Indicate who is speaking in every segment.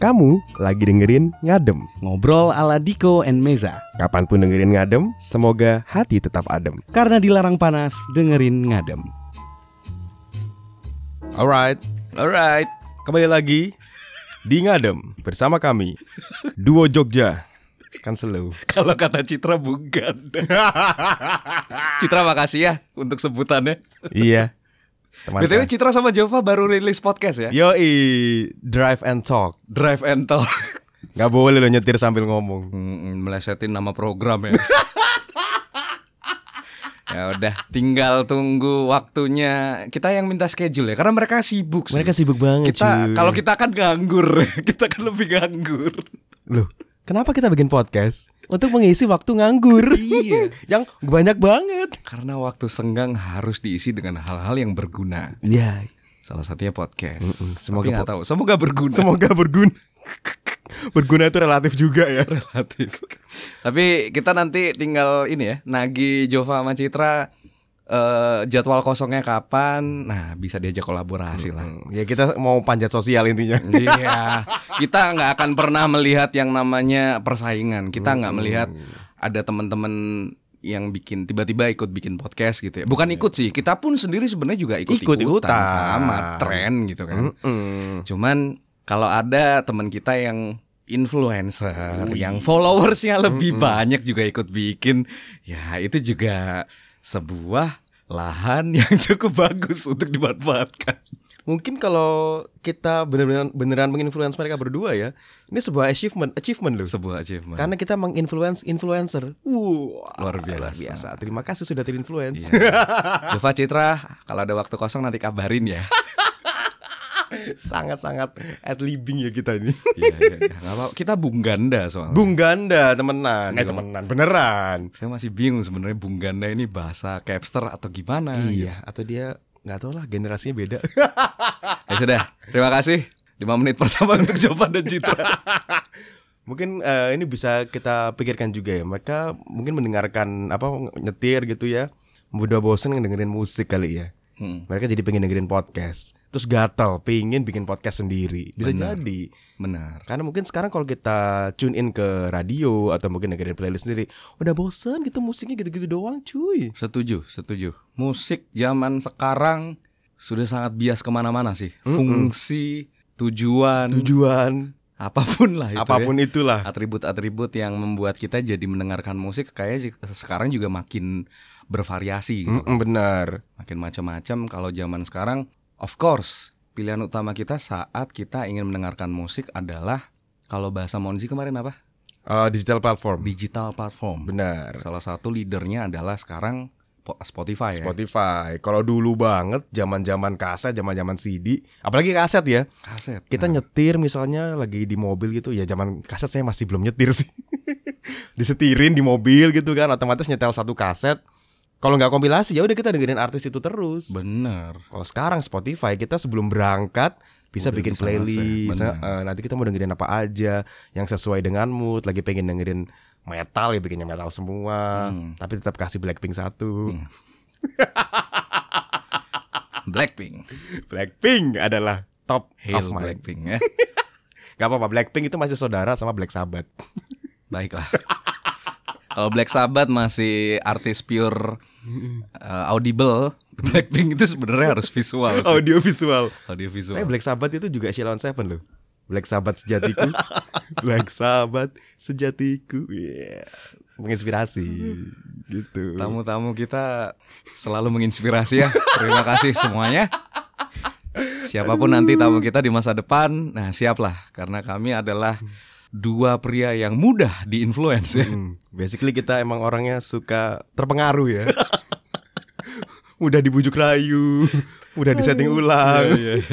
Speaker 1: Kamu lagi dengerin Ngadem.
Speaker 2: Ngobrol ala Diko and Meza.
Speaker 1: Kapanpun dengerin Ngadem, semoga hati tetap adem.
Speaker 2: Karena dilarang panas, dengerin ngadem.
Speaker 1: Alright,
Speaker 2: Alright.
Speaker 1: kembali lagi di Ngadem bersama kami Duo Jogja. Kan slow.
Speaker 2: Kalau kata Citra bukan. Citra makasih ya untuk sebutannya.
Speaker 1: iya. Teman kan.
Speaker 2: BTW Citra sama Jova baru rilis podcast ya.
Speaker 1: Yoi, drive and talk.
Speaker 2: Drive and Talk.
Speaker 1: Gak boleh lo nyetir sambil ngomong.
Speaker 2: Hmm, melesetin nama program ya. ya udah, tinggal tunggu waktunya. Kita yang minta schedule ya, karena mereka sibuk. sih.
Speaker 1: sibuk banget.
Speaker 2: kita kalau kita kan nganggur, kita kan lebih nganggur.
Speaker 1: Loh, kenapa kita bikin podcast? Untuk mengisi waktu nganggur.
Speaker 2: Iya.
Speaker 1: Yang banyak banget.
Speaker 2: Karena waktu senggang harus diisi dengan hal-hal yang berguna.
Speaker 1: Iya.
Speaker 2: Salah satunya podcast.
Speaker 1: Mm-mm, semoga
Speaker 2: Tapi nggak tahu. Semoga berguna.
Speaker 1: Semoga berguna. berguna itu relatif juga ya.
Speaker 2: Relatif. Tapi kita nanti tinggal ini ya, Nagi, Jova, sama Citra eh, jadwal kosongnya kapan? Nah, bisa diajak kolaborasi lah.
Speaker 1: Ya kita mau panjat sosial intinya.
Speaker 2: Iya, kita nggak akan pernah melihat yang namanya persaingan. Kita nggak melihat ada teman-teman yang bikin tiba-tiba ikut bikin podcast gitu ya. Bukan ikut sih, kita pun sendiri sebenarnya juga ikut ikutan,
Speaker 1: Iya. Ikut-ikutan.
Speaker 2: sama tren gitu kan.
Speaker 1: Mm-mm.
Speaker 2: Cuman kalau ada teman kita yang influencer, yang followersnya lebih banyak juga ikut bikin, ya itu juga sebuah lahan yang cukup bagus untuk dimanfaatkan.
Speaker 1: Mungkin kalau kita beneran beneran menginfluence mereka berdua ya, ini sebuah achievement, achievement loh.
Speaker 2: Sebuah achievement.
Speaker 1: Karena kita menginfluence influencer. Wuh,
Speaker 2: Luar biasa.
Speaker 1: Terima kasih sudah terinfluence.
Speaker 2: Jova Iya. Citra, kalau ada waktu kosong nanti kabarin ya.
Speaker 1: Sangat-sangat at living ya kita ini.
Speaker 2: Iya, iya, iya. Nggak apa- Kita Bung Ganda soalnya.
Speaker 1: Bung Ganda temenan. Eh temenan beneran.
Speaker 2: Saya masih bingung sebenarnya Bung Ganda ini bahasa capster atau gimana. gitu.
Speaker 1: Iya, atau dia nggak tahu lah generasinya beda.
Speaker 2: Ya sudah, terima kasih. 5 menit pertama untuk Jova dan Citra.
Speaker 1: Mungkin eh, ini bisa kita pikirkan juga ya. Mereka mungkin mendengarkan apa nyetir gitu ya. Udah bosen dengerin musik kali ya.
Speaker 2: Hmm,
Speaker 1: Mereka jadi pengen dengerin podcast. Terus gatel, pengen bikin podcast sendiri. Bisa
Speaker 2: Benar.
Speaker 1: jadi.
Speaker 2: benar.
Speaker 1: Karena mungkin sekarang kalau kita tune in ke radio atau mungkin dengerin playlist sendiri, udah bosen gitu musiknya gitu-gitu doang, cuy.
Speaker 2: Setuju, setuju. Musik zaman sekarang sudah sangat bias kemana-mana sih. Fungsi, tujuan,
Speaker 1: Tujuan
Speaker 2: apapun lah Hmm. itu ya.
Speaker 1: apapun itulah.
Speaker 2: atribut-atribut yang membuat kita jadi mendengarkan musik kayak sekarang juga makin bervariasi gitu.
Speaker 1: Mm-mm, benar.
Speaker 2: makin macam-macam kalau zaman sekarang of course pilihan utama kita saat kita ingin mendengarkan musik adalah kalau bahasa Monzi kemarin apa
Speaker 1: Eh, digital
Speaker 2: Iya.
Speaker 1: platform.
Speaker 2: digital platform
Speaker 1: Benar.
Speaker 2: salah satu leadernya adalah sekarang po- Spotify ya
Speaker 1: Spotify. Kalau dulu banget zaman-zaman kaset, zaman-zaman CD, apalagi kaset ya.
Speaker 2: kaset
Speaker 1: Kita
Speaker 2: Nah,
Speaker 1: nyetir misalnya lagi di mobil gitu ya, zaman kaset saya masih belum nyetir sih. Disetirin di mobil gitu kan, otomatis nyetel satu kaset. Kalau nggak kompilasi ya udah kita dengerin artis itu terus.
Speaker 2: bener
Speaker 1: Kalau sekarang Spotify kita sebelum berangkat bisa
Speaker 2: Udah
Speaker 1: bikin
Speaker 2: bisa
Speaker 1: playlist.
Speaker 2: ngeset, benar.
Speaker 1: Nah, eh, nanti kita mau dengerin apa aja yang sesuai dengan mood, lagi pengen dengerin metal ya bikinnya metal semua,
Speaker 2: Hmm.
Speaker 1: tapi tetap kasih Blackpink satu.
Speaker 2: Hmm. Blackpink
Speaker 1: Blackpink adalah top of
Speaker 2: Hail
Speaker 1: my
Speaker 2: Blackpink ya
Speaker 1: Gak apa-apa, Blackpink itu masih saudara sama Black Sabbath.
Speaker 2: Baiklah. Kalau Black Sabbath masih artis pure uh, audible, Blackpink itu sebenarnya harus visual sih.
Speaker 1: Audio visual.
Speaker 2: Audio
Speaker 1: Tapi
Speaker 2: visual.
Speaker 1: Black Sabbath itu juga Sheila on Seven loh. Black Sabbath sejatiku. Black Sabbath sejatiku. Iya. Menginspirasi gitu.
Speaker 2: Tamu-tamu kita selalu menginspirasi ya. Terima kasih semuanya. Siapapun nanti tamu kita di masa depan, nah siaplah karena kami adalah dua pria yang mudah diinfluence ya.
Speaker 1: Hmm, Basically kita emang orangnya suka terpengaruh ya. Udah dibujuk rayu, udah disetting ulang.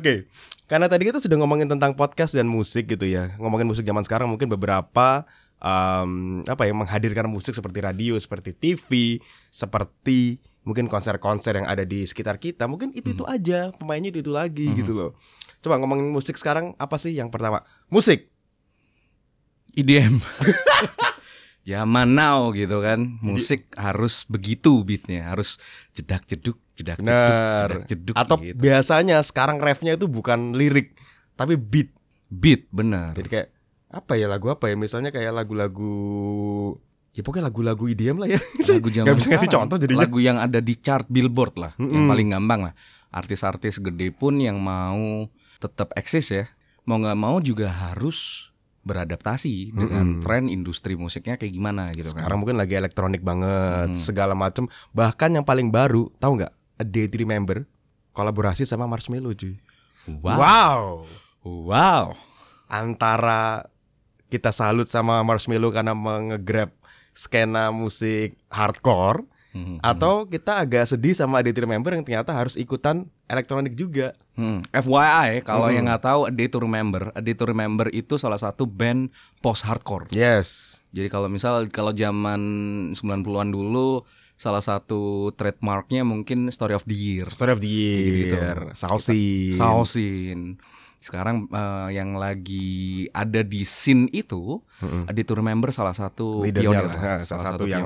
Speaker 1: Oke, karena tadi kita sudah ngomongin tentang podcast dan musik gitu ya. Ngomongin musik zaman sekarang mungkin beberapa em, apa ya menghadirkan musik seperti radio, seperti TV, seperti mungkin konser-konser yang ada di sekitar kita. Mungkin itu itu aja pemainnya itu itu lagi gitu loh. Coba ngomongin musik sekarang apa sih yang pertama? Musik.
Speaker 2: IDM. E Zaman now gitu kan, musik harus begitu beatnya, harus jedak jeduk, jedak jeduk,
Speaker 1: Benar.
Speaker 2: jedak jeduk
Speaker 1: Atau
Speaker 2: gitu.
Speaker 1: biasanya sekarang refnya itu bukan lirik tapi beat.
Speaker 2: Beat, benar.
Speaker 1: Jadi kayak apa ya lagu apa ya? Misalnya kayak lagu-lagu ya pokoknya lagu-lagu IDM lah ya.
Speaker 2: Lagu
Speaker 1: Nggak
Speaker 2: zaman
Speaker 1: bisa ngasih
Speaker 2: sekarang.
Speaker 1: contoh jadinya.
Speaker 2: Lagu yang ada di chart Billboard lah, yang
Speaker 1: Mm-mm.
Speaker 2: paling gampang lah. Artis-artis gede pun yang mau tetap eksis ya, mau nggak mau juga harus beradaptasi dengan
Speaker 1: Mm-mm.
Speaker 2: tren industri musiknya kayak gimana gitu
Speaker 1: Sekarang
Speaker 2: kan.
Speaker 1: mungkin lagi elektronik banget,
Speaker 2: Hmm.
Speaker 1: segala macem. Bahkan yang paling baru, tahu nggak? A Day to Remember kolaborasi sama Marshmello cuy.
Speaker 2: Wow. wow.
Speaker 1: Antara kita salut sama Marshmello karena mengegrab skena musik hardcore
Speaker 2: Mm-mm.
Speaker 1: atau kita agak sedih sama A Day to Remember yang ternyata harus ikutan elektronik juga.
Speaker 2: Hmm, FYI kalau
Speaker 1: Mm-mm.
Speaker 2: yang nggak tahu A Day to Remember, A Day to Remember itu salah satu band post hardcore.
Speaker 1: Yes.
Speaker 2: Jadi kalau misal kalau zaman 90-an dulu salah satu trademarknya mungkin Story of the Year,
Speaker 1: Story of the
Speaker 2: Gitu-gitu.
Speaker 1: Year, Sausi.
Speaker 2: Sausin. Sekarang eh, yang lagi ada di scene itu
Speaker 1: Mm-mm.
Speaker 2: A Day to Remember salah satu
Speaker 1: Leadernya
Speaker 2: pionir,
Speaker 1: Hmm. lah,
Speaker 2: lah,
Speaker 1: salah satu yang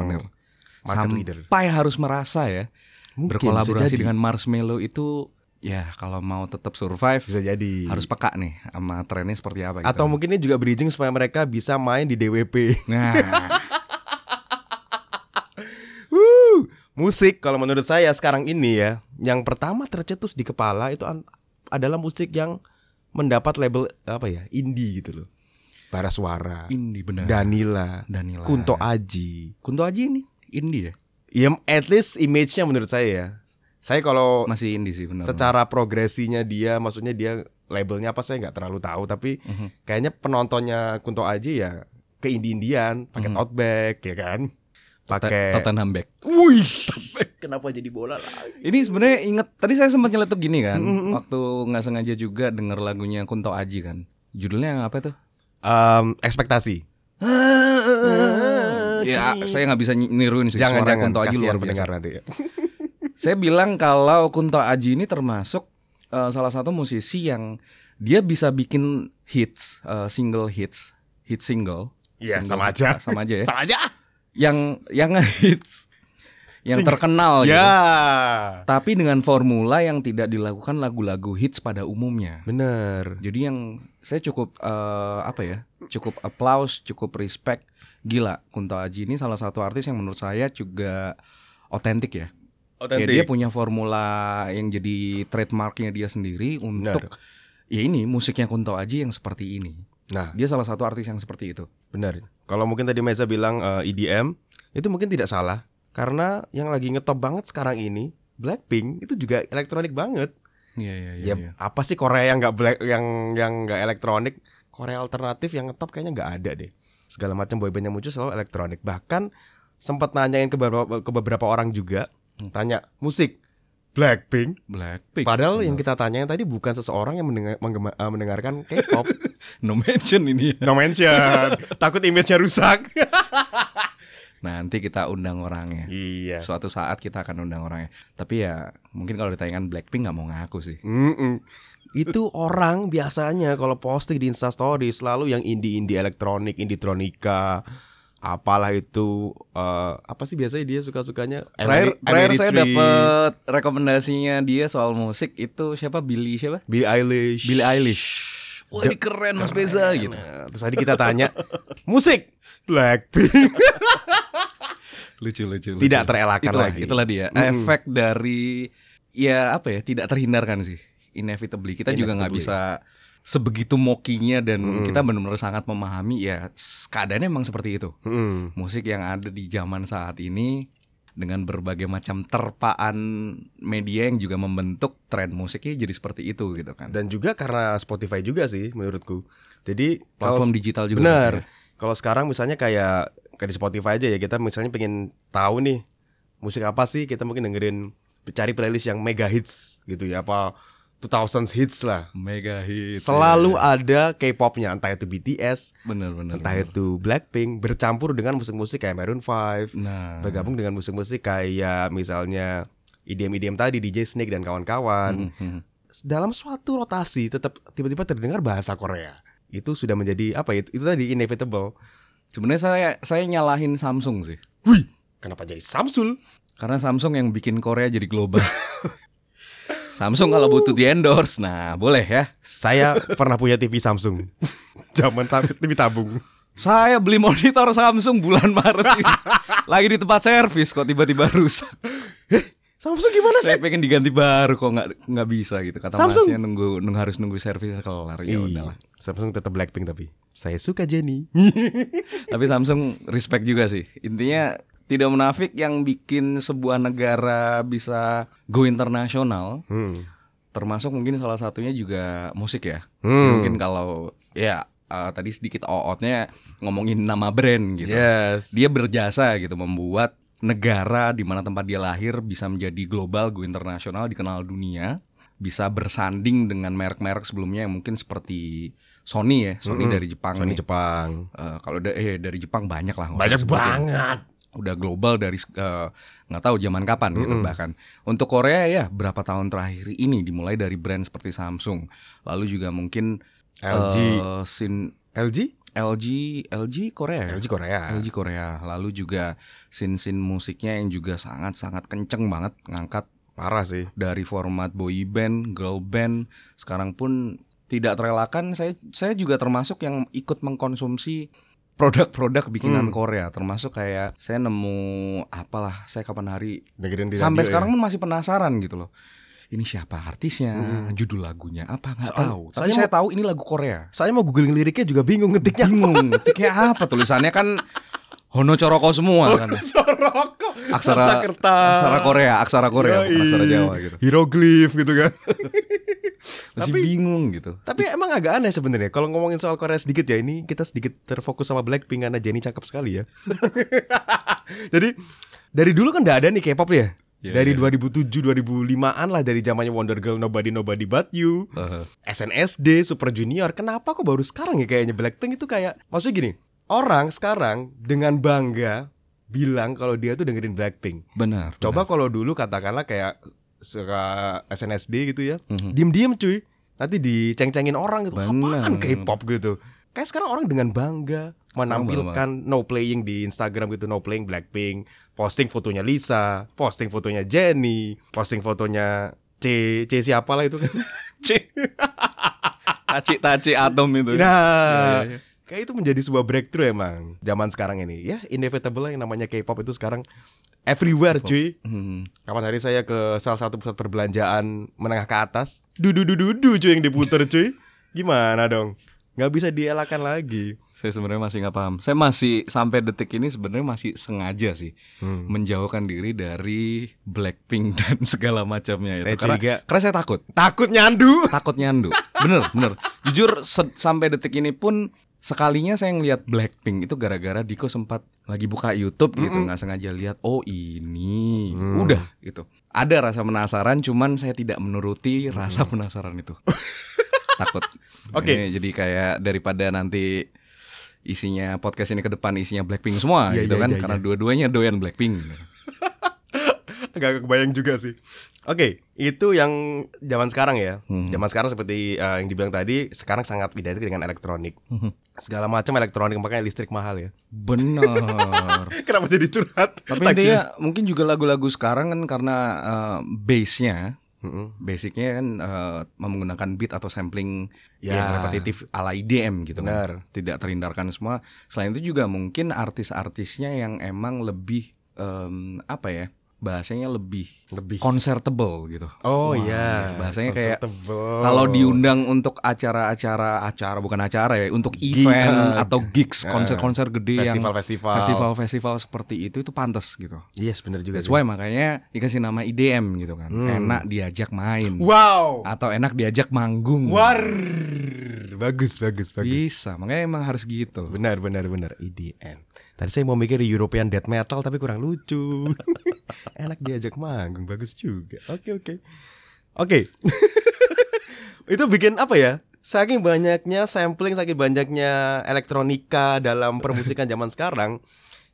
Speaker 1: market leader.
Speaker 2: Sampai harus merasa ya
Speaker 1: Mungkin bisa
Speaker 2: berkolaborasi
Speaker 1: jadi.
Speaker 2: dengan Marshmello itu ya kalau mau tetap survive
Speaker 1: bisa jadi.
Speaker 2: harus peka nih sama trennya seperti apa gitu.
Speaker 1: atau mungkin ini juga bridging supaya mereka bisa main di DWP.
Speaker 2: nah
Speaker 1: Wuh, musik kalau menurut saya sekarang ini ya, yang pertama tercetus di kepala itu an- adalah musik yang mendapat label apa ya? Indie gitu loh. Bara Suara,
Speaker 2: ini benar
Speaker 1: Danila,
Speaker 2: Danila
Speaker 1: Kunto Aji.
Speaker 2: Kunto Aji ini indie ya
Speaker 1: Ya at least image-nya menurut saya ya. Saya kalau
Speaker 2: masih indie sih benar
Speaker 1: secara progresinya dia, maksudnya dia labelnya apa saya nggak terlalu tahu, tapi
Speaker 2: Mhm.
Speaker 1: kayaknya penontonnya Kunto Aji ya ke Indian pakai
Speaker 2: Mhm.
Speaker 1: tote bag ya kan
Speaker 2: Tot-
Speaker 1: pakai
Speaker 2: Tottenham back
Speaker 1: wih kenapa jadi bola lagi
Speaker 2: ini sebenarnya inget tadi saya sempat nyeletuk gini kan
Speaker 1: Mm-mm.
Speaker 2: waktu nggak sengaja juga denger lagunya Kunto Aji kan judulnya apa tuh
Speaker 1: Em, ekspektasi
Speaker 2: ya saya nggak bisa ny- niruin sih
Speaker 1: Eh, jangan
Speaker 2: suara
Speaker 1: jangan
Speaker 2: Kunto Aji
Speaker 1: kasihan
Speaker 2: luar biasa
Speaker 1: pendengar nanti
Speaker 2: saya bilang kalau Kunto Aji ini termasuk eh, salah satu musisi yang dia bisa bikin hits eh, single hits hit single
Speaker 1: Iya,
Speaker 2: Single
Speaker 1: sama
Speaker 2: hit,
Speaker 1: aja.
Speaker 2: ah, sama aja ya
Speaker 1: sama aja
Speaker 2: yang yang hits yang
Speaker 1: Single.
Speaker 2: terkenal gitu.
Speaker 1: ya
Speaker 2: tapi dengan formula yang tidak dilakukan lagu-lagu hits pada umumnya.
Speaker 1: bener
Speaker 2: Jadi yang saya cukup eh, apa ya? Cukup applause, cukup respect. Gila, Kunto Aji ini salah satu artis yang menurut saya juga otentik ya. Kayak dia
Speaker 1: otentik
Speaker 2: punya formula yang jadi trademarknya dia sendiri untuk
Speaker 1: bener
Speaker 2: ya ini musiknya Kunto Aji yang seperti ini.
Speaker 1: Nah.
Speaker 2: dia salah satu artis yang seperti itu.
Speaker 1: bener kalau mungkin tadi Meza bilang eh, EDM itu mungkin tidak salah karena yang lagi ngetop banget sekarang ini Blackpink itu juga elektronik banget
Speaker 2: Iya, iya, iya.
Speaker 1: ya,
Speaker 2: iya.
Speaker 1: apa sih Korea yang nggak black yang yang nggak elektronik Korea alternatif yang ngetop kayaknya nggak ada deh segala macam boyband yang muncul selalu elektronik bahkan sempat nanyain ke beberapa, ke beberapa orang juga
Speaker 2: Hmm.
Speaker 1: tanya musik Blackpink
Speaker 2: Blackpink.
Speaker 1: padahal yang kita tanyain tadi bukan seseorang yang mendengar, menggema- eh, mendengarkan K-pop
Speaker 2: no mention ini. ya.
Speaker 1: no mention takut image-nya rusak
Speaker 2: Nanti kita undang orangnya.
Speaker 1: iya
Speaker 2: Suatu saat kita akan undang orangnya. Tapi ya mungkin kalau ditanyakan Blackpink nggak mau ngaku sih.
Speaker 1: Mm-mm. Itu orang biasanya kalau posting di Instastory selalu yang indie-indie elektronik, indie tronika, apalah itu eh, apa sih biasanya dia suka-sukanya? Emery-
Speaker 2: Terakhir, terakhir
Speaker 1: Emery
Speaker 2: saya
Speaker 1: Tree,
Speaker 2: dapat rekomendasinya dia soal musik itu siapa Billy siapa?
Speaker 1: Billie Eilish.
Speaker 2: Billie Eilish. Wah ini keren Mas Reza gitu.
Speaker 1: Nah, Terus tadi kita tanya, musik Blackpink
Speaker 2: Lucu lucu. lucu.
Speaker 1: tidak terelakkan
Speaker 2: itulah,
Speaker 1: lagi.
Speaker 2: Itulah dia.
Speaker 1: Mm-mm.
Speaker 2: Efek dari ya apa ya tidak terhindarkan sih. Inevitably kita juga nggak
Speaker 1: Inevitably.
Speaker 2: bisa sebegitu mokinya dan
Speaker 1: Mm.
Speaker 2: kita benar-benar sangat memahami ya keadaannya memang seperti itu.
Speaker 1: Mm.
Speaker 2: musik yang ada di zaman saat ini dengan berbagai macam terpaan media yang juga membentuk tren musiknya jadi seperti itu gitu kan.
Speaker 1: Dan juga karena Spotify juga sih menurutku. Jadi kalau
Speaker 2: Platform digital juga.
Speaker 1: Benar.
Speaker 2: ya.
Speaker 1: Kalau sekarang misalnya kayak kayak di Spotify aja ya kita misalnya pengen tahu nih musik apa sih kita mungkin dengerin cari playlist yang mega hits gitu ya apa 2000s hits lah.
Speaker 2: Mega ya. hit.
Speaker 1: Selalu ada K-popnya entah itu BTS,
Speaker 2: benar-benar.
Speaker 1: entah itu Blackpink bercampur dengan musik-musik kayak Maroon 5,
Speaker 2: Nah,
Speaker 1: bergabung dengan musik-musik kayak misalnya E IDM-IDM tadi DJ Snake dan kawan-kawan.
Speaker 2: mm, mm.
Speaker 1: Dalam suatu rotasi tetap tiba-tiba terdengar bahasa Korea. Itu sudah menjadi apa ya? Itu tadi inevitable.
Speaker 2: Sebenarnya saya saya nyalahin Samsung sih.
Speaker 1: Kenapa jadi Samsul?
Speaker 2: Karena Samsung yang bikin Korea jadi global. Samsung kalau butuh di endorse, nah boleh ya.
Speaker 1: Saya pernah punya TV Samsung. Zaman ta- TV tabung.
Speaker 2: Saya beli monitor Samsung bulan Maret ini. Lagi di tempat servis kok tiba-tiba rusak.
Speaker 1: Samsung gimana sih?
Speaker 2: Saya pengen diganti baru kok nggak nggak bisa gitu. Kata
Speaker 1: Samsung.
Speaker 2: masnya nunggu, nunggu harus nunggu servisnya kelar ya
Speaker 1: Ih,
Speaker 2: udahlah.
Speaker 1: Iya. Samsung tetap Blackpink tapi. Saya suka Jennie.
Speaker 2: Tapi Samsung respect juga sih. Intinya tidak menafik yang bikin sebuah negara bisa go internasional
Speaker 1: Hmm.
Speaker 2: termasuk mungkin salah satunya juga musik ya
Speaker 1: Hmm.
Speaker 2: mungkin kalau ya eh, tadi sedikit ootnya ngomongin nama brand gitu
Speaker 1: Yes.
Speaker 2: dia berjasa gitu membuat negara di mana tempat dia lahir bisa menjadi global go internasional dikenal dunia bisa bersanding dengan merek-merek sebelumnya yang mungkin seperti Sony ya Sony
Speaker 1: Mm-mm.
Speaker 2: dari Jepang
Speaker 1: Sony
Speaker 2: nih.
Speaker 1: Jepang.
Speaker 2: Eh, kalau da- eh, dari Jepang banyak lah nggak usah
Speaker 1: Banyak
Speaker 2: disebutin.
Speaker 1: banget.
Speaker 2: udah global dari eh, nggak tahu zaman kapan gitu
Speaker 1: Mm-mm.
Speaker 2: bahkan untuk Korea ya berapa tahun terakhir ini dimulai dari brand seperti Samsung lalu juga mungkin
Speaker 1: LG.
Speaker 2: eh, sin
Speaker 1: LG?
Speaker 2: LG LG Korea ya?
Speaker 1: LG Korea.
Speaker 2: LG Korea lalu juga sin sin musiknya yang juga sangat sangat kenceng banget ngangkat
Speaker 1: Parah sih.
Speaker 2: dari format boy band girl band sekarang pun tidak terelakkan saya saya juga termasuk yang ikut mengkonsumsi produk-produk bikinan
Speaker 1: Hmm.
Speaker 2: Korea termasuk kayak saya nemu apalah saya kapan hari
Speaker 1: Dengerin di radio
Speaker 2: sampai
Speaker 1: ya?
Speaker 2: sekarang pun masih penasaran gitu loh ini siapa artisnya
Speaker 1: Hmm.
Speaker 2: judul lagunya apa nggak
Speaker 1: Soal-
Speaker 2: tahu tapi
Speaker 1: soalnya
Speaker 2: saya tahu ini lagu
Speaker 1: ya.
Speaker 2: Korea
Speaker 1: Saya mau googling liriknya juga bingung ngetiknya.
Speaker 2: bingung ngetiknya apa tulisannya kan Hono Choroko
Speaker 1: Oh.
Speaker 2: semua kan
Speaker 1: Soroko.
Speaker 2: aksara
Speaker 1: Sanskerta.
Speaker 2: aksara Korea aksara Korea bukan
Speaker 1: Yoi.
Speaker 2: aksara Jawa gitu
Speaker 1: Hieroglif gitu kan.
Speaker 2: masih
Speaker 1: Tapi-
Speaker 2: bingung gitu
Speaker 1: Tapi emang agak aneh sebenarnya kalau ngomongin soal Korea sedikit ya ini kita sedikit terfokus sama Blackpink karena Jennie cakep sekali ya. Jadi dari dulu kan nggak ada nih K-pop ya.
Speaker 2: Iya,
Speaker 1: dari
Speaker 2: iya.
Speaker 1: 2007 2005-an lah dari zamannya Wonder Girl Nobody Nobody But You,
Speaker 2: Eh,
Speaker 1: SNSD, Super Junior. Kenapa kok baru sekarang ya kayaknya Blackpink itu kayak maksudnya gini, orang sekarang dengan bangga bilang kalau dia tuh dengerin Blackpink.
Speaker 2: benar
Speaker 1: Coba kalau dulu katakanlah kayak suka SNSD gitu ya.
Speaker 2: Mhm.
Speaker 1: Diem-diem cuy. Nanti diceng-cengin orang gitu.
Speaker 2: Benar.
Speaker 1: Apaan K-pop gitu. Kayak sekarang orang dengan bangga menampilkan no playing di Instagram gitu, no playing Blackpink, posting fotonya Lisa, posting fotonya Jennie, posting fotonya C, C siapa lah itu kan.
Speaker 2: taci taci atom
Speaker 1: Nah,
Speaker 2: itu Iya, iya, iya.
Speaker 1: kayak itu menjadi sebuah breakthrough emang zaman sekarang ini. Ya, inevitable lah yang namanya K-pop itu sekarang everywhere cuy.
Speaker 2: Hmm.
Speaker 1: Kapan hari saya ke salah satu pusat perbelanjaan menengah ke atas, dudu dudu dudu cuy yang diputer cuy. Gimana dong? Nggak bisa dielakkan lagi.
Speaker 2: saya sebenarnya masih nggak paham saya masih sampai detik ini sebenarnya masih sengaja sih
Speaker 1: Hmm.
Speaker 2: menjauhkan diri dari Blackpink dan segala macamnya itu
Speaker 1: Saya
Speaker 2: karena
Speaker 1: curiga.
Speaker 2: karena saya takut
Speaker 1: Takut nyandu.
Speaker 2: takut nyandu bener bener jujur se- sampai detik ini pun sekalinya saya ngelihat Blackpink itu gara-gara Diko sempat lagi buka YouTube gitu
Speaker 1: Mm-mm.
Speaker 2: nggak sengaja lihat oh ini
Speaker 1: Hmm.
Speaker 2: udah gitu ada rasa penasaran cuman saya tidak menuruti rasa penasaran itu takut
Speaker 1: Hmm. Oke.
Speaker 2: Ini jadi kayak daripada nanti isinya podcast ini ke depan isinya Blackpink semua
Speaker 1: Iya,
Speaker 2: gitu
Speaker 1: iya,
Speaker 2: kan
Speaker 1: iya,
Speaker 2: karena dua-duanya doyan Blackpink
Speaker 1: Agak kebayang juga sih. Oke, itu yang zaman sekarang ya.
Speaker 2: Hmm.
Speaker 1: Zaman sekarang seperti eh, yang dibilang tadi, sekarang sangat identik dengan elektronik.
Speaker 2: Mhm.
Speaker 1: Segala macam elektronik makanya listrik mahal ya.
Speaker 2: bener
Speaker 1: Kenapa jadi curhat?
Speaker 2: Tapi
Speaker 1: Lagi.
Speaker 2: intinya mungkin juga lagu-lagu sekarang kan karena eh, base-nya,
Speaker 1: Mm-mm.
Speaker 2: basicnya kan eh, menggunakan beat atau sampling
Speaker 1: Ya.
Speaker 2: yang repetitif ala IDM gitu kan.
Speaker 1: Benar.
Speaker 2: Tidak terhindarkan semua. Selain itu juga mungkin artis-artisnya yang emang lebih em, apa ya? Bahasanya lebih
Speaker 1: Lebih.
Speaker 2: concertable gitu.
Speaker 1: Oh
Speaker 2: Wah, gitu.
Speaker 1: iya.
Speaker 2: bahasanya kayak
Speaker 1: Convertible.
Speaker 2: Kalau diundang untuk acara-acara acara bukan acara ya, untuk
Speaker 1: Gig,
Speaker 2: event
Speaker 1: eh,
Speaker 2: atau
Speaker 1: eh,
Speaker 2: gigs, konser-konser gede yang
Speaker 1: festival-festival.
Speaker 2: festival-festival seperti itu itu pantas gitu.
Speaker 1: Yes, benar juga.
Speaker 2: That's
Speaker 1: sih.
Speaker 2: why makanya dikasih nama IDM gitu kan.
Speaker 1: Iya. Hmm.
Speaker 2: Enak diajak main
Speaker 1: Wow.
Speaker 2: atau enak diajak manggung.
Speaker 1: War. Bagus, bagus, bagus.
Speaker 2: Bisa, makanya emang harus gitu.
Speaker 1: Benar, benar, benar. EDM. Tadi saya mau mikir European death metal tapi kurang lucu. Enak diajak manggung, bagus juga. Oke, oke. Oke. Itu bikin apa ya? Saking banyaknya sampling, saking banyaknya elektronika dalam permusikan zaman sekarang,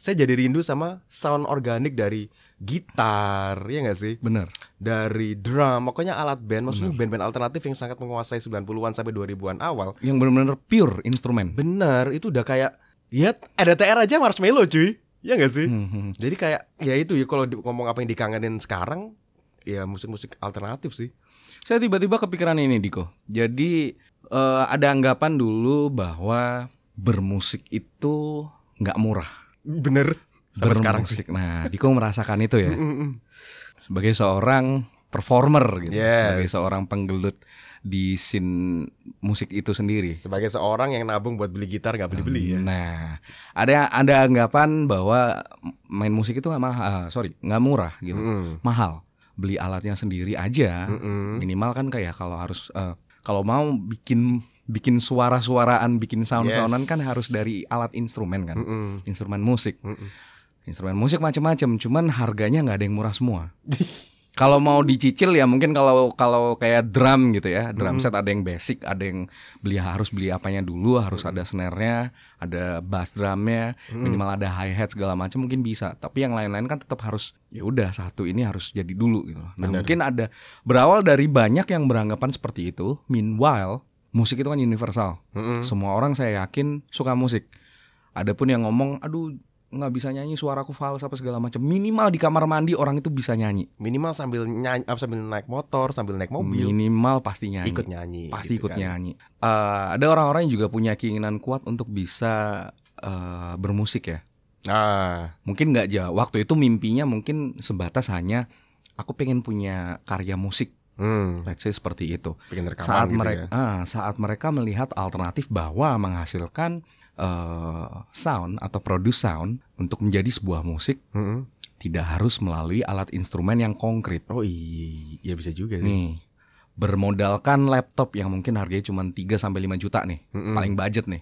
Speaker 1: saya jadi rindu sama sound organik dari gitar, ya nggak sih?
Speaker 2: Bener.
Speaker 1: dari drum, pokoknya alat band, maksudnya band-band alternatif yang sangat menguasai 90-an sampai 2000-an awal.
Speaker 2: Yang benar-benar pure instrumen.
Speaker 1: Bener, itu udah kayak ya ada TR aja marshmallow cuy. Ya gak sih?
Speaker 2: Hmm, hmm.
Speaker 1: Jadi kayak ya itu ya kalau di- ngomong apa yang dikangenin sekarang ya musik-musik alternatif sih.
Speaker 2: Saya tiba-tiba kepikiran ini Diko. Jadi eh, ada anggapan dulu bahwa bermusik itu nggak murah.
Speaker 1: Bener. Sampai sekarang sih. Hmm.
Speaker 2: Bermusik. Nah, Diko merasakan itu ya.
Speaker 1: Mm-mm.
Speaker 2: Sebagai seorang performer gitu,
Speaker 1: Yes.
Speaker 2: sebagai seorang penggelut di scene musik itu sendiri.
Speaker 1: Sebagai seorang yang nabung buat beli gitar gak beli-beli ya.
Speaker 2: Nah, ada ada anggapan bahwa main musik itu nggak mahal, eh, sorry, nggak murah gitu.
Speaker 1: Mm-mm.
Speaker 2: mahal beli alatnya sendiri aja
Speaker 1: Hmm. Mm-mm.
Speaker 2: minimal kan kayak kalau harus eh, kalau mau bikin bikin suara-suaraan bikin
Speaker 1: Yes.
Speaker 2: sound-soundan
Speaker 1: Hmm.
Speaker 2: kan harus dari alat instrumen kan
Speaker 1: Mm-mm.
Speaker 2: instrumen musik
Speaker 1: Mm-mm.
Speaker 2: instrumen musik macam-macam cuman harganya nggak ada yang murah semua kalau mau dicicil ya mungkin kalau kalau kayak drum gitu ya drum set ada yang basic ada yang beli harus beli apanya dulu harus ada snare-nya ada bass drumnya minimal ada hi hat segala macam mungkin bisa tapi yang lain-lain kan tetap harus ya udah satu ini harus jadi dulu gitu loh. nah
Speaker 1: Benar.
Speaker 2: mungkin ada berawal dari banyak yang beranggapan seperti itu meanwhile musik itu kan universal
Speaker 1: Mm-mm.
Speaker 2: semua orang saya yakin suka musik. Adapun yang ngomong, aduh nggak bisa nyanyi suaraku fals apa segala macam. Minimal di kamar mandi orang itu bisa nyanyi.
Speaker 1: Minimal sambil nyanyi, apa, sambil naik motor, sambil naik mobil,
Speaker 2: Minimal pasti nyanyi.
Speaker 1: ikut nyanyi.
Speaker 2: pasti
Speaker 1: gitu
Speaker 2: ikut
Speaker 1: kan.
Speaker 2: nyanyi. Eh, ada orang-orang yang juga punya keinginan kuat untuk bisa eh, bermusik ya.
Speaker 1: Nah,
Speaker 2: Mungkin nggak jauh. Waktu itu mimpinya mungkin sebatas hanya aku pengen punya karya musik,
Speaker 1: hmm,
Speaker 2: let's say seperti itu.
Speaker 1: bikin rekaman
Speaker 2: saat
Speaker 1: gitu
Speaker 2: mereka
Speaker 1: ya.
Speaker 2: ah, saat mereka melihat alternatif bahwa menghasilkan eh, sound atau produce sound untuk menjadi sebuah musik
Speaker 1: Mm-mm.
Speaker 2: tidak harus melalui alat instrumen yang konkret
Speaker 1: Oh iya, iya bisa juga sih.
Speaker 2: nih bermodalkan laptop yang mungkin harganya cuma 3 sampai 5 juta nih
Speaker 1: Mm-mm.
Speaker 2: paling budget nih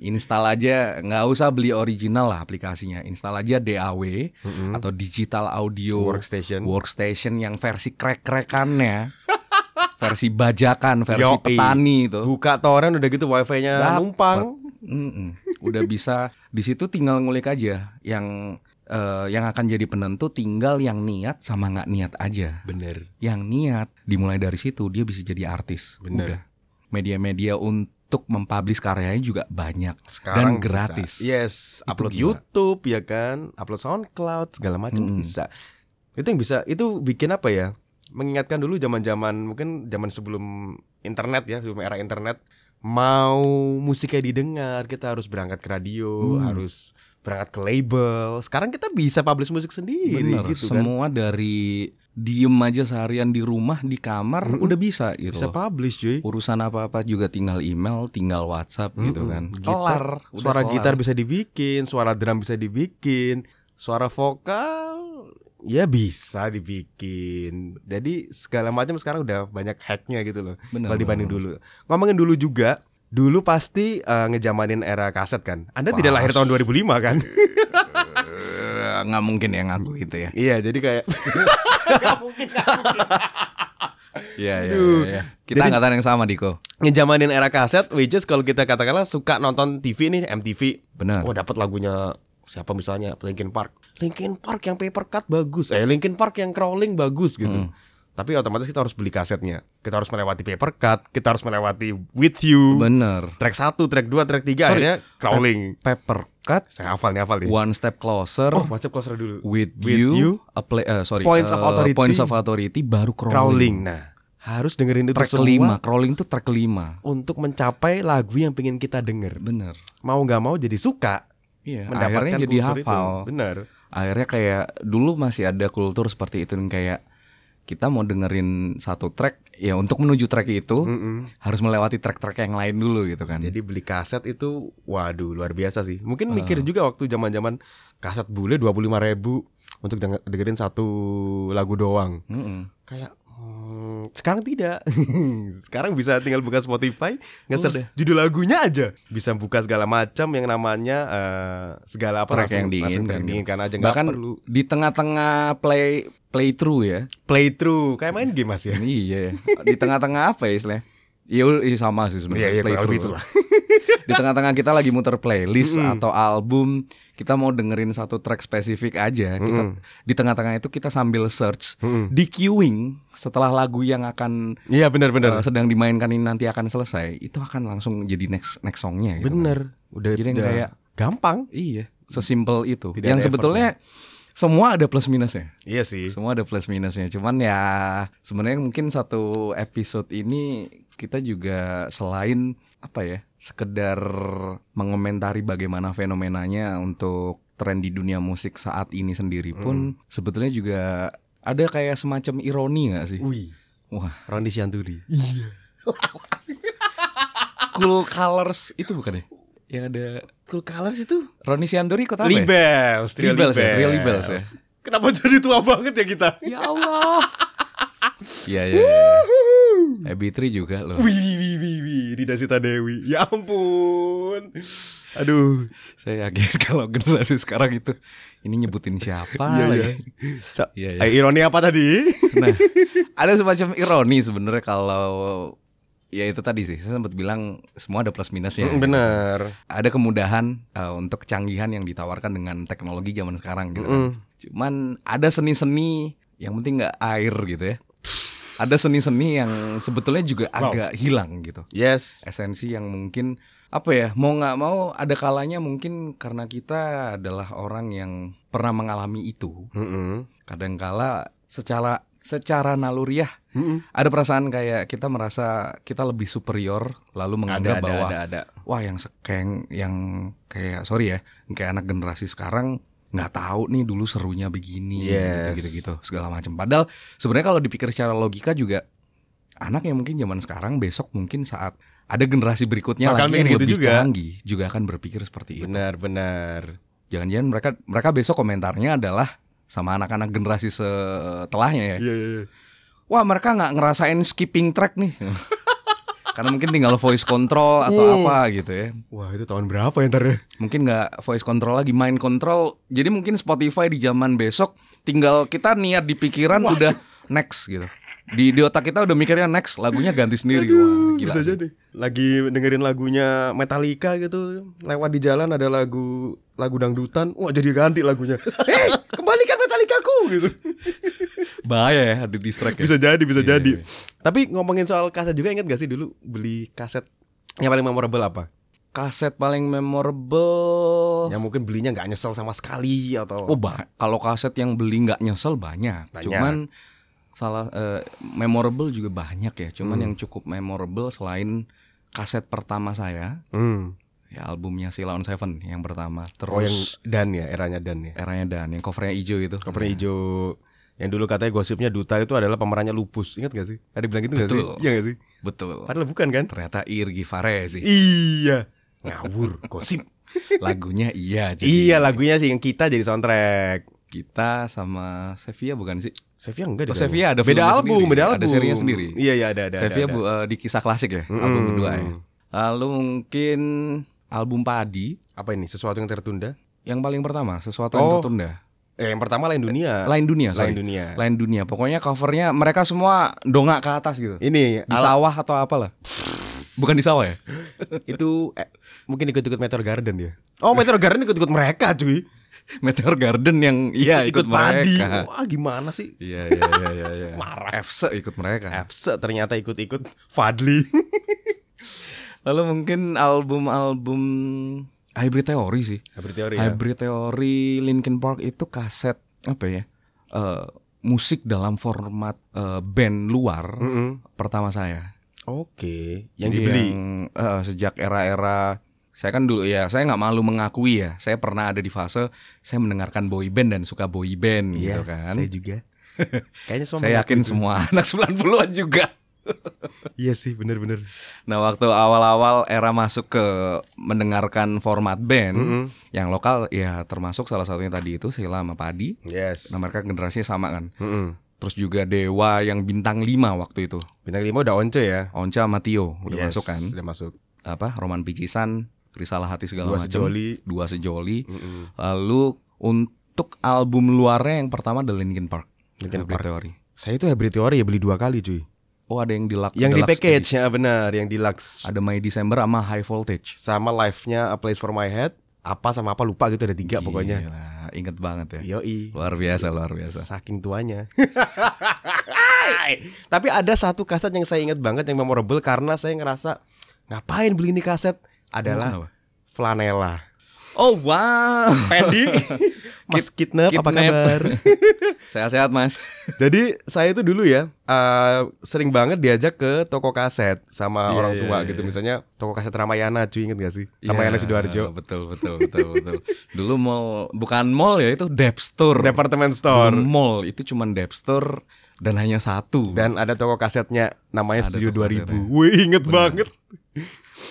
Speaker 2: install aja nggak usah beli original lah aplikasinya install aja DAW
Speaker 1: Mm-mm.
Speaker 2: atau digital
Speaker 1: Gitu.
Speaker 2: audio
Speaker 1: Hmm. workstation.
Speaker 2: workstation yang versi krek-krekannya versi bajakan versi
Speaker 1: Yoi.
Speaker 2: petani itu
Speaker 1: Buka torrent udah gitu wifi-nya
Speaker 2: Dapet.
Speaker 1: numpang.
Speaker 2: Mm-mm. udah bisa di situ tinggal ngulik aja yang eh, yang akan jadi penentu tinggal yang niat sama nggak niat aja
Speaker 1: Bener.
Speaker 2: yang niat dimulai dari situ dia bisa jadi artis
Speaker 1: Bener.
Speaker 2: udah media-media untuk mempublish karyanya juga banyak
Speaker 1: Sekarang
Speaker 2: Dan gratis.
Speaker 1: Bisa. Yes,
Speaker 2: Itu
Speaker 1: upload
Speaker 2: gila.
Speaker 1: YouTube ya kan, upload SoundCloud segala macam
Speaker 2: Mm-mm.
Speaker 1: bisa. Itu yang bisa, itu bikin apa ya? Mengingatkan dulu zaman-zaman mungkin zaman sebelum internet ya, sebelum era internet mau musiknya didengar kita harus berangkat ke radio,
Speaker 2: Hmm.
Speaker 1: harus berangkat ke label. Sekarang kita bisa publish musik sendiri
Speaker 2: Bener,
Speaker 1: gitu kan.
Speaker 2: semua dari diem aja seharian di rumah di kamar
Speaker 1: Mm-mm.
Speaker 2: udah bisa gitu
Speaker 1: Bisa
Speaker 2: loh.
Speaker 1: publish cuy.
Speaker 2: urusan apa-apa juga tinggal email, tinggal WhatsApp gitu
Speaker 1: Mm-mm.
Speaker 2: kan.
Speaker 1: Gitar-
Speaker 2: Kelar, udah
Speaker 1: Hmm, suara
Speaker 2: kelar.
Speaker 1: gitar bisa dibikin, suara drum bisa dibikin, suara vokal ya bisa dibikin. Jadi segala macam sekarang udah banyak hacknya gitu loh.
Speaker 2: Bener,
Speaker 1: Kalau dibanding dulu.
Speaker 2: bener.
Speaker 1: Ngomongin dulu juga, dulu pasti eh, ngejamanin era kaset kan. Anda tidak
Speaker 2: Pas.
Speaker 1: lahir tahun 2005 kan?
Speaker 2: Eh, nggak mungkin ya ngaku gitu ya.
Speaker 1: iya, jadi kayak
Speaker 2: Iya
Speaker 1: iya, Aduh.
Speaker 2: iya. Kita
Speaker 1: Jadi-
Speaker 2: angkatan yang sama Diko.
Speaker 1: ngejamanin era kaset, which is kalau kita katakanlah suka nonton TV nih, MTV.
Speaker 2: Benar.
Speaker 1: Oh dapat lagunya siapa misalnya Linkin Park. Linkin Park yang paper cut bagus. Eh Linkin Park yang crawling bagus gitu.
Speaker 2: Hmm.
Speaker 1: Tapi otomatis kita harus beli kasetnya. Kita harus melewati paper cut, kita harus melewati with you.
Speaker 2: Benar.
Speaker 1: Track 1, track 2, track 3
Speaker 2: Sorry.
Speaker 1: akhirnya crawling.
Speaker 2: Paper cut,
Speaker 1: Saya hafal nih, hafal nih.
Speaker 2: one step closer,
Speaker 1: Oh, masuk closer dulu.
Speaker 2: with,
Speaker 1: With
Speaker 2: you,
Speaker 1: You,
Speaker 2: a play- eh, sorry,
Speaker 1: Points of
Speaker 2: eh,
Speaker 1: Authority.
Speaker 2: points of authority, baru crawling.
Speaker 1: Crawling. Nah, harus dengerin itu
Speaker 2: Track
Speaker 1: semua
Speaker 2: kelima, crawling itu track kelima.
Speaker 1: untuk mencapai lagu yang pengen kita denger.
Speaker 2: Benar.
Speaker 1: Mau nggak mau jadi suka
Speaker 2: Iya,
Speaker 1: mendapatkan
Speaker 2: akhirnya jadi
Speaker 1: kultur
Speaker 2: hafal.
Speaker 1: itu. Benar.
Speaker 2: akhirnya kayak dulu masih ada kultur seperti itu yang kayak kita mau dengerin satu track ya untuk menuju track itu
Speaker 1: Mm-mm.
Speaker 2: harus melewati track-track yang lain dulu gitu kan.
Speaker 1: Hmm. Jadi beli kaset itu waduh luar biasa sih. Mungkin mikir juga waktu zaman-zaman kaset bule 25.000 ribu untuk denger- dengerin satu lagu doang.
Speaker 2: Mm-mm.
Speaker 1: Kayak hmm, sekarang tidak. sekarang bisa tinggal buka Spotify,
Speaker 2: Udah.
Speaker 1: nge-search judul lagunya aja. Bisa buka segala macam yang namanya eh, segala apa
Speaker 2: Track yang
Speaker 1: langsung
Speaker 2: diinginkan. gitu.
Speaker 1: diinginkan aja nggak
Speaker 2: Bahkan
Speaker 1: perlu
Speaker 2: di tengah-tengah play play through ya.
Speaker 1: play through kayak main game Mas ya.
Speaker 2: iya, di tengah-tengah apa ya istilahnya? Iya iya, sama sih
Speaker 1: Iya
Speaker 2: sebenarnya.
Speaker 1: iya
Speaker 2: play
Speaker 1: kurang
Speaker 2: through.
Speaker 1: lebih itulah.
Speaker 2: Di tengah-tengah kita lagi muter playlist atau album, kita mau dengerin satu track spesifik aja. Kita di tengah-tengah itu kita sambil search
Speaker 1: Mm-mm.
Speaker 2: di queuing setelah lagu yang akan
Speaker 1: Hmm. Iya benar-benar.
Speaker 2: eh, sedang dimainkan ini nanti akan selesai, itu akan langsung jadi next next songnya gitu.
Speaker 1: bener. Udah,
Speaker 2: Jadi yang
Speaker 1: udah
Speaker 2: kayak-
Speaker 1: gampang.
Speaker 2: Iya, sesimpel itu.
Speaker 1: Tidak
Speaker 2: yang
Speaker 1: ada
Speaker 2: sebetulnya semua ada plus minusnya.
Speaker 1: Iya sih.
Speaker 2: Semua ada plus minusnya. Cuman ya sebenarnya mungkin satu episode ini kita juga selain apa ya sekedar mengomentari bagaimana fenomenanya untuk tren di dunia musik saat ini sendiri
Speaker 1: Hmm.
Speaker 2: pun sebetulnya juga ada kayak semacam ironi nggak sih?
Speaker 1: Wih,
Speaker 2: Wah, Iya.
Speaker 1: Rondi Sianturi.
Speaker 2: Cool Colors itu bukan ya? Yang ada
Speaker 1: Cool Colors itu
Speaker 2: Roni Sianturi kota apa? ya?
Speaker 1: Libels, Trio Libels.
Speaker 2: Libels ya, Trio Libels ya.
Speaker 1: Kenapa jadi tua banget ya kita?
Speaker 2: Ya Allah. Iya ya. Happy Tree juga loh.
Speaker 1: Wih, wih, wih, wih, wih, Rida Sita Dewi. Ya ampun. Aduh,
Speaker 2: Saya yakin kalau generasi sekarang itu ini nyebutin siapa
Speaker 1: iya,
Speaker 2: lagi.
Speaker 1: iya. Sa-
Speaker 2: Iya, iya.
Speaker 1: eh, Ironi apa tadi?
Speaker 2: Nah, ada semacam ironi sebenarnya kalau ya itu tadi sih. Saya sempat bilang semua ada plus minusnya.
Speaker 1: Mm, Bener.
Speaker 2: Ada kemudahan eh, untuk kecanggihan yang ditawarkan dengan teknologi zaman sekarang gitu kan.
Speaker 1: Mm.
Speaker 2: Cuman ada seni-seni yang penting nggak air gitu ya. Ada seni-seni yang sebetulnya juga
Speaker 1: Wow.
Speaker 2: agak hilang gitu.
Speaker 1: Yes.
Speaker 2: esensi yang mungkin apa ya mau nggak mau ada kalanya mungkin karena kita adalah orang yang pernah mengalami itu
Speaker 1: Mm-mm.
Speaker 2: kadangkala secara secara naluriah
Speaker 1: Mm-mm.
Speaker 2: ada perasaan kayak kita merasa kita lebih superior lalu
Speaker 1: Ada,
Speaker 2: menganggap
Speaker 1: ada,
Speaker 2: bahwa
Speaker 1: ada, ada.
Speaker 2: wah yang sekeng yang kayak sorry ya kayak anak generasi sekarang nggak tahu nih dulu serunya begini
Speaker 1: Yes.
Speaker 2: gitu gitu segala macam padahal sebenarnya kalau dipikir secara logika juga anak yang mungkin zaman sekarang besok mungkin saat ada generasi berikutnya
Speaker 1: Bakal
Speaker 2: lagi
Speaker 1: mikir
Speaker 2: yang
Speaker 1: gitu
Speaker 2: lebih
Speaker 1: juga.
Speaker 2: canggih juga akan berpikir seperti itu
Speaker 1: Benar, benar.
Speaker 2: jangan-jangan mereka mereka besok komentarnya adalah sama anak-anak generasi setelahnya ya
Speaker 1: Iya, iya, iya.
Speaker 2: wah mereka nggak ngerasain skipping track nih karena mungkin tinggal voice control atau
Speaker 1: Hmm.
Speaker 2: apa gitu ya
Speaker 1: Wah, itu tahun berapa ya ntar ya?
Speaker 2: mungkin nggak voice control lagi main control jadi mungkin Spotify di zaman besok tinggal kita niat di pikiran udah next gitu di di otak kita udah mikirnya next lagunya ganti sendiri wah gila
Speaker 1: bisa
Speaker 2: sih.
Speaker 1: jadi. Lagi dengerin lagunya Metallica gitu, lewat di jalan ada lagu lagu dangdutan, wah jadi ganti lagunya. Hei, kembalikan Metallica-ku gitu.
Speaker 2: bahaya ya ada distrack ya
Speaker 1: Bisa jadi, bisa
Speaker 2: Iya,
Speaker 1: jadi.
Speaker 2: iya,
Speaker 1: Tapi ngomongin soal kaset juga ingat gak sih dulu beli kaset yang paling memorable apa?
Speaker 2: kaset paling memorable
Speaker 1: Yang mungkin belinya nggak nyesel sama sekali atau
Speaker 2: oh ba- kalau kaset yang beli nggak nyesel banyak,
Speaker 1: Banyak.
Speaker 2: cuman salah eh, memorable juga banyak ya cuman
Speaker 1: Hmm.
Speaker 2: yang cukup memorable selain kaset pertama saya
Speaker 1: Hmm.
Speaker 2: ya albumnya Sila on Seven yang pertama terus
Speaker 1: Oh
Speaker 2: Iya.
Speaker 1: yang Dan ya, eranya Dan ya.
Speaker 2: eranya Dan yang covernya hijau itu. Ya,
Speaker 1: Covernya hijau. Yang dulu katanya gosipnya Duta itu adalah pemerannya lupus. Ingat gak sih? Ada bilang gitu gak sih?
Speaker 2: Betul.
Speaker 1: Iya gak sih?
Speaker 2: Betul.
Speaker 1: Padahal bukan kan?
Speaker 2: Ternyata Irgi Faresi
Speaker 1: Iya. Ngawur, gosip.
Speaker 2: lagunya iya jadi.
Speaker 1: iya lagunya sih yang kita jadi soundtrack.
Speaker 2: Kita sama Sevia bukan sih?
Speaker 1: Sevia enggak
Speaker 2: Oh,
Speaker 1: deh,
Speaker 2: Sevia ada
Speaker 1: beda
Speaker 2: filmnya
Speaker 1: album,
Speaker 2: sendiri,
Speaker 1: beda
Speaker 2: ada
Speaker 1: album.
Speaker 2: serinya sendiri.
Speaker 1: Iya, iya ada ada. ada, Hmm.
Speaker 2: Sevia
Speaker 1: ada.
Speaker 2: bu- eh, di kisah klasik ya, album
Speaker 1: Mm-mm.
Speaker 2: kedua ya. Lalu mungkin album Padi
Speaker 1: Apa ini? Sesuatu yang tertunda?
Speaker 2: yang paling pertama sesuatu
Speaker 1: Oh.
Speaker 2: yang tertunda.
Speaker 1: Eh, yang pertama lain dunia.
Speaker 2: Lain dunia,
Speaker 1: Lain
Speaker 2: sorry.
Speaker 1: dunia.
Speaker 2: Lain dunia. Pokoknya covernya mereka semua dongak ke atas gitu.
Speaker 1: Ini
Speaker 2: Di
Speaker 1: ala-
Speaker 2: sawah atau apalah. Bukan di sawah ya?
Speaker 1: itu eh, mungkin ikut-ikut Meteor Garden ya. Oh, Meteor Garden ikut-ikut mereka, cuy.
Speaker 2: Meteor Garden yang iya
Speaker 1: ikut
Speaker 2: ikut,
Speaker 1: padi.
Speaker 2: mereka.
Speaker 1: Wah, gimana sih?
Speaker 2: Iya iya iya iya. iya.
Speaker 1: Marah.
Speaker 2: Efse ikut mereka.
Speaker 1: Fse ternyata ikut-ikut Fadli.
Speaker 2: Lalu mungkin album-album Hybrid Theory sih.
Speaker 1: Hybrid iya. teori
Speaker 2: Hybrid Theory Linkin Park itu kaset apa ya? Eh, musik dalam format eh, band luar
Speaker 1: Hmm.
Speaker 2: pertama saya.
Speaker 1: Oke, yang
Speaker 2: Jadi
Speaker 1: dibeli.
Speaker 2: yang, eh, sejak era-era saya kan dulu ya, saya nggak malu mengakui ya, saya pernah ada di fase saya mendengarkan boy band dan suka boy band
Speaker 1: Iya,
Speaker 2: gitu kan.
Speaker 1: Saya juga. Kayaknya semua
Speaker 2: Saya
Speaker 1: mengaku
Speaker 2: yakin
Speaker 1: itu.
Speaker 2: semua anak 90-an juga.
Speaker 1: Iya sih, bener-bener.
Speaker 2: Nah waktu awal-awal era masuk ke mendengarkan format band
Speaker 1: Mm-mm.
Speaker 2: Yang lokal ya termasuk salah satunya tadi itu Sila sama Padi
Speaker 1: Yes.
Speaker 2: Nah mereka generasinya sama kan
Speaker 1: Mm-mm.
Speaker 2: Terus juga Dewa yang bintang 5 waktu itu
Speaker 1: Bintang lima udah once ya.
Speaker 2: Onca sama Tio udah
Speaker 1: Yes,
Speaker 2: masuk kan
Speaker 1: Udah masuk.
Speaker 2: Apa Roman Picisan Risalah Hati segala
Speaker 1: Dua
Speaker 2: macam
Speaker 1: sejoli.
Speaker 2: Dua Sejoli
Speaker 1: Mm-mm.
Speaker 2: Lalu untuk album luarnya yang pertama The Linkin Park
Speaker 1: Linkin
Speaker 2: Hybrid
Speaker 1: Park.
Speaker 2: Theory
Speaker 1: Saya itu hybrid teori ya beli dua kali cuy.
Speaker 2: Oh ada yang deluxe
Speaker 1: Yang di
Speaker 2: deluxe
Speaker 1: package ya benar, yang
Speaker 2: edition.
Speaker 1: deluxe
Speaker 2: Ada My December sama High Voltage
Speaker 1: sama live-nya A Place for My Head, apa sama apa lupa gitu ada tiga pokoknya.
Speaker 2: Gila, Inget banget ya
Speaker 1: Yoi.
Speaker 2: Luar biasa, luar biasa.
Speaker 1: Saking tuanya. Tapi ada satu kaset yang saya ingat banget yang memorable karena saya ngerasa ngapain beli ini kaset adalah
Speaker 2: Kenapa?
Speaker 1: flanela.
Speaker 2: Oh wow.
Speaker 1: Pendi Mas Kidnap, apa
Speaker 2: Kidnap.
Speaker 1: kabar?
Speaker 2: Sehat-sehat mas.
Speaker 1: Jadi saya itu dulu ya eh, sering banget diajak ke toko kaset sama
Speaker 2: Iya,
Speaker 1: orang
Speaker 2: iya,
Speaker 1: tua
Speaker 2: iya.
Speaker 1: gitu. Misalnya toko kaset Ramayana, cuy inget gak sih? Ramayana
Speaker 2: Ya,
Speaker 1: Sidoarjo,
Speaker 2: Betul betul betul betul. Dulu mall bukan mall ya itu Depstore.
Speaker 1: departemen
Speaker 2: Dulu
Speaker 1: store.
Speaker 2: mall itu cuman Depstore dan hanya satu.
Speaker 1: Dan ada toko kasetnya namanya
Speaker 2: Ada
Speaker 1: Studio
Speaker 2: toko
Speaker 1: 2000.
Speaker 2: iya. kasetnya.
Speaker 1: Wih, inget
Speaker 2: Bener.
Speaker 1: banget.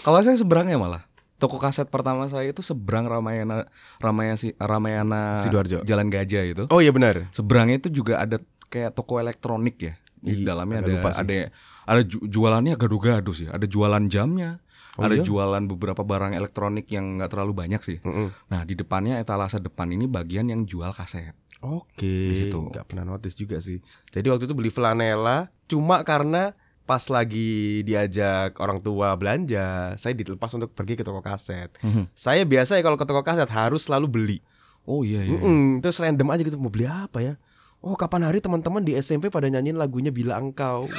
Speaker 2: Kalau saya seberangnya malah. Toko kaset pertama saya itu seberang Ramayana Ramayana Si- Ramayana
Speaker 1: Sidoarjo.
Speaker 2: Jalan Gajah itu.
Speaker 1: Oh iya benar.
Speaker 2: Seberangnya itu juga ada kayak toko elektronik ya.
Speaker 1: Ih,
Speaker 2: Di dalamnya ada
Speaker 1: agak lupa sih.
Speaker 2: ada ada ju- jualannya gado-gado sih. Ada jualan jamnya.
Speaker 1: Oh
Speaker 2: ada
Speaker 1: iya?
Speaker 2: jualan beberapa barang elektronik yang nggak terlalu banyak sih.
Speaker 1: Mm-mm.
Speaker 2: Nah, di depannya etalase depan ini bagian yang jual kaset. Di
Speaker 1: Oke.
Speaker 2: situ.
Speaker 1: Gak pernah notice juga sih. Jadi waktu itu beli flanela cuma karena pas lagi diajak orang tua belanja, saya dilepas untuk pergi ke toko kaset.
Speaker 2: Mhm.
Speaker 1: Saya biasa ya kalau ke toko kaset harus selalu beli.
Speaker 2: Oh iya iya.
Speaker 1: Mm-mm, terus random aja gitu mau beli apa ya? Oh kapan hari teman-teman di SMP pada nyanyiin lagunya Bila Engkau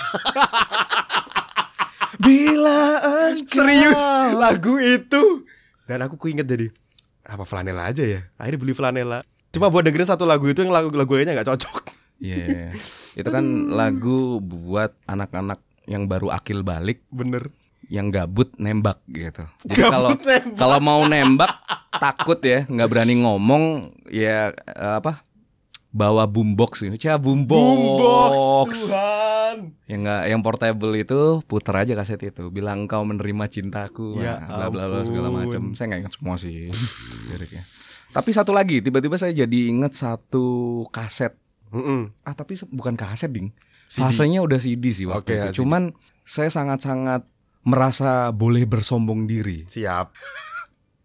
Speaker 2: Bila engkau-
Speaker 1: Serius lagu itu Dan aku kuinget jadi Apa flanela aja ya Akhirnya beli flanela Cuma buat dengerin satu lagu itu yang lagu, lagu lainnya gak cocok
Speaker 2: Iya. Itu kan lagu buat anak-anak yang baru akil balik
Speaker 1: Bener
Speaker 2: yang gabut nembak gitu. Jadi
Speaker 1: Gabut
Speaker 2: kalau
Speaker 1: nembak.
Speaker 2: kalau mau nembak takut ya, nggak berani ngomong ya eh, apa? Bawa boombox gitu. Cah boombox.
Speaker 1: Tuhan
Speaker 2: Yang nggak yang portable itu puter aja kaset itu. Bilang kau menerima cintaku.
Speaker 1: Ya
Speaker 2: nah, bla bla bla segala
Speaker 1: ampun.
Speaker 2: macam. Saya nggak ingat semua sih liriknya. Tapi satu lagi, tiba-tiba saya jadi inget satu kaset
Speaker 1: Mm-mm.
Speaker 2: ah tapi se- bukan kaset ding
Speaker 1: CD.
Speaker 2: fasenya udah CD sih waktu
Speaker 1: Oke, ya, CD.
Speaker 2: itu cuman saya sangat-sangat merasa boleh bersombong diri
Speaker 1: Siap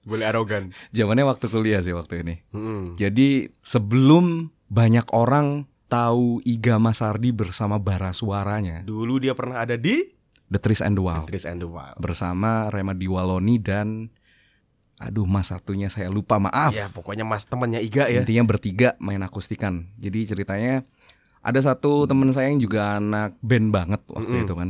Speaker 1: Boleh arogan
Speaker 2: zamannya waktu kuliah sih waktu ini
Speaker 1: Mm-mm.
Speaker 2: jadi sebelum banyak orang tahu Iga Masardi bersama bara suaranya
Speaker 1: Dulu dia pernah ada di
Speaker 2: The Trees and the Wild
Speaker 1: Tris and the Wild
Speaker 2: bersama Rema Diwaloni dan aduh mas satunya saya lupa maaf
Speaker 1: Ya pokoknya mas temannya Iga ya
Speaker 2: intinya bertiga main akustikan jadi ceritanya ada satu temen saya yang juga anak band banget waktu
Speaker 1: Mm-mm.
Speaker 2: itu kan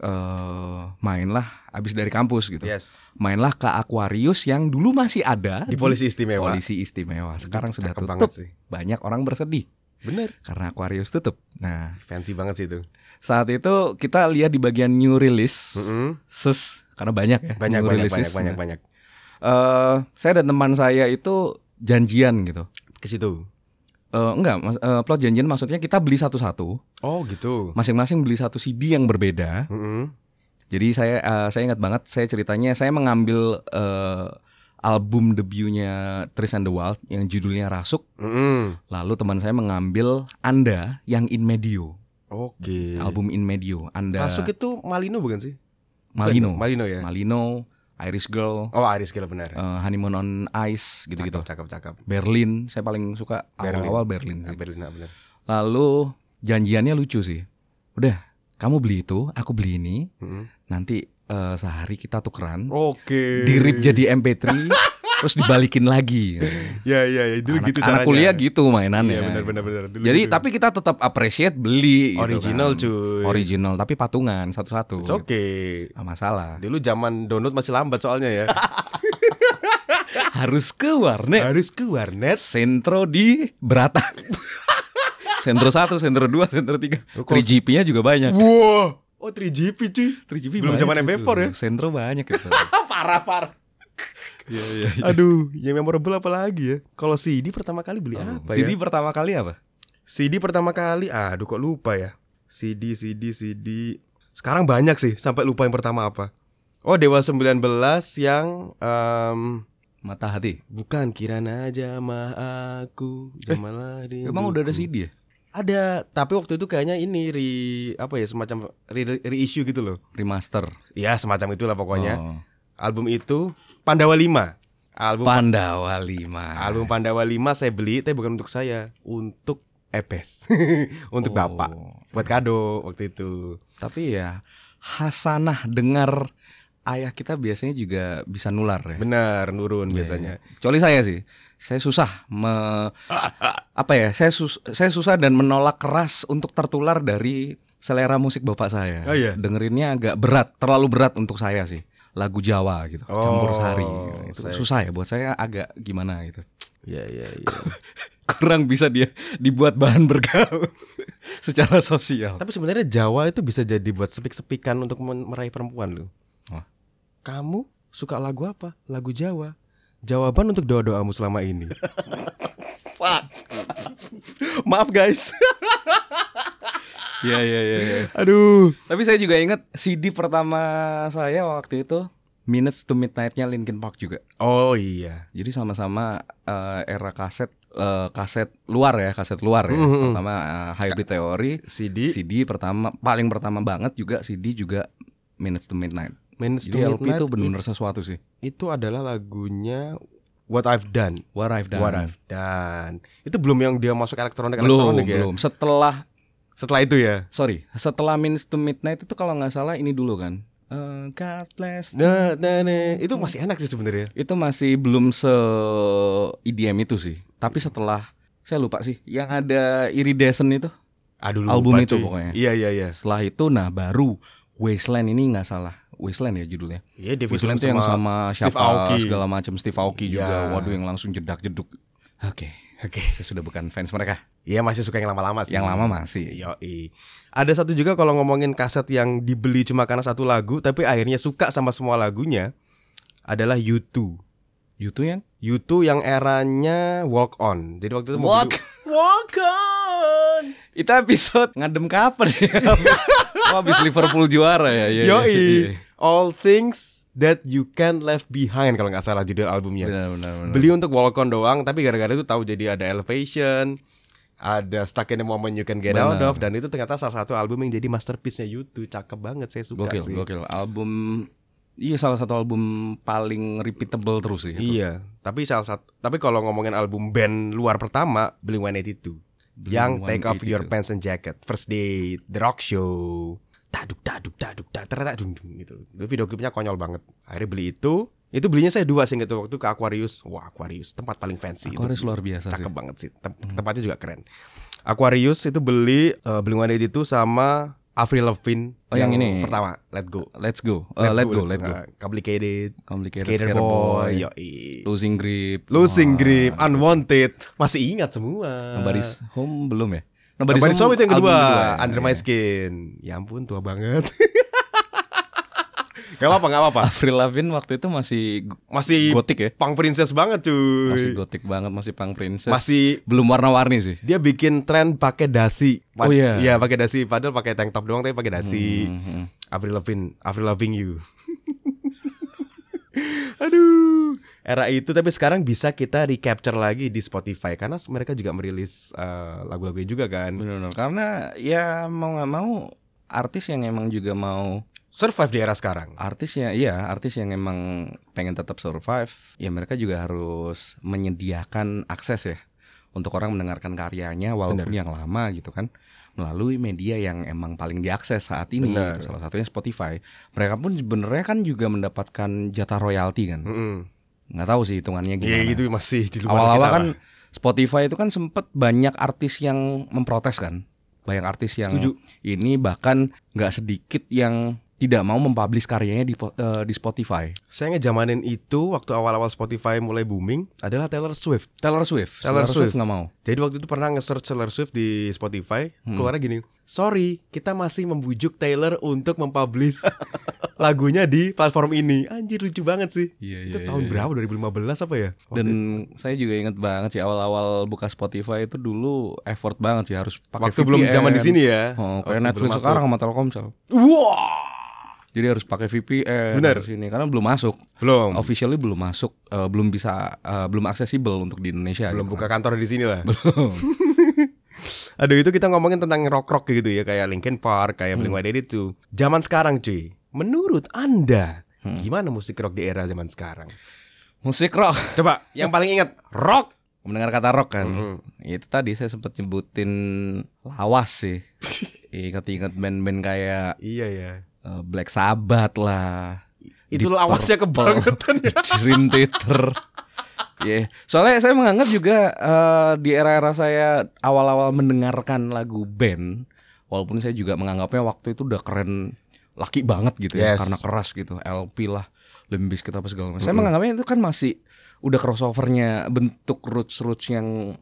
Speaker 2: eh mainlah abis dari kampus gitu
Speaker 1: Yes
Speaker 2: mainlah ke Aquarius yang dulu masih ada
Speaker 1: Di polisi istimewa
Speaker 2: Polisi istimewa sekarang sudah
Speaker 1: Cakep
Speaker 2: tutup
Speaker 1: banget sih
Speaker 2: banyak orang bersedih
Speaker 1: Bener
Speaker 2: karena Aquarius tutup nah
Speaker 1: Fancy banget sih itu
Speaker 2: saat itu kita lihat di bagian new release
Speaker 1: Mm-mm.
Speaker 2: ses karena banyak ya
Speaker 1: Banyak,
Speaker 2: new
Speaker 1: banyak,
Speaker 2: releases.
Speaker 1: banyak, banyak, banyak
Speaker 2: Eh, saya dan teman saya itu janjian gitu
Speaker 1: Ke situ
Speaker 2: Eh, enggak, mas, eh, plot janjian maksudnya kita beli satu-satu,
Speaker 1: Oh gitu.
Speaker 2: masing-masing beli satu CD yang berbeda.
Speaker 1: Mm-mm.
Speaker 2: Jadi saya eh, saya ingat banget saya ceritanya saya mengambil eh, album debutnya Tris and the Wild yang judulnya Rasuk,
Speaker 1: Mm-mm.
Speaker 2: lalu teman saya mengambil Anda yang In Medio,
Speaker 1: Oke.
Speaker 2: album In Medio, Anda
Speaker 1: Masuk Iya. itu Malino bukan sih?
Speaker 2: Malino,
Speaker 1: Bukan, Malino ya.
Speaker 2: Malino, Irish Girl,
Speaker 1: Oh, Aris Gila benar.
Speaker 2: eh, Honeymoon on Ice gitu-gitu.
Speaker 1: Cakep, cakep.
Speaker 2: Berlin, saya paling suka
Speaker 1: Berlin.
Speaker 2: awal-awal Berlin. sih.
Speaker 1: cakep. Berlin, ah, benar.
Speaker 2: Lalu janjiannya lucu sih. Udah, kamu beli itu, aku beli ini.
Speaker 1: Mm-mm.
Speaker 2: Nanti eh, sehari kita tukeran.
Speaker 1: Oke.
Speaker 2: Dirip jadi MP3, terus dibalikin lagi.
Speaker 1: Ya, ya, ya. Dulu
Speaker 2: anak,
Speaker 1: gitu
Speaker 2: anak
Speaker 1: caranya.
Speaker 2: kuliah gitu mainannya.
Speaker 1: Iya, benar, benar, benar. Dulu
Speaker 2: Jadi
Speaker 1: gitu.
Speaker 2: tapi kita tetap appreciate beli. gitu
Speaker 1: original
Speaker 2: kan.
Speaker 1: cuy.
Speaker 2: Original, tapi patungan satu-satu.
Speaker 1: It's
Speaker 2: gitu.
Speaker 1: Oke.
Speaker 2: Nggak masalah.
Speaker 1: Dulu zaman download masih lambat soalnya ya.
Speaker 2: Harus ke warnet.
Speaker 1: Harus ke warnet.
Speaker 2: Sentro di Berata. sentro 1, sentro 2, sentro 3.
Speaker 1: Lu kalau-
Speaker 2: 3GP-nya juga banyak.
Speaker 1: Wah. Oh, 3GP cuy.
Speaker 2: 3GP
Speaker 1: Belum
Speaker 2: banyak
Speaker 1: zaman
Speaker 2: itu.
Speaker 1: MP4 ya?
Speaker 2: Sentro banyak gitu. itu.
Speaker 1: Ah, parah, parah.
Speaker 2: Iya iya.
Speaker 1: Aduh, yang memorable apa lagi ya? Kalau CD pertama kali
Speaker 2: Oh,
Speaker 1: beli apa ya?
Speaker 2: CD pertama kali apa?
Speaker 1: CD pertama kali, aduh kok lupa ya. CD, CD, CD. Sekarang banyak sih, sampai lupa yang pertama apa. Oh Dewa 19 yang em,
Speaker 2: Mata Hati.
Speaker 1: bukan Kirana Jamah aku Jamalah di.
Speaker 2: Eh, Emang udah ada CD ya?
Speaker 1: Ada, tapi waktu itu kayaknya ini re apa ya semacam re- reissue gitu loh.
Speaker 2: Remaster.
Speaker 1: Ya semacam itulah pokoknya.
Speaker 2: Oh.
Speaker 1: Album itu Pandawa 5. Album
Speaker 2: Pandawa 5.
Speaker 1: album Pandawa 5 saya beli, tapi bukan untuk saya, untuk Epes. untuk bapak. Buat kado waktu itu.
Speaker 2: Oh. Tapi ya Hasanah dengar ayah kita biasanya juga bisa nular ya.
Speaker 1: Benar, nurun biasanya.
Speaker 2: Iya, iya. Kecuali saya sih. Saya susah me apa ya? Saya sus- saya susah dan menolak keras untuk tertular dari selera musik bapak saya.
Speaker 1: Oh, iya?
Speaker 2: Dengerinnya agak berat, terlalu berat untuk saya sih. lagu Jawa gitu,
Speaker 1: Oh,
Speaker 2: campur sari. Itu
Speaker 1: saya-
Speaker 2: susah ya buat saya agak gimana gitu.
Speaker 1: Iya iya iya.
Speaker 2: Kurang bisa dia dibuat bahan bergaul secara sosial.
Speaker 1: Tapi sebenarnya Jawa itu bisa jadi buat sepik-sepikan untuk men- meraih perempuan loh.
Speaker 2: Wah.
Speaker 1: Kamu suka lagu apa? Lagu Jawa. Jawaban untuk doa-doamu selama ini. Maaf guys.
Speaker 2: Iya iya iya. iya.
Speaker 1: Aduh.
Speaker 2: Tapi saya juga ingat CD pertama saya waktu itu Minutes to Midnight-nya Linkin Park juga.
Speaker 1: Oh iya.
Speaker 2: Jadi sama-sama eh, era kaset eh, kaset luar ya, kaset luar ya.
Speaker 1: Mm, mm.
Speaker 2: Pertama eh, Hybrid Theory,
Speaker 1: CD
Speaker 2: CD pertama paling pertama banget juga CD juga Minutes to Midnight.
Speaker 1: Minutes to
Speaker 2: Jadi LP
Speaker 1: Midnight
Speaker 2: itu benar-benar sesuatu sih.
Speaker 1: itu adalah lagunya What I've Done.
Speaker 2: What I've Done.
Speaker 1: What I've Done. Itu belum yang dia masuk elektronik
Speaker 2: belum,
Speaker 1: elektronik ya.
Speaker 2: belum. Setelah
Speaker 1: Setelah itu ya.
Speaker 2: sorry, setelah Minutes to Midnight itu kalau nggak salah ini dulu kan. Eh, God bless.
Speaker 1: Nah, nah, nah. itu masih enak sih sebenarnya.
Speaker 2: Itu masih belum se EDM itu sih. Tapi setelah saya lupa sih yang ada Iridescent itu.
Speaker 1: Aduh lupa,
Speaker 2: Album itu
Speaker 1: cuy.
Speaker 2: pokoknya.
Speaker 1: Iya iya iya.
Speaker 2: Setelah itu nah baru Wasteland ini nggak salah. Wasteland ya judulnya.
Speaker 1: Iya dia
Speaker 2: Wasteland itu yang sama
Speaker 1: Steve
Speaker 2: siapa
Speaker 1: Aoki.
Speaker 2: segala macam Steve Aoki
Speaker 1: Ya.
Speaker 2: juga. Waduh yang langsung jedak jeduk. Oke.
Speaker 1: Oke.
Speaker 2: Saya sudah bukan fans mereka.
Speaker 1: Iya masih suka yang lama-lama sih.
Speaker 2: Yang lama masih.
Speaker 1: Iya. Yoi. Ada satu juga kalau ngomongin kaset yang dibeli cuma karena satu lagu tapi akhirnya suka sama semua lagunya adalah U2.
Speaker 2: YouTube ya? yang
Speaker 1: U2 yang eranya Walk On. Jadi waktu itu mau
Speaker 2: Walk.
Speaker 1: beli- Walk On.
Speaker 2: Itu episode ngadem kapan ya? Wah, habis Liverpool juara ya. Iya, iya,
Speaker 1: Yoi.
Speaker 2: iya.
Speaker 1: All Things That You Can't Left Behind kalau nggak salah judul albumnya.
Speaker 2: Benar benar benar.
Speaker 1: Beli untuk Walk On doang tapi gara-gara itu tahu jadi ada Elevation, ada Stuck in the Moment You Can Get Out
Speaker 2: Benar.
Speaker 1: of dan itu ternyata salah satu album yang jadi masterpiece-nya U2. Cakep banget saya suka
Speaker 2: Gokil,
Speaker 1: sih.
Speaker 2: gokil. Album Iya salah satu album paling repeatable terus sih. itu.
Speaker 1: Iya, tapi salah satu tapi kalau ngomongin album band luar pertama Blink 182
Speaker 2: Blink
Speaker 1: yang Take Off Your
Speaker 2: 182.
Speaker 1: Pants and Jacket, First Date, The Rock Show, taduk taduk taduk tak ternyata dung dung gitu. Itu video klipnya konyol banget. Akhirnya beli itu, itu belinya saya dua sih gitu waktu ke Aquarius. Wah, Aquarius tempat paling fancy
Speaker 2: Aku
Speaker 1: itu.
Speaker 2: harus luar biasa sih. Hmm.
Speaker 1: Cakep banget sih. Tem- Tempatnya juga keren. Aquarius itu beli eh, Blink 182 sama Avril Lavigne
Speaker 2: Oh, yang ini.
Speaker 1: pertama, Let Go.
Speaker 2: Let's go. Eh, let go, let go.
Speaker 1: Nah, Complicated,
Speaker 2: Complicated
Speaker 1: Skater,
Speaker 2: Skater
Speaker 1: Boy,
Speaker 2: Boy.
Speaker 1: yoi.
Speaker 2: Losing grip.
Speaker 1: Losing
Speaker 2: Wah. iya,
Speaker 1: Grip, Unwanted, masih ingat semua.
Speaker 2: Nobody's home belum ya?
Speaker 1: Nobody's Home itu yang kedua,
Speaker 2: album ya?
Speaker 1: Under My Skin. Ya ampun tua banget. gak apa-apa, gak apa-apa.
Speaker 2: Avril Lavigne waktu itu masih go-
Speaker 1: Masih
Speaker 2: gotik ya?
Speaker 1: punk princess banget cuy.
Speaker 2: Masih
Speaker 1: Masih,
Speaker 2: gotik banget, masih punk princess. belum warna-warni sih.
Speaker 1: dia bikin tren pakai dasi. Pad-
Speaker 2: Oh, iya.
Speaker 1: Iya, pakai dasi padahal pakai tank top doang tapi pakai dasi.
Speaker 2: Mhm.
Speaker 1: Avril Lavigne, Avril Lavigne you. Aduh, era itu tapi sekarang bisa kita recapture lagi di Spotify karena mereka juga merilis eh, lagu-lagunya juga kan.
Speaker 2: Benar-benar. Karena ya mau nggak mau artis yang emang juga mau
Speaker 1: Survive di era sekarang.
Speaker 2: artisnya iya artis yang emang pengen tetap survive ya mereka juga harus menyediakan akses ya untuk orang mendengarkan karyanya walaupun
Speaker 1: Benar.
Speaker 2: yang lama gitu kan melalui media yang emang paling diakses saat ini
Speaker 1: Benar.
Speaker 2: gitu. salah satunya Spotify mereka pun sebenarnya kan juga mendapatkan jatah royalti kan
Speaker 1: Mm-mm.
Speaker 2: nggak tahu sih
Speaker 1: Hmm.
Speaker 2: hitungannya
Speaker 1: Iya
Speaker 2: gimana
Speaker 1: gitu masih di luar
Speaker 2: awal-awal
Speaker 1: kita
Speaker 2: kan
Speaker 1: lah.
Speaker 2: Spotify itu kan sempet banyak artis yang memprotes kan banyak artis yang
Speaker 1: Setuju.
Speaker 2: ini bahkan nggak sedikit yang tidak mau mempublish karyanya di po- eh, di Spotify
Speaker 1: Saya ngejamanin itu waktu awal-awal Spotify mulai booming adalah Taylor Swift.
Speaker 2: Taylor Swift
Speaker 1: Taylor Swift.
Speaker 2: nggak mau
Speaker 1: Jadi waktu itu pernah nge-search Taylor Swift di Spotify, keluarnya gini, "Sorry, kita masih membujuk Taylor untuk mempublish lagunya di platform ini." Anjir lucu banget sih.
Speaker 2: Iya,
Speaker 1: itu tahun berapa? 2015 apa ya? Waktu-
Speaker 2: dan saya juga ingat banget sih awal-awal buka Spotify itu dulu effort banget sih harus pakai
Speaker 1: waktu belum
Speaker 2: VPN.
Speaker 1: zaman di sini ya.
Speaker 2: oh,
Speaker 1: Waktu
Speaker 2: kayak
Speaker 1: belum
Speaker 2: Netflix
Speaker 1: masuk.
Speaker 2: sekarang sama Telkomsel
Speaker 1: Wah.
Speaker 2: jadi harus pakai VPN
Speaker 1: Benar.
Speaker 2: harus ini karena belum masuk
Speaker 1: Belum.
Speaker 2: officially belum masuk eh, belum bisa eh, belum aksesibel untuk di Indonesia
Speaker 1: belum
Speaker 2: gitu
Speaker 1: buka
Speaker 2: kan.
Speaker 1: kantor di sini lah.
Speaker 2: belum
Speaker 1: Aduh itu kita ngomongin tentang rock-rock gitu ya kayak Linkin Park, kayak
Speaker 2: Hmm.
Speaker 1: Blink-182. Zaman sekarang cuy, menurut Anda
Speaker 2: Hmm.
Speaker 1: gimana musik rock di era zaman sekarang?
Speaker 2: musik rock
Speaker 1: Coba yang paling ingat rock.
Speaker 2: mendengar kata rock kan itu tadi saya sempat nyebutin lawas sih ingat-ingat band-band kayak
Speaker 1: Iya ya.
Speaker 2: eh, Black Sabbath lah
Speaker 1: Itu
Speaker 2: Deep
Speaker 1: lawasnya
Speaker 2: Purple,
Speaker 1: kebangetan ya.
Speaker 2: Dream Theater ya soalnya saya menganggap juga eh, di era-era saya awal-awal mendengarkan lagu band walaupun saya juga menganggapnya waktu itu udah keren laki banget gitu ya
Speaker 1: Yes.
Speaker 2: karena keras gitu LP lah Limp Bizkit apa segala macam. Saya menganggapnya itu kan masih udah crossovernya bentuk roots roots yang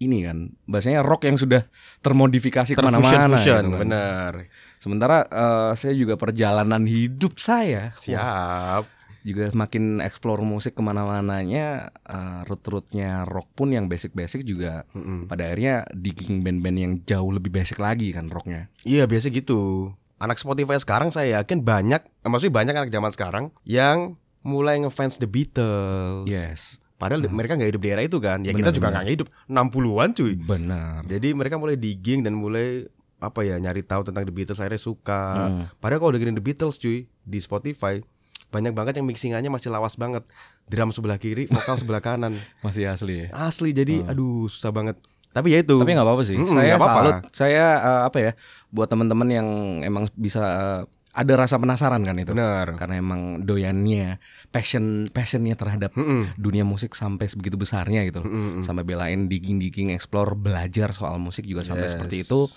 Speaker 2: ini kan bahasanya rock yang sudah termodifikasi kemana-mana
Speaker 1: Terfusion-fusion,
Speaker 2: gitu kan.
Speaker 1: bener.
Speaker 2: Sementara eh, saya juga perjalanan hidup saya wah,
Speaker 1: Siap.
Speaker 2: juga makin explore musik kemana-mananya eh, root-rootnya rock pun yang basic-basic juga
Speaker 1: Mm-mm.
Speaker 2: pada akhirnya digging band-band yang jauh lebih basic lagi kan rocknya.
Speaker 1: Iya biasa gitu. Anak Spotify sekarang saya yakin banyak, eh, maksudnya banyak anak zaman sekarang yang mulai ngefans The Beatles.
Speaker 2: Yes,
Speaker 1: Padahal mereka nggak hidup di era itu kan. Ya kita
Speaker 2: Nah. Benar,
Speaker 1: juga nggak hidup 60-an cuy.
Speaker 2: benar.
Speaker 1: Jadi mereka mulai digging dan mulai apa ya nyari tahu tentang The Beatles akhirnya suka.
Speaker 2: Hmm.
Speaker 1: Padahal kalau dengerin The Beatles cuy di Spotify banyak banget yang mixingannya masih lawas banget. Drum sebelah kiri, vokal sebelah kanan.
Speaker 2: Masih asli ya.
Speaker 1: Asli jadi aduh susah banget. Tapi ya itu.
Speaker 2: Tapi nggak apa-apa sih.
Speaker 1: Mm-mm,
Speaker 2: saya
Speaker 1: nggak apa-apa.
Speaker 2: salut. Saya eh, apa ya buat teman-teman yang emang bisa eh, ada rasa penasaran kan itu.
Speaker 1: Benar.
Speaker 2: Karena emang doyannya, passion passionnya terhadap
Speaker 1: Mm-mm.
Speaker 2: dunia musik sampai sebegitu besarnya gitu loh.
Speaker 1: Mm-mm.
Speaker 2: Sampai belain digging-digging, explore, belajar soal musik juga
Speaker 1: Yes.
Speaker 2: sampai seperti itu.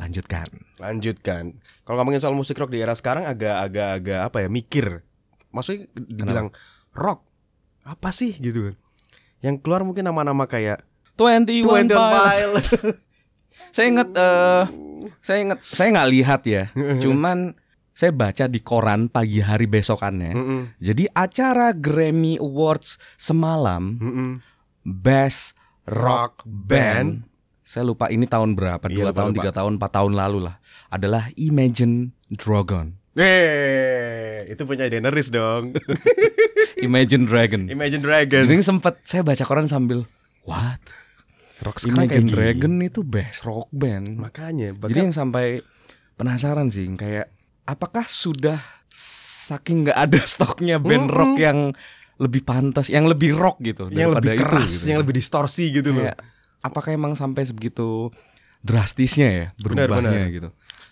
Speaker 2: Lanjutkan.
Speaker 1: Lanjutkan. kan. Kalau ngomongin soal musik rock di era sekarang agak-agak-agak apa ya mikir. Maksudnya dibilang rock apa sih gitu kan. Yang keluar mungkin nama-nama kayak
Speaker 2: 21
Speaker 1: Twenty
Speaker 2: Pilots.
Speaker 1: Pilots.
Speaker 2: Saya inget, eh, saya inget, saya nggak lihat ya.
Speaker 1: Mm-hmm.
Speaker 2: Cuman saya baca di koran pagi hari besokannya.
Speaker 1: Mm-mm.
Speaker 2: Jadi acara Grammy Awards semalam
Speaker 1: Mm-mm.
Speaker 2: Best Rock
Speaker 1: Rock
Speaker 2: Band. Saya lupa ini tahun berapa,
Speaker 1: Iya,
Speaker 2: dua
Speaker 1: lupa,
Speaker 2: tahun,
Speaker 1: lupa.
Speaker 2: tiga tahun, empat tahun lalu lah. Adalah Imagine Dragon,
Speaker 1: Eh, itu punya Daenerys dong.
Speaker 2: Imagine Dragon.
Speaker 1: Imagine Dragons.
Speaker 2: Jadi sempet saya baca koran sambil What?
Speaker 1: rock
Speaker 2: Imagine
Speaker 1: gini.
Speaker 2: Dragon itu best rock band.
Speaker 1: Makanya,
Speaker 2: Jadi
Speaker 1: bahkan
Speaker 2: yang sampai penasaran sih kayak apakah sudah saking nggak ada stoknya band
Speaker 1: Mm-mm.
Speaker 2: rock yang lebih pantas, yang lebih rock gitu
Speaker 1: yang
Speaker 2: daripada
Speaker 1: lebih
Speaker 2: itu,
Speaker 1: keras,
Speaker 2: gitu.
Speaker 1: yang lebih distorsi gitu loh.
Speaker 2: Kayak, apakah emang sampai sebegitu drastisnya ya
Speaker 1: Benar,
Speaker 2: berubahnya gitu.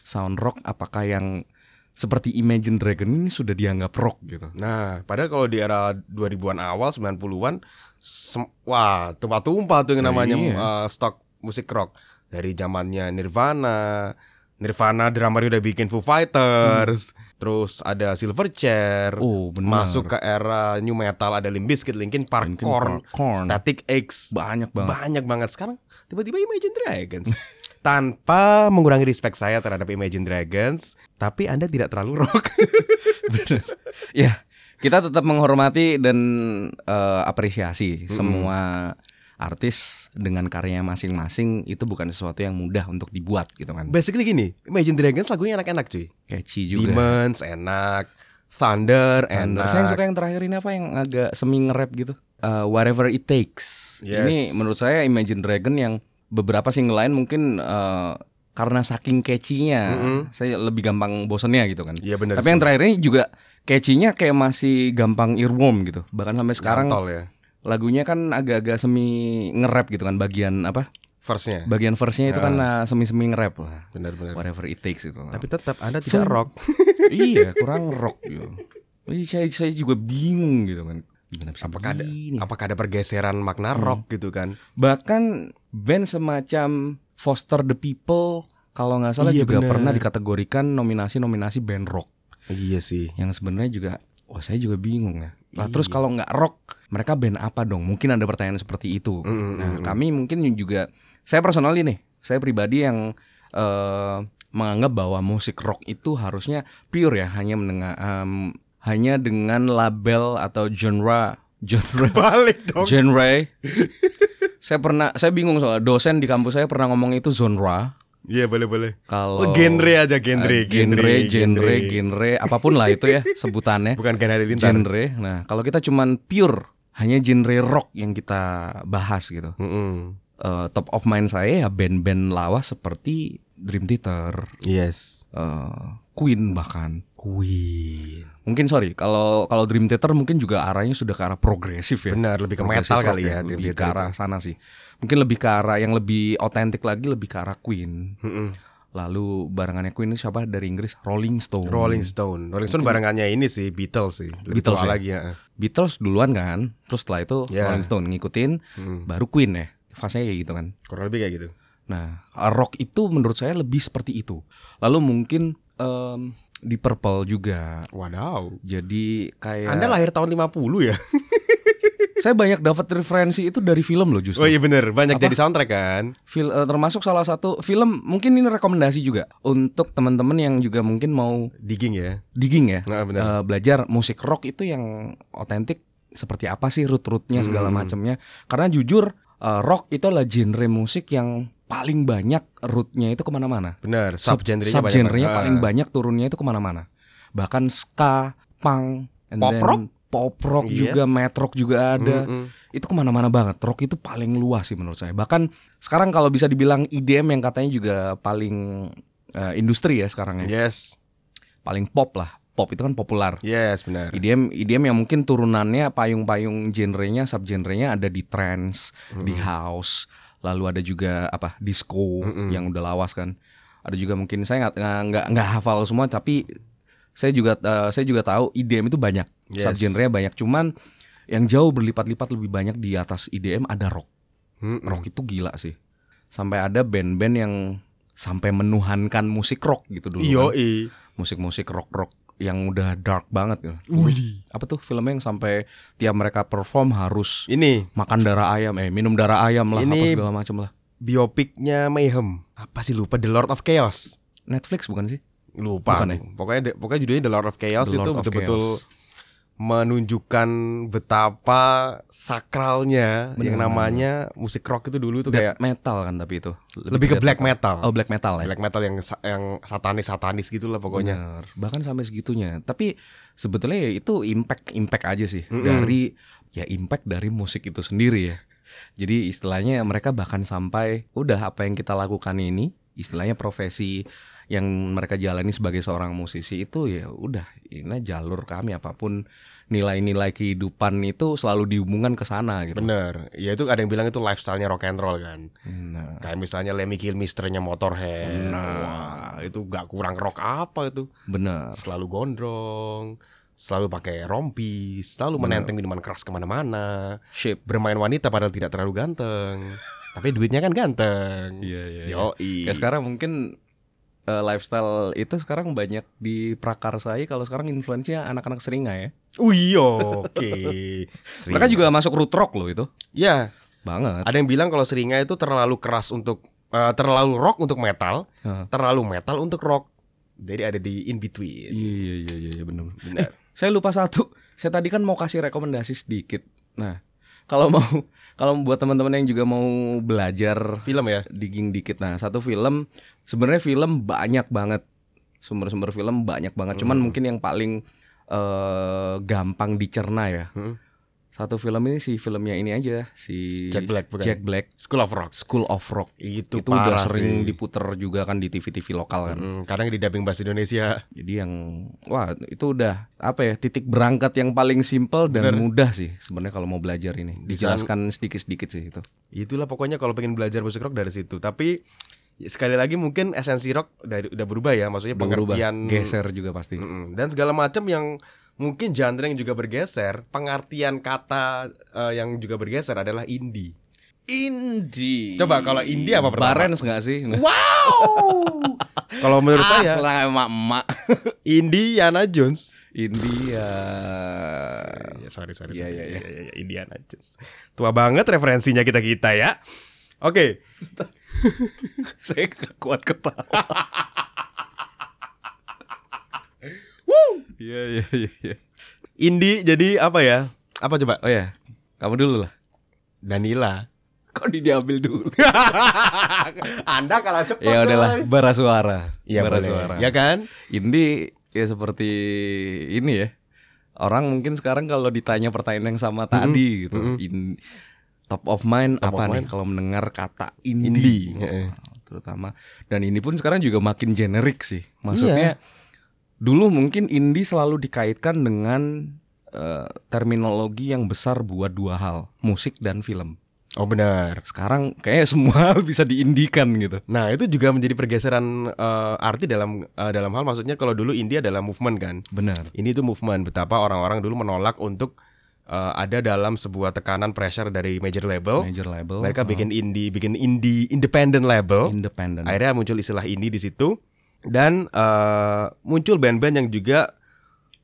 Speaker 2: Sound rock apakah yang seperti Imagine Dragon ini sudah dianggap rock gitu.
Speaker 1: Nah, padahal kalau di era 2000-an awal, 90-an, sem- wah, tumpah-tumpah tuh yang
Speaker 2: Nah,
Speaker 1: namanya
Speaker 2: iya.
Speaker 1: uh, stok musik rock dari zamannya Nirvana. Nirvana drummer udah bikin Foo Fighters. Terus ada Silverchair.
Speaker 2: Hmm. Oh, benar.
Speaker 1: Masuk ke era new metal ada Limp Bizkit, Linkin Park,
Speaker 2: Linkin
Speaker 1: Korn,
Speaker 2: Park, Korn.
Speaker 1: Static X.
Speaker 2: banyak banget.
Speaker 1: Banyak banget sekarang tiba-tiba Imagine Dragons. Tanpa mengurangi respect saya terhadap Imagine Dragons, tapi Anda tidak terlalu rock.
Speaker 2: Benar. ya, kita tetap menghormati dan eh, apresiasi semua artis dengan karyanya masing-masing itu bukan sesuatu yang mudah untuk dibuat gitu kan.
Speaker 1: Basically gini, Imagine Dragons lagunya enak-enak cuy.
Speaker 2: Catchy juga.
Speaker 1: Demons enak, Thunder enak.
Speaker 2: Thunder. Saya yang suka yang terakhir ini apa yang agak semi nge-rap gitu. Eh, whatever it takes.
Speaker 1: Yes.
Speaker 2: Ini menurut saya Imagine Dragon yang beberapa single lain mungkin eh, karena saking catchy-nya,
Speaker 1: Mm-mm.
Speaker 2: saya lebih gampang bosennya gitu kan.
Speaker 1: Iya benar.
Speaker 2: Tapi yang terakhir ini juga catchy-nya kayak masih gampang earworm gitu. Bahkan sampai sekarang
Speaker 1: tol ya.
Speaker 2: lagunya kan agak-agak semi nge-rap gitu kan bagian apa?
Speaker 1: Verse-nya.
Speaker 2: Bagian verse-nya itu
Speaker 1: Ya.
Speaker 2: kan eh, semi-semi nge-rap lah.
Speaker 1: Benar-benar.
Speaker 2: Whatever it takes itu.
Speaker 1: Tapi tetap Anda tidak
Speaker 2: Fun.
Speaker 1: rock.
Speaker 2: iya kurang rock gitu. Jadi saya, saya juga bingung gitu kan. Gimana bisa
Speaker 1: Apakah ada-
Speaker 2: begini?
Speaker 1: Apakah ada pergeseran makna
Speaker 2: Hmm.
Speaker 1: rock gitu kan?
Speaker 2: Bahkan band semacam Foster the People kalau nggak salah
Speaker 1: Iya,
Speaker 2: juga
Speaker 1: bener.
Speaker 2: pernah dikategorikan nominasi-nominasi band rock
Speaker 1: Iya sih.
Speaker 2: yang sebenarnya juga wah saya juga bingung ya.
Speaker 1: Iya.
Speaker 2: Lah terus kalau nggak rock mereka band apa dong? Mungkin ada pertanyaan seperti itu.
Speaker 1: Mm, mm,
Speaker 2: Nah,
Speaker 1: mm.
Speaker 2: kami mungkin juga saya personal nih, saya pribadi yang eh, menganggap bahwa musik rock itu harusnya pure ya, hanya mendengar em, hanya dengan label atau genre genre
Speaker 1: Balik dong.
Speaker 2: genre. saya pernah saya bingung soal dosen di kampus saya pernah ngomong itu genre.
Speaker 1: Iya boleh-boleh. Oh,
Speaker 2: Kalau
Speaker 1: genre aja genre,
Speaker 2: eh, genre, genre,
Speaker 1: genre.
Speaker 2: genre, apapun lah itu ya sebutannya.
Speaker 1: Bukan Gen Halilintar.
Speaker 2: genre. Nah, kalau kita cuman pure hanya genre rock yang kita bahas gitu.
Speaker 1: Mm-mm.
Speaker 2: Eh, top of mind saya ya band-band lawas seperti Dream Theater,
Speaker 1: Yes.
Speaker 2: eh, Queen bahkan.
Speaker 1: Queen.
Speaker 2: Mungkin sorry kalau kalau Dream Theater mungkin juga arahnya sudah ke arah progresif ya.
Speaker 1: Benar, lebih ke
Speaker 2: Progresif
Speaker 1: metal
Speaker 2: rock
Speaker 1: kali ya. Dream
Speaker 2: lebih ke
Speaker 1: Theater
Speaker 2: arah sana sih. Mungkin lebih ke arah yang lebih otentik lagi lebih ke arah Queen.
Speaker 1: itu. Mm-mm.
Speaker 2: Lalu barangannya Queen itu siapa dari Inggris? Rolling Stone.
Speaker 1: Rolling Stone. Rolling Stone barengannya ini sih Beatles sih. Lebih
Speaker 2: Beatles
Speaker 1: tua
Speaker 2: ya?
Speaker 1: lagi ya.
Speaker 2: Beatles duluan kan, terus setelah itu
Speaker 1: Ya.
Speaker 2: Rolling Stone ngikutin,
Speaker 1: Mm.
Speaker 2: baru Queen ya. Fasenya kayak gitu kan.
Speaker 1: Kurang lebih kayak gitu.
Speaker 2: ah, Nah, rock itu menurut saya lebih seperti itu. Lalu mungkin em, di Purple juga.
Speaker 1: Wadaw.
Speaker 2: Jadi kayak
Speaker 1: Anda lahir tahun 50 ya?
Speaker 2: saya banyak dapat referensi itu dari film loh
Speaker 1: Oh
Speaker 2: justru.
Speaker 1: iya bener, banyak
Speaker 2: Apa?
Speaker 1: jadi soundtrack kan?
Speaker 2: Fil- eh, termasuk salah satu film mungkin ini rekomendasi juga untuk teman-teman yang juga mungkin mau
Speaker 1: Digging ya.
Speaker 2: digging ya.
Speaker 1: Nah, bener.
Speaker 2: eh, belajar musik rock itu yang otentik seperti apa sih root-rootnya segala
Speaker 1: Hmm.
Speaker 2: macamnya karena jujur eh, rock itu adalah genre musik yang paling banyak rootnya itu kemana-mana
Speaker 1: bener, subgenrenya
Speaker 2: Eh, Sub-
Speaker 1: banyak.
Speaker 2: subgenrenya
Speaker 1: banget. Ah.
Speaker 2: paling banyak turunnya itu kemana-mana bahkan ska punk and
Speaker 1: Pop
Speaker 2: then
Speaker 1: rock?
Speaker 2: pop
Speaker 1: Yes.
Speaker 2: rock
Speaker 1: Hmm.
Speaker 2: juga metrok juga ada
Speaker 1: Mm-mm.
Speaker 2: itu kemana-mana banget rock itu paling luas sih menurut saya bahkan sekarang kalau bisa dibilang IDM yang katanya juga paling eh, industri ya sekarang ya
Speaker 1: Yes,
Speaker 2: paling pop lah pop itu kan populer E
Speaker 1: yes bener.
Speaker 2: IDM IDM yang mungkin turunannya payung-payung genrenya subgenrenya ada di trance, di house, lalu ada juga apa disco
Speaker 1: Mm-mm.
Speaker 2: yang udah lawas kan. Ada juga mungkin saya nggak nggak- nggak nggak hafal semua tapi saya juga eh, saya juga tahu IDM itu banyak
Speaker 1: Yes.
Speaker 2: subgenrenya banyak cuman yang jauh berlipat-lipat lebih banyak di atas IDM ada rock.
Speaker 1: Mm-mm.
Speaker 2: Rock itu gila sih. Sampai ada band-band yang sampai menuhankan musik rock gitu dulu. kan.
Speaker 1: Yoi.
Speaker 2: Musik-musik rock-rock yang udah dark banget gitu
Speaker 1: Widih.
Speaker 2: apa tuh filmnya yang sampai tiap mereka perform harus
Speaker 1: Ini
Speaker 2: makan darah ayam eh minum darah ayam lah
Speaker 1: Ini-
Speaker 2: apa segala macam lah
Speaker 1: biopiknya Mayhem. Apa sih lupa The Lord of Chaos?
Speaker 2: Netflix bukan sih
Speaker 1: Lupa.
Speaker 2: Bukan ya?
Speaker 1: aku. Pokoknya de- pokoknya judulnya The Lord of Chaos
Speaker 2: The
Speaker 1: itu
Speaker 2: Lord of
Speaker 1: betul-betul
Speaker 2: Chaos.
Speaker 1: menunjukkan betapa sakralnya yang
Speaker 2: Benar.
Speaker 1: namanya musik rock itu dulu tuh kayak
Speaker 2: Death metal kan tapi itu
Speaker 1: lebih ke
Speaker 2: death
Speaker 1: black metal.
Speaker 2: oh black metal ya
Speaker 1: Black metal yang sa- yang satanis-satanis gitu lah pokoknya.
Speaker 2: Bener. bahkan sampai segitunya tapi sebetulnya ya itu impact impact aja sih
Speaker 1: Mm-mm.
Speaker 2: dari ya impact dari musik itu sendiri ya jadi istilahnya mereka bahkan sampai udah apa yang kita lakukan ini istilahnya profesi yang mereka jalani sebagai seorang musisi itu ya udah ini jalur kami apapun nilai-nilai kehidupan itu selalu dihubungkan ke sana gitu.
Speaker 1: Bener, ya itu ada yang bilang itu lifestyle-nya rock and roll kan
Speaker 2: Nah,
Speaker 1: Kayak misalnya Lemmy Kilmister-nya Motorhead
Speaker 2: Nah.
Speaker 1: Wah, itu gak kurang rock apa itu
Speaker 2: bener.
Speaker 1: Selalu gondrong, selalu pakai rompi, selalu
Speaker 2: Bener.
Speaker 1: menenteng minuman keras kemana-mana
Speaker 2: Shape.
Speaker 1: Bermain wanita padahal tidak terlalu ganteng Tapi duitnya kan ganteng
Speaker 2: Iya iya.
Speaker 1: Yoi
Speaker 2: Kayak sekarang mungkin eh, lifestyle itu sekarang banyak diprakarsai kalau sekarang influence-nya anak-anak seringai ya.
Speaker 1: Oh iya, oke Seringai.
Speaker 2: Mereka juga masuk root rock loh itu.
Speaker 1: Ya,
Speaker 2: Banget.
Speaker 1: ada yang bilang kalau seringai itu terlalu keras untuk eh, Terlalu rock untuk metal,
Speaker 2: Heeh.
Speaker 1: terlalu metal untuk rock Jadi ada di in between
Speaker 2: Iya iya iya iya benar.
Speaker 1: Bener.
Speaker 2: Saya lupa satu. Saya tadi kan mau kasih rekomendasi sedikit. Nah, kalau mau kalau buat teman-teman yang juga mau belajar
Speaker 1: film ya
Speaker 2: digging dikit. Nah, satu film sebenarnya film banyak banget. Sumber-sumber film banyak banget. Cuman
Speaker 1: Hmm.
Speaker 2: mungkin yang paling eh, gampang dicerna ya.
Speaker 1: Hmm.
Speaker 2: Satu film ini si filmnya ini aja si
Speaker 1: Jack Black, bukan?
Speaker 2: Iya. Jack Black,
Speaker 1: School of Rock
Speaker 2: School of Rock.
Speaker 1: itu,
Speaker 2: Itu, udah
Speaker 1: parah
Speaker 2: sering
Speaker 1: sih.
Speaker 2: diputer juga kan di TV-TV lokal kan.
Speaker 1: Mm, kadang di dubbing bahasa Indonesia
Speaker 2: Jadi yang wah itu udah apa ya titik berangkat yang paling simpel dan
Speaker 1: Bener.
Speaker 2: mudah sih sebenarnya kalau mau belajar ini.
Speaker 1: Bisa-
Speaker 2: Dijelaskan sedikit-sedikit sih itu.
Speaker 1: itulah pokoknya kalau pengen belajar musik rock dari situ tapi ya, sekali lagi mungkin esensi rock dari udah berubah ya maksudnya
Speaker 2: Udah berubah,
Speaker 1: pengertian
Speaker 2: geser juga pasti.
Speaker 1: Mm-mm. dan segala macam yang mungkin genre yang juga bergeser pengertian kata eh, yang juga bergeser adalah indie
Speaker 2: Indie.
Speaker 1: Coba kalau indie apa pertama?
Speaker 2: Barens nggak sih?
Speaker 1: wow kalau menurut
Speaker 2: ah,
Speaker 1: saya
Speaker 2: selang emak-emak.
Speaker 1: Indiana Jones
Speaker 2: India.
Speaker 1: Ya, sorry, sorry,
Speaker 2: Iya,
Speaker 1: sorry.
Speaker 2: iya, iya.
Speaker 1: Ya, ya, ya, Indiana Jones. Tua banget referensinya kita-kita ya. Oke,
Speaker 2: Saya nggak kuat ketawa. Woo! Iya iya iya. iya.
Speaker 1: indie jadi apa ya? Apa coba?
Speaker 2: Oh ya, kamu dulu lah.
Speaker 1: Danila.
Speaker 2: Kok di- diambil dulu?
Speaker 1: Anda kalah cepat.
Speaker 2: ya udahlah,
Speaker 1: guys.
Speaker 2: bara suara.
Speaker 1: Iya,
Speaker 2: bara
Speaker 1: boleh.
Speaker 2: suara.
Speaker 1: Ya kan?
Speaker 2: Indie ya seperti ini ya. Orang mungkin sekarang kalau ditanya pertanyaan yang sama tadi gitu.
Speaker 1: mm-mm.
Speaker 2: in- top of mind
Speaker 1: Top
Speaker 2: apa
Speaker 1: of
Speaker 2: nih kalau mendengar kata indie,
Speaker 1: Indie,
Speaker 2: Wah,
Speaker 1: heeh.
Speaker 2: terutama dan ini pun sekarang juga makin generik sih.
Speaker 1: Iya.
Speaker 2: Maksudnya dulu mungkin indie selalu dikaitkan dengan eh, terminologi yang besar buat dua hal, musik dan film.
Speaker 1: Oh benar.
Speaker 2: Sekarang kayaknya semua bisa diindikan gitu.
Speaker 1: Nah, itu juga menjadi pergeseran eh, arti dalam eh, dalam hal maksudnya kalau dulu indie adalah movement kan.
Speaker 2: Benar.
Speaker 1: Ini tuh movement betapa orang-orang dulu menolak untuk eh, ada dalam sebuah tekanan pressure dari major label.
Speaker 2: Major label. eh,
Speaker 1: Mereka bikin indie, bikin indie independent label.
Speaker 2: independen.
Speaker 1: Akhirnya muncul istilah indie di situ dan eh, muncul band-band yang juga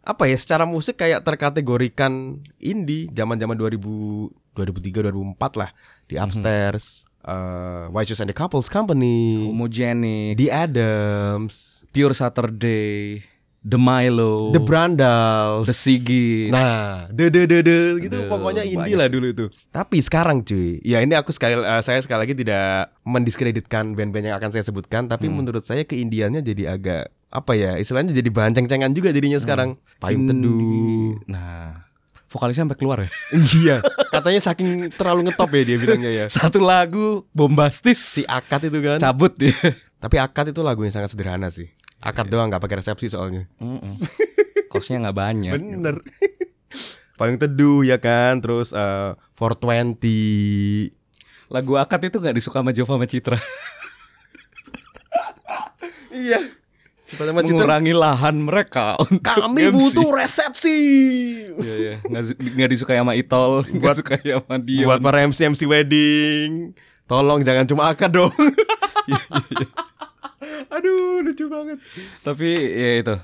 Speaker 1: apa ya secara musik kayak terkategorikan indie zaman-zaman 2000 2003 2004 lah di upstairs eh, White Shoes and the Couples Company
Speaker 2: Oh Homogenic,
Speaker 1: The Adams
Speaker 2: Pure Saturday, The Milo,
Speaker 1: The Brandals
Speaker 2: The Sigit.
Speaker 1: nah de de de de gitu
Speaker 2: Aduh,
Speaker 1: pokoknya indie lah dulu tuh tapi sekarang cuy ya ini aku sekali eh, saya sekali lagi tidak mendiskreditkan band-band yang akan saya sebutkan tapi menurut saya keindiannya jadi agak apa ya istilahnya jadi bahan ceng-cengan juga jadinya sekarang payung
Speaker 2: Indie.
Speaker 1: teduh
Speaker 2: Nah, vokalisnya sampai keluar ya.
Speaker 1: iya katanya saking terlalu ngetop ya dia bilangnya ya
Speaker 2: Satu lagu bombastis,
Speaker 1: si akad itu kan
Speaker 2: cabut ya. dia.
Speaker 1: tapi akad itu lagu yang sangat sederhana sih akad doang nggak pakai resepsi soalnya
Speaker 2: Kosnya nggak banyak.
Speaker 1: Bener. Paling teduh ya kan, terus eh, 420.
Speaker 2: Lagu akad itu nggak disuka sama Jova sama Citra.
Speaker 1: Iya. Cepat sama Citra.
Speaker 2: Mengurangi lahan mereka untuk
Speaker 1: Kami
Speaker 2: MC.
Speaker 1: butuh resepsi.
Speaker 2: Iya, iya. Nggak su- nggak disukai sama Itol, nggak suka sama dia.
Speaker 1: Buat para MC MC wedding. Tolong jangan cuma akad dong. Aduh, lucu banget.
Speaker 2: Tapi ya itu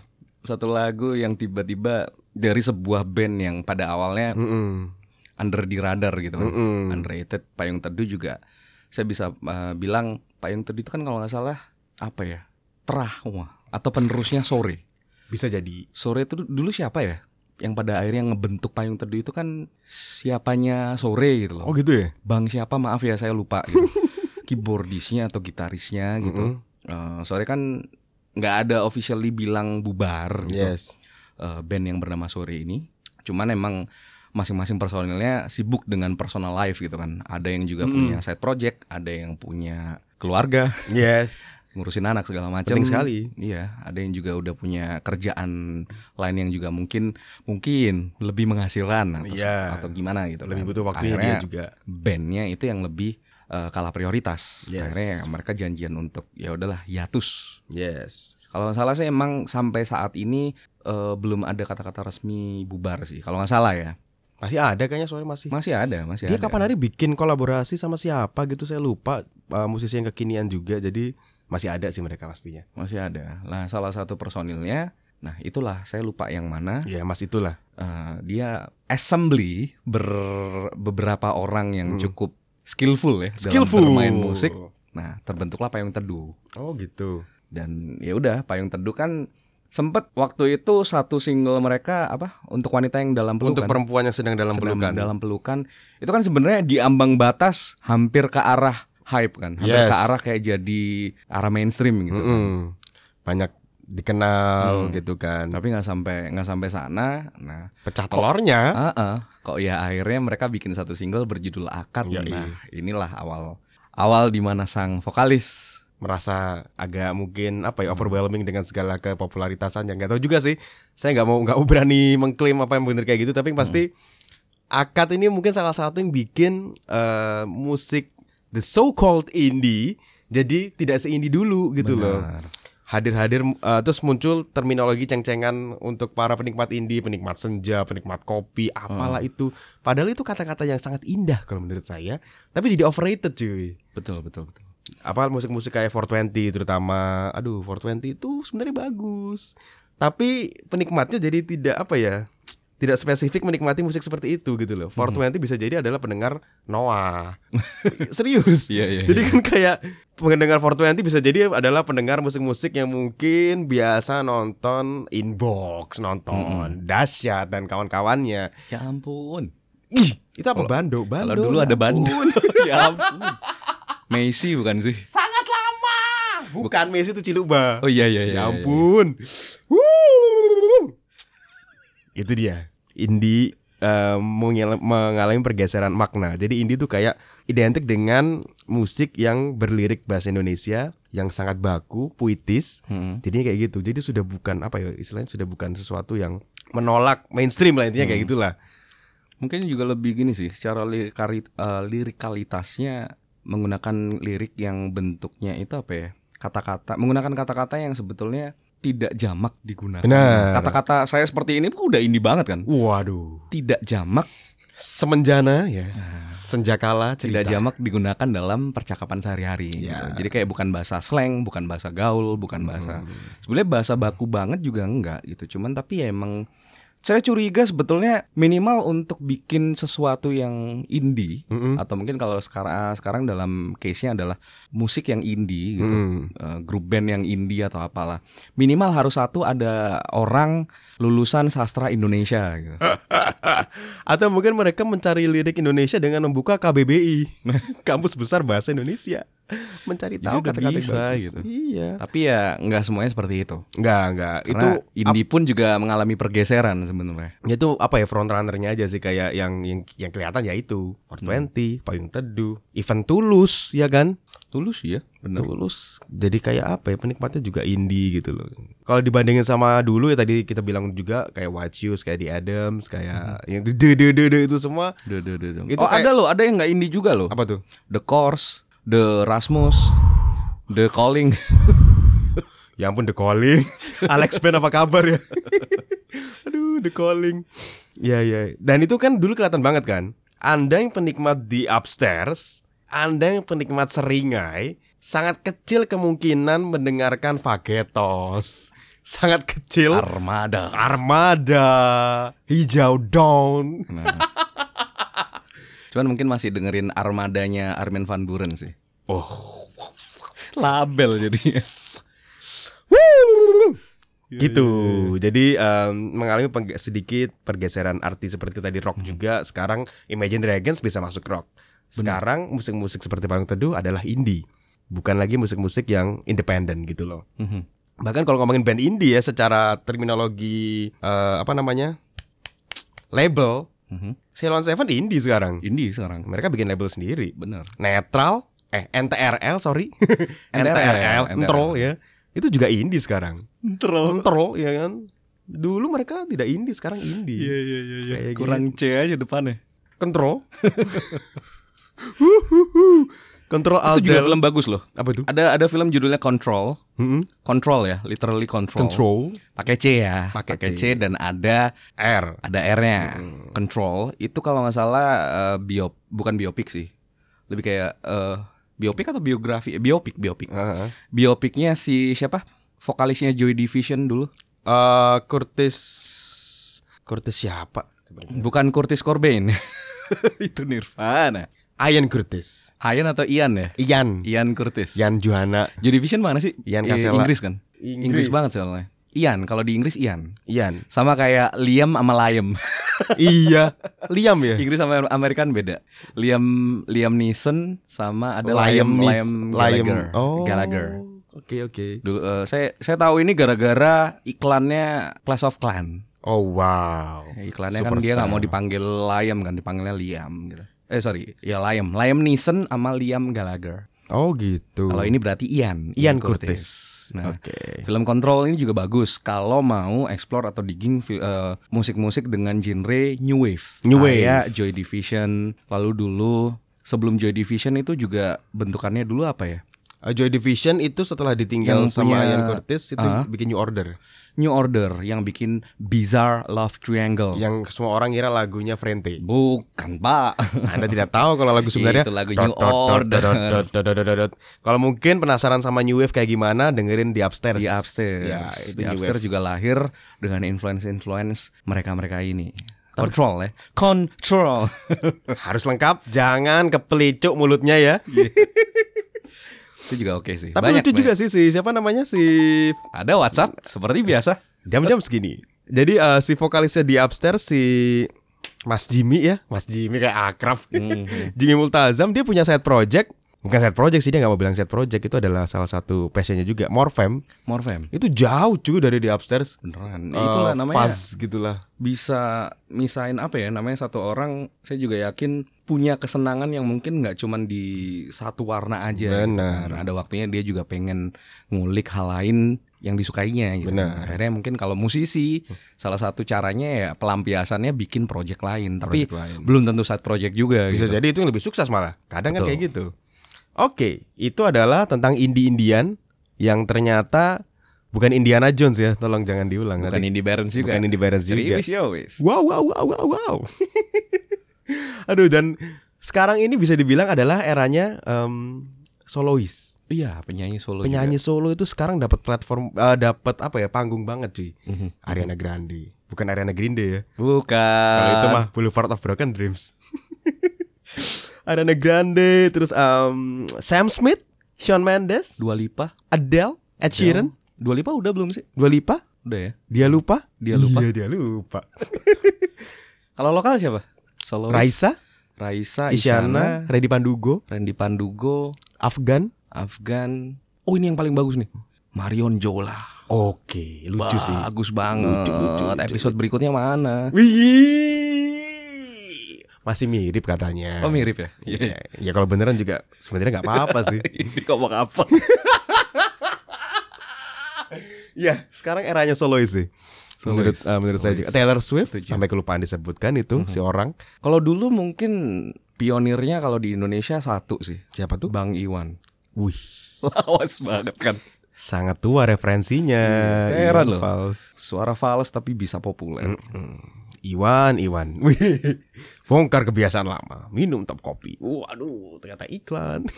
Speaker 2: satu lagu yang tiba-tiba dari sebuah band yang pada awalnya
Speaker 1: Mm-mm.
Speaker 2: under di radar gitu kan.
Speaker 1: Mm-mm.
Speaker 2: Underrated Payung Teduh juga saya bisa uh, bilang Payung Teduh itu kan kalau nggak salah apa ya? Terahwa atau penerusnya Sore.
Speaker 1: Bisa jadi.
Speaker 2: Sore itu dulu siapa ya? Yang pada akhirnya ngebentuk Payung Teduh itu kan siapanya Sore gitu loh.
Speaker 1: Oh gitu ya?
Speaker 2: Bang siapa maaf ya saya lupa gitu. Keyboardisnya atau gitarisnya gitu.
Speaker 1: Mm-mm.
Speaker 2: Eh, sore kan nggak ada officially bilang bubar gitu
Speaker 1: Yes.
Speaker 2: eh, band yang bernama Sore ini. Cuman emang masing-masing personilnya sibuk dengan personal life gitu kan. Ada yang juga
Speaker 1: Mm-mm.
Speaker 2: punya side project, ada yang punya keluarga,
Speaker 1: Yes.
Speaker 2: ngurusin anak segala
Speaker 1: Gitu.
Speaker 2: macam.
Speaker 1: Penting sekali.
Speaker 2: Iya, ada yang juga udah punya kerjaan lain yang juga mungkin mungkin lebih menghasilkan atau
Speaker 1: Iya.
Speaker 2: atau gimana gitu.
Speaker 1: Lebih
Speaker 2: kan.
Speaker 1: butuh waktunya
Speaker 2: Akhirnya
Speaker 1: dia juga.
Speaker 2: bandnya itu yang lebih eh, kalah prioritas.
Speaker 1: Yes.
Speaker 2: Akhirnya mereka janjian untuk ya udahlah hiatus
Speaker 1: Yes.
Speaker 2: kalau nggak salah sih emang sampai saat ini eh, belum ada kata-kata resmi bubar sih. Kalau nggak salah ya.
Speaker 1: Masih ada kayaknya sore masih.
Speaker 2: Masih ada, masih
Speaker 1: Dia
Speaker 2: ada.
Speaker 1: kapan hari bikin kolaborasi sama siapa gitu saya lupa uh, musisi yang kekinian juga jadi masih ada sih mereka pastinya.
Speaker 2: Masih ada. Nah, salah satu personilnya Nah itulah saya lupa yang mana
Speaker 1: Ya mas itulah.
Speaker 2: Eh, Dia assembly ber- beberapa orang
Speaker 1: Mm.
Speaker 2: yang cukup skillful ya
Speaker 1: Skillful.
Speaker 2: dalam bermain musik Nah terbentuklah Payung Teduh
Speaker 1: Oh gitu.
Speaker 2: Dan ya udah Payung Teduh kan sempet waktu itu satu single mereka apa Untuk wanita yang dalam pelukan
Speaker 1: Untuk perempuan yang sedang dalam
Speaker 2: sedang
Speaker 1: pelukan.
Speaker 2: dalam pelukan itu kan sebenarnya di ambang batas hampir ke arah hype kan hampir
Speaker 1: Yes.
Speaker 2: ke arah kayak jadi arah mainstream gitu kan.
Speaker 1: Mm-mm. Banyak dikenal
Speaker 2: Hmm.
Speaker 1: gitu kan.
Speaker 2: tapi nggak sampai nggak sampai sana nah
Speaker 1: Pecah telurnya.
Speaker 2: ah, ah. kok ya akhirnya mereka bikin satu single berjudul akad
Speaker 1: Yoi.
Speaker 2: nah inilah awal awal di mana sang vokalis
Speaker 1: merasa agak mungkin apa ya overwhelming dengan segala kepopularitasannya nggak tahu juga sih saya nggak mau nggak mau berani mengklaim apa yang bener kayak gitu tapi yang pasti
Speaker 2: Mm.
Speaker 1: akad ini mungkin salah satu yang bikin eh, musik the so called indie jadi tidak seindie dulu gitu loh
Speaker 2: Benar.
Speaker 1: hadir-hadir eh, terus muncul terminologi ceng-cengan untuk para penikmat indie penikmat senja penikmat kopi apalah itu padahal itu kata-kata yang sangat indah kalau menurut saya tapi jadi overrated cuy
Speaker 2: betul betul betul
Speaker 1: apa musik-musik kayak 420 terutama aduh 420 itu sebenarnya bagus tapi penikmatnya jadi tidak apa ya tidak spesifik menikmati musik seperti itu gitu loh
Speaker 2: Hmm.
Speaker 1: 420 bisa jadi adalah pendengar Noah serius
Speaker 2: Iya, iya,
Speaker 1: jadi kan kayak pendengar 420 bisa jadi adalah pendengar musik-musik yang mungkin biasa nonton inbox
Speaker 2: Hmm.
Speaker 1: nonton dahsyat dan kawan-kawannya
Speaker 2: ya ampun
Speaker 1: Ih, itu apa
Speaker 2: Kalau-
Speaker 1: bando bando
Speaker 2: kalau dulu
Speaker 1: ya
Speaker 2: ada bando
Speaker 1: ampun.
Speaker 2: ya ampun Messi bukan sih
Speaker 1: sangat lama bukan Messi itu Ciluba
Speaker 2: oh iya iya iya
Speaker 1: Ya
Speaker 2: iya, iya.
Speaker 1: ampun. Wuh. Itu dia. Indie eh, mengel- mengalami pergeseran makna. Jadi indie tuh kayak identik dengan musik yang berlirik bahasa Indonesia yang sangat baku, puitis.
Speaker 2: Mm-mm.
Speaker 1: Jadi kayak gitu. Jadi sudah bukan apa ya istilahnya sudah bukan sesuatu yang menolak mainstream lah intinya kayak
Speaker 2: Hmm.
Speaker 1: gitulah.
Speaker 2: Mungkin juga lebih gini sih, secara lirikari- eh, lirikalitasnya menggunakan lirik yang bentuknya itu apa ya? Kata-kata, menggunakan kata-kata yang sebetulnya tidak jamak digunakan.
Speaker 1: Benar.
Speaker 2: Kata-kata saya seperti ini pun udah indie banget kan?
Speaker 1: Waduh.
Speaker 2: Tidak jamak
Speaker 1: semenjana ya, senjakala cerita.
Speaker 2: Ah. Tidak jamak digunakan dalam percakapan sehari-hari. gitu.
Speaker 1: Ya. Hmm.
Speaker 2: Jadi kayak bukan bahasa slang, bukan bahasa gaul, bukan bahasa. Sebenarnya bahasa baku banget juga enggak gitu. Cuman tapi ya emang saya curiga sebetulnya minimal untuk bikin sesuatu yang indie
Speaker 1: Mm-mm.
Speaker 2: atau mungkin kalau sekarang sekarang dalam case-nya adalah musik yang indie gitu.
Speaker 1: Mm.
Speaker 2: eh, grup band yang indie atau apalah minimal harus satu ada orang lulusan sastra Indonesia gitu.
Speaker 1: Atau mungkin mereka mencari lirik Indonesia dengan membuka KBBI, kampus besar bahasa Indonesia, mencari
Speaker 2: Jadi
Speaker 1: tahu
Speaker 2: Ya udah
Speaker 1: kata-kata yang
Speaker 2: bisa
Speaker 1: bagus.
Speaker 2: gitu.
Speaker 1: Iya.
Speaker 2: tapi ya nggak semuanya seperti itu
Speaker 1: Enggak, enggak.
Speaker 2: Karena
Speaker 1: itu
Speaker 2: indie pun juga mengalami pergeseran sebenarnya
Speaker 1: Ya itu apa ya front runnernya aja sih kayak yang yang, yang kelihatan ya itu
Speaker 2: Hmm.
Speaker 1: 420, Payung Teduh, Event Tulus ya kan?
Speaker 2: tulus ya benar
Speaker 1: Tulus. Jadi kayak apa ya penikmatnya juga indie gitu loh. Kalau dibandingin sama dulu ya tadi kita bilang juga kayak Wachius, kayak The Adams,
Speaker 2: Hmm.
Speaker 1: kayak yang de de de de itu semua
Speaker 2: Duh, duh, duh, duh.
Speaker 1: Itu
Speaker 2: oh
Speaker 1: kayak-
Speaker 2: ada loh ada yang nggak indie juga loh
Speaker 1: apa tuh?
Speaker 2: the course the rasmus the calling
Speaker 1: Ya ampun The Calling. Alex Pen apa kabar ya? Aduh, The Calling. Ya ya. Dan itu kan dulu kelihatan banget kan. Anda yang penikmat di upstairs, Anda yang penikmat seringai, sangat kecil kemungkinan mendengarkan Fagetos. Sangat kecil
Speaker 2: armada
Speaker 1: Armada, Hijau Dawn.
Speaker 2: Nah. cuman mungkin masih dengerin armadanya Armin van Buren sih
Speaker 1: Oh.
Speaker 2: label jadinya
Speaker 1: gitu. Jadi em, mengalami pengge- sedikit pergeseran arti seperti tadi rock juga. Sekarang Imagine Dragons bisa masuk rock. Sekarang musik-musik seperti Panggung Teduh adalah indie. Bukan lagi musik-musik yang independen gitu loh.
Speaker 2: Mhm.
Speaker 1: Bahkan kalau ngomongin band indie ya secara terminologi eh, apa namanya? label,
Speaker 2: Mhm.
Speaker 1: Ceylon Seven indie sekarang.
Speaker 2: indie sekarang
Speaker 1: Mereka bikin label sendiri.
Speaker 2: bener
Speaker 1: Netral eh NTRL sorry
Speaker 2: NTRL,
Speaker 1: NTRL Entrol ya itu juga indie sekarang
Speaker 2: terlalu
Speaker 1: Entrol ya kan dulu mereka tidak indie sekarang indie
Speaker 2: iya iya
Speaker 1: iya.
Speaker 2: kurang C aja depannya
Speaker 1: Control Huh, huh, huh. Control Alt
Speaker 2: itu juga
Speaker 1: Del
Speaker 2: film bagus loh
Speaker 1: apa itu
Speaker 2: ada ada film judulnya Control
Speaker 1: Mm-mm.
Speaker 2: Control ya, literally control.
Speaker 1: Control
Speaker 2: Pakai C ya,
Speaker 1: Pakai C.
Speaker 2: pakai C. Mm-hmm. dan ada
Speaker 1: R
Speaker 2: ada R-nya. Control itu kalau nggak salah eh, biop bukan biopik sih. Lebih kayak eh, biopik atau biografi? Eh, Biopik, biopik.
Speaker 1: Heeh.
Speaker 2: Biopiknya si siapa? Vokalisnya Joy Division dulu.
Speaker 1: Eh, Curtis Curtis siapa
Speaker 2: Bukan Curtis Cobain. itu Nirvana.
Speaker 1: Ian Curtis
Speaker 2: Ian atau Ian ya?
Speaker 1: Ian
Speaker 2: Ian Curtis.
Speaker 1: Ian Johana
Speaker 2: Joy Division mana sih?
Speaker 1: Ian
Speaker 2: Eh,
Speaker 1: Kasela.
Speaker 2: Inggris kan? Inggris banget soalnya. Ian, kalau di Inggris Ian.
Speaker 1: Ian
Speaker 2: Sama kayak Liam sama Liam.
Speaker 1: iya Liam ya
Speaker 2: Inggris sama Amerika beda. Liam Liam Neeson sama ada
Speaker 1: Liam
Speaker 2: Liam
Speaker 1: Nees-
Speaker 2: Liam
Speaker 1: Liam-
Speaker 2: Gallagher.
Speaker 1: Oh.
Speaker 2: Gallagher.
Speaker 1: Oke oke.
Speaker 2: Dulu eh, saya saya tahu ini gara-gara iklannya Clash of Clan.
Speaker 1: Oh wow.
Speaker 2: Iklannya
Speaker 1: Super
Speaker 2: kan dia nggak mau
Speaker 1: Sam.
Speaker 2: dipanggil Liam kan dipanggilnya Liam gitu. Eh sorry, ya Liam. Liam Neeson sama Liam Gallagher.
Speaker 1: Oh gitu.
Speaker 2: Kalau ini berarti Ian.
Speaker 1: Ian Curtis.
Speaker 2: Nah,
Speaker 1: Oke.
Speaker 2: Film Control ini juga bagus kalau mau explore atau digging fi- eh, musik-musik dengan genre new wave.
Speaker 1: New wave.
Speaker 2: Kayak Joy Division, lalu dulu sebelum Joy Division itu juga bentukannya dulu apa ya?
Speaker 1: Uh, Joy Division itu setelah ditinggal
Speaker 2: Yang
Speaker 1: sama
Speaker 2: punya-
Speaker 1: Ian Curtis itu
Speaker 2: Ah.
Speaker 1: bikin New Order.
Speaker 2: New Order yang bikin Bizarre Love Triangle.
Speaker 1: Yang semua orang kira lagunya Frente.
Speaker 2: Bukan, Pak.
Speaker 1: Anda tidak tahu kalau lagu sebenarnya
Speaker 2: Itu lagu
Speaker 1: dot,
Speaker 2: New
Speaker 1: dot, dot,
Speaker 2: Order.
Speaker 1: dot, dot, dot, dot, dot, dot. Kalau mungkin penasaran sama New Wave kayak gimana, dengerin di Upstairs.
Speaker 2: Di Upstairs.
Speaker 1: Ya, itu
Speaker 2: Di
Speaker 1: New
Speaker 2: Upstairs
Speaker 1: Wave.
Speaker 2: juga lahir dengan influence-influence mereka-mereka ini. Control ya. Control.
Speaker 1: Harus lengkap, jangan kepelicuk mulutnya ya.
Speaker 2: itu juga oke sih.
Speaker 1: Tapi lucu juga sih si siapa namanya si
Speaker 2: Ada WhatsApp seperti biasa.
Speaker 1: jam-jam segini. Jadi eh, si vokalisnya di upstairs si Mas Jimmy ya, Mas Jimmy kayak akrab.
Speaker 2: Mm-hmm.
Speaker 1: Jimmy Multazam dia punya side project, bukan side project sih dia nggak mau bilang side project itu adalah salah satu passionnya juga. Morfem
Speaker 2: Morfem.
Speaker 1: itu jauh cuy dari di upstairs.
Speaker 2: Beneran. Ya, itulah
Speaker 1: Eh,
Speaker 2: namanya.
Speaker 1: Fuzz gitulah.
Speaker 2: Bisa misain apa ya namanya satu orang saya juga yakin punya kesenangan yang mungkin nggak cuman di satu warna aja. gitu
Speaker 1: Benar.
Speaker 2: kan. Ada waktunya dia juga pengen ngulik hal lain yang disukainya gitu.
Speaker 1: Benar.
Speaker 2: Akhirnya mungkin kalau musisi salah satu caranya ya pelampiasannya bikin project lain, tapi
Speaker 1: Project lain.
Speaker 2: belum tentu saat project juga
Speaker 1: Bisa
Speaker 2: gitu.
Speaker 1: jadi itu yang lebih sukses malah. Kadang kan
Speaker 2: Betul.
Speaker 1: kayak gitu. Oke, itu adalah tentang indie-indian yang ternyata bukan Indiana Jones ya. Tolong jangan diulang
Speaker 2: Bukan
Speaker 1: nanti.
Speaker 2: indie barons juga. ya,
Speaker 1: Bukan Indie Barons juga.
Speaker 2: Serius, yo, wis.
Speaker 1: Wow wow wow wow wow. Aduh dan sekarang ini bisa dibilang adalah eranya em, solois.
Speaker 2: Iya, penyanyi solo.
Speaker 1: Penyanyi solo itu sekarang dapat platform eh, dapat apa ya panggung banget sih.
Speaker 2: juga. Mhm.
Speaker 1: Ariana Grande, bukan Ariana Grande ya.
Speaker 3: Bukan.
Speaker 1: Kalau
Speaker 2: Eh.
Speaker 1: itu mah Boulevard of Broken Dreams. Ariana Grande, terus em, Sam Smith, Shawn Mendes,
Speaker 2: Dua Lipa.
Speaker 1: Adele, Ed Sheeran,
Speaker 2: Dua Lipa udah belum sih?
Speaker 1: Dua Lipa,
Speaker 2: Udah ya.
Speaker 1: dia lupa,
Speaker 2: Dia lupa.
Speaker 1: Iya, dia lupa.
Speaker 2: Kalau lokal siapa? Solo.
Speaker 1: Raisa, Isyana,
Speaker 2: Raisa, Isyana,
Speaker 1: Reddy Pandugo,
Speaker 2: Randy Pandugo,
Speaker 1: Afgan.
Speaker 2: Afgan. Oh, ini yang paling bagus nih. Marion Jola.
Speaker 1: Oke, lucu sih.
Speaker 2: Bagus banget.
Speaker 1: Lucu, lucu, lucu,
Speaker 2: Episode berikutnya mana?
Speaker 1: Wih. Masih mirip katanya.
Speaker 2: Oh, mirip ya?
Speaker 1: Iya. Ya kalau beneran juga sebenarnya nggak apa-apa sih.
Speaker 2: ini ngomong apa?
Speaker 1: Ya, sekarang eranya solois sih. Menurut,
Speaker 2: Iya. Solois,
Speaker 1: eh, menurut saya
Speaker 2: solois.
Speaker 1: juga Taylor Swift
Speaker 2: Setuju. Mm-hmm.
Speaker 1: sampai kelupaan disebutkan itu si orang
Speaker 2: Kalau dulu mungkin pionirnya kalau di Indonesia satu sih.
Speaker 1: siapa tuh?
Speaker 2: Bang Iwan.
Speaker 1: Wih,
Speaker 2: Lawas banget kan.
Speaker 1: sangat tua referensinya.
Speaker 2: Iya, saya heran
Speaker 1: Iwan
Speaker 2: loh.
Speaker 1: Fals.
Speaker 2: Suara fals tapi bisa populer.
Speaker 1: Iwan, Iwan. Wih, bongkar kebiasaan lama. Minum top kopi. Waduh, ternyata iklan.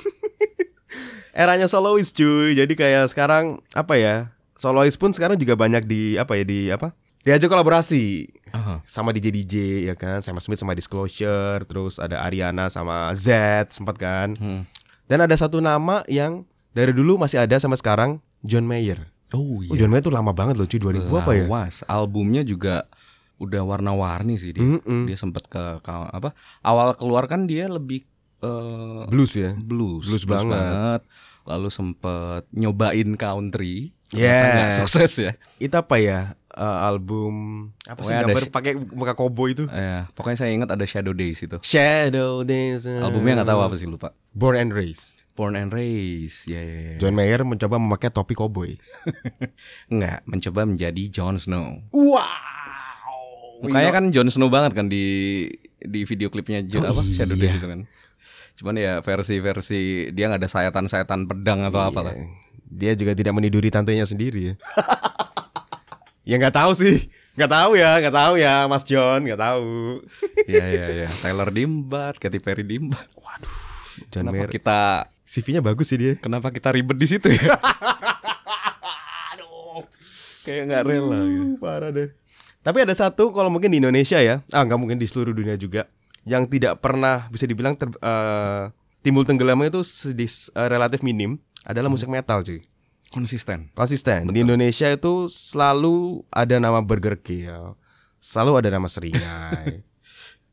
Speaker 1: Eranya solois cuy. Jadi kayak sekarang apa ya? Solois pun sekarang juga banyak di apa ya di apa? Diajak kolaborasi
Speaker 2: Aha.
Speaker 1: sama DJ DJ ya kan, sama Smith sama Disclosure, terus ada Ariana sama Z sempat kan.
Speaker 2: Hmm.
Speaker 1: Dan ada satu nama yang dari dulu masih ada sama sekarang John Mayer.
Speaker 2: Oh
Speaker 1: Oh, John Mayer tuh lama banget loh cuy 2000 apa ya?
Speaker 2: Lawas. Albumnya juga udah warna-warni sih dia.
Speaker 1: Mm-mm.
Speaker 2: Dia sempet ke, ke apa? Awal keluar kan dia lebih eh,
Speaker 1: Blues ya.
Speaker 2: blues,
Speaker 1: Blues banget.
Speaker 2: Lalu sempet nyobain country.
Speaker 1: Yes.
Speaker 2: Ternyata nggak sukses ya.
Speaker 1: itu apa ya eh, album apa sih
Speaker 2: Pokoknya ada
Speaker 1: gambar
Speaker 2: sh-
Speaker 1: pakai muka kobo itu
Speaker 2: Eh, pokoknya saya ingat ada Shadow Days itu.
Speaker 1: Shadow Days
Speaker 2: Albumnya nggak tahu apa sih lupa.
Speaker 1: Born and Raised
Speaker 2: Born and Raised. Ya ya ya.
Speaker 1: John Mayer mencoba memakai topi koboi
Speaker 2: Enggak, mencoba menjadi Jon Snow.
Speaker 1: Oh, wow Iya.
Speaker 2: Mukanya kan Jon Snow banget kan di di video klipnya Jo-
Speaker 1: Oh,
Speaker 2: apa Shadow
Speaker 1: iya.
Speaker 2: Days itu kan. Cuman ya versi-versi dia nggak ada sayatan-sayatan pedang
Speaker 1: Iya.
Speaker 2: atau apa lah.
Speaker 1: dia juga tidak meniduri tantenya sendiri ya ya nggak tahu sih nggak tahu ya nggak tahu ya Mas John nggak tahu
Speaker 2: Iya iya iya. Taylor Dimbat, Katy Perry Dimbat.
Speaker 1: John Mayer
Speaker 2: kenapa kita
Speaker 1: CV-nya bagus sih dia
Speaker 2: kenapa kita ribet di situ ya? Kayak nggak rela. gitu.
Speaker 1: Uh, parah deh. Tapi ada satu kalau mungkin di Indonesia ya, ah nggak mungkin di seluruh dunia juga, yang tidak pernah bisa dibilang ter, eh, timbul tenggelamnya itu sedis, eh, relatif minim adalah musik metal cuy.
Speaker 2: Konsisten.
Speaker 1: Konsisten. Di Indonesia itu selalu ada nama Burger Kill, selalu ada nama Seringai.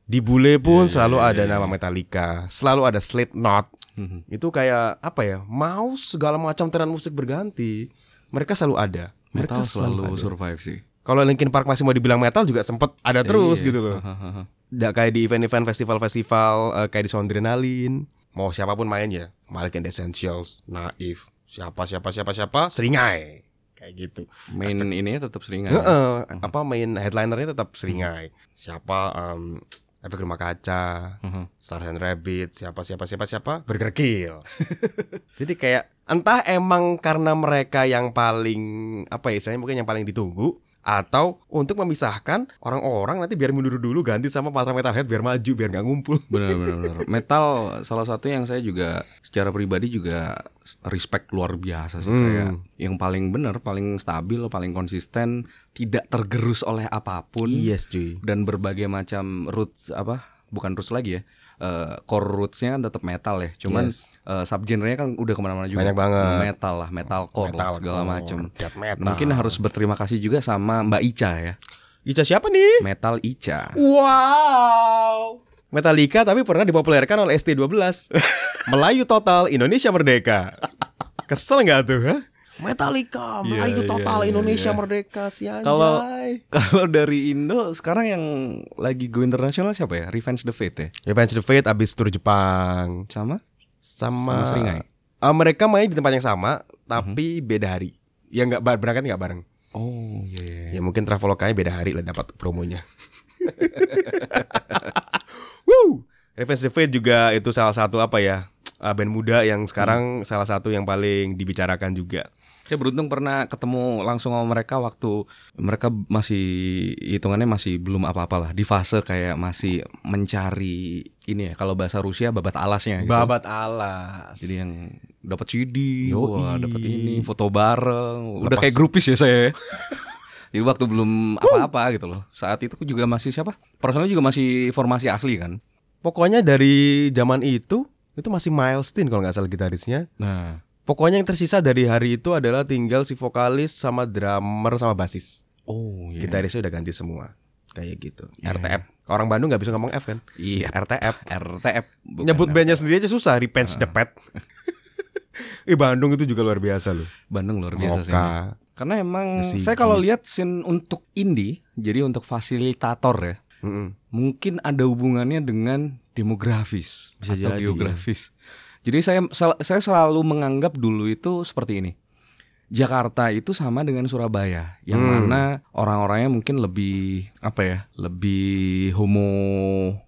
Speaker 1: di bule
Speaker 2: Iya,
Speaker 1: pun selalu ada nama Metallica, selalu ada Slipknot.
Speaker 2: Mhm.
Speaker 1: Itu kayak apa ya? Mau segala macam tren musik berganti, mereka selalu ada. Mereka
Speaker 2: Metal selalu
Speaker 1: ada.
Speaker 2: survive sih.
Speaker 1: Kalau Linkin Park masih mau dibilang metal juga sempet ada terus
Speaker 2: Iya.
Speaker 1: gitu loh.
Speaker 2: Hahaha.
Speaker 1: Nggak kayak di event-event festival-festival eh, kayak di Soundrenalin, mau siapapun main ya. Malik and the Essentials, Naif, siapa siapa siapa siapa, Seringai. Kayak gitu.
Speaker 2: Main ini tetap seringan.
Speaker 1: Heeh, apa main headlinernya tetap Seringai. Siapa em Efek Rumah Kaca,
Speaker 2: Mhm.
Speaker 1: Star and Rabbit, siapa siapa siapa siapa Burger Kill. Jadi kayak entah emang karena mereka yang paling apa ya istilahnya mungkin yang paling ditunggu atau untuk memisahkan orang-orang nanti biar mundur dulu ganti sama pasar metalhead biar maju biar nggak ngumpul.
Speaker 2: Benar benar benar. Metal salah satu yang saya juga secara pribadi juga respect luar biasa sih
Speaker 1: Hmm.
Speaker 2: kayak yang paling benar, paling stabil, paling konsisten, tidak tergerus oleh apapun
Speaker 1: Iya, cuy.
Speaker 2: dan berbagai macam roots apa? Bukan roots lagi ya. Eh core rootsnya kan tetap metal ya. Cuman
Speaker 1: Yes.
Speaker 2: eh, subgenrenya kan udah kemana-mana juga.
Speaker 1: Banyak banget.
Speaker 2: Metal lah, metalcore lah, segala macam.
Speaker 1: Death metal.
Speaker 2: Mungkin harus berterima kasih juga sama Mbak Ica ya.
Speaker 1: Ica siapa nih?
Speaker 2: Metal Ica.
Speaker 1: Wow. Metallica tapi pernah dipopulerkan oleh ST12. Melayu total Indonesia merdeka. Kesel nggak tuh? Hah? Metallica Melayu
Speaker 2: iya,
Speaker 1: total
Speaker 2: iya,
Speaker 1: Indonesia
Speaker 2: iya.
Speaker 1: merdeka si anjay.
Speaker 2: Kalau- Kalau dari Indo sekarang yang lagi go internasional siapa ya? Revenge the Fate ya?
Speaker 1: Revenge the Fate abis tur Jepang
Speaker 2: Sama?
Speaker 1: sama,
Speaker 2: Sama Seringai? Mhm.
Speaker 1: Eh, mereka main di tempat yang sama tapi beda hari. Ya nggak bar- berangkat nggak bareng.
Speaker 2: Oh iya. iya.
Speaker 1: Ya mungkin Traveloka-nya beda hari lah dapat promonya. Woo! Revenge the Fate juga itu
Speaker 2: Hmm.
Speaker 1: salah satu apa ya? eh, band muda yang sekarang salah satu yang paling dibicarakan juga.
Speaker 2: Saya beruntung pernah ketemu langsung sama mereka waktu mereka masih hitungannya masih belum apa-apa lah di fase kayak masih mencari ini ya kalau bahasa Rusia babat alasnya gitu.
Speaker 1: Babat alas.
Speaker 2: Jadi ya. yang dapat CD,
Speaker 1: Yoi.
Speaker 2: wah dapat ini, foto bareng, udah
Speaker 1: Lepas.
Speaker 2: kayak grupis ya saya. ya. Jadi waktu belum apa-apa gitu loh. Saat itu juga masih siapa? Personel juga masih formasi asli kan.
Speaker 1: Pokoknya dari zaman itu itu masih Milestone kalau nggak salah gitarisnya.
Speaker 2: Nah,
Speaker 1: Pokoknya yang tersisa dari hari itu adalah tinggal si vokalis sama drummer sama basis.
Speaker 2: oh iya.
Speaker 1: Gitarisnya udah ganti semua. Kayak gitu.
Speaker 2: Iya.
Speaker 1: RTF. Orang Bandung nggak bisa ngomong F kan?
Speaker 2: Iya,
Speaker 1: RTF.
Speaker 2: RTF. bukan
Speaker 1: Nyebut
Speaker 2: apa.
Speaker 1: bandnya sendiri aja susah. Repents the Pet. Ih Bandung itu juga luar biasa loh.
Speaker 2: Bandung luar biasa sih.
Speaker 1: Moka.
Speaker 2: Karena emang
Speaker 1: Besi.
Speaker 2: saya kalau lihat scene untuk indie, jadi untuk fasilitator ya,
Speaker 1: Mm-mm.
Speaker 2: mungkin ada hubungannya dengan demografis
Speaker 1: Bisa
Speaker 2: atau
Speaker 1: jadi,
Speaker 2: geografis. Jadi saya sel- saya selalu menganggap dulu itu seperti ini. Jakarta itu sama dengan Surabaya, yang
Speaker 1: Hmm.
Speaker 2: mana orang-orangnya mungkin lebih apa ya, lebih homo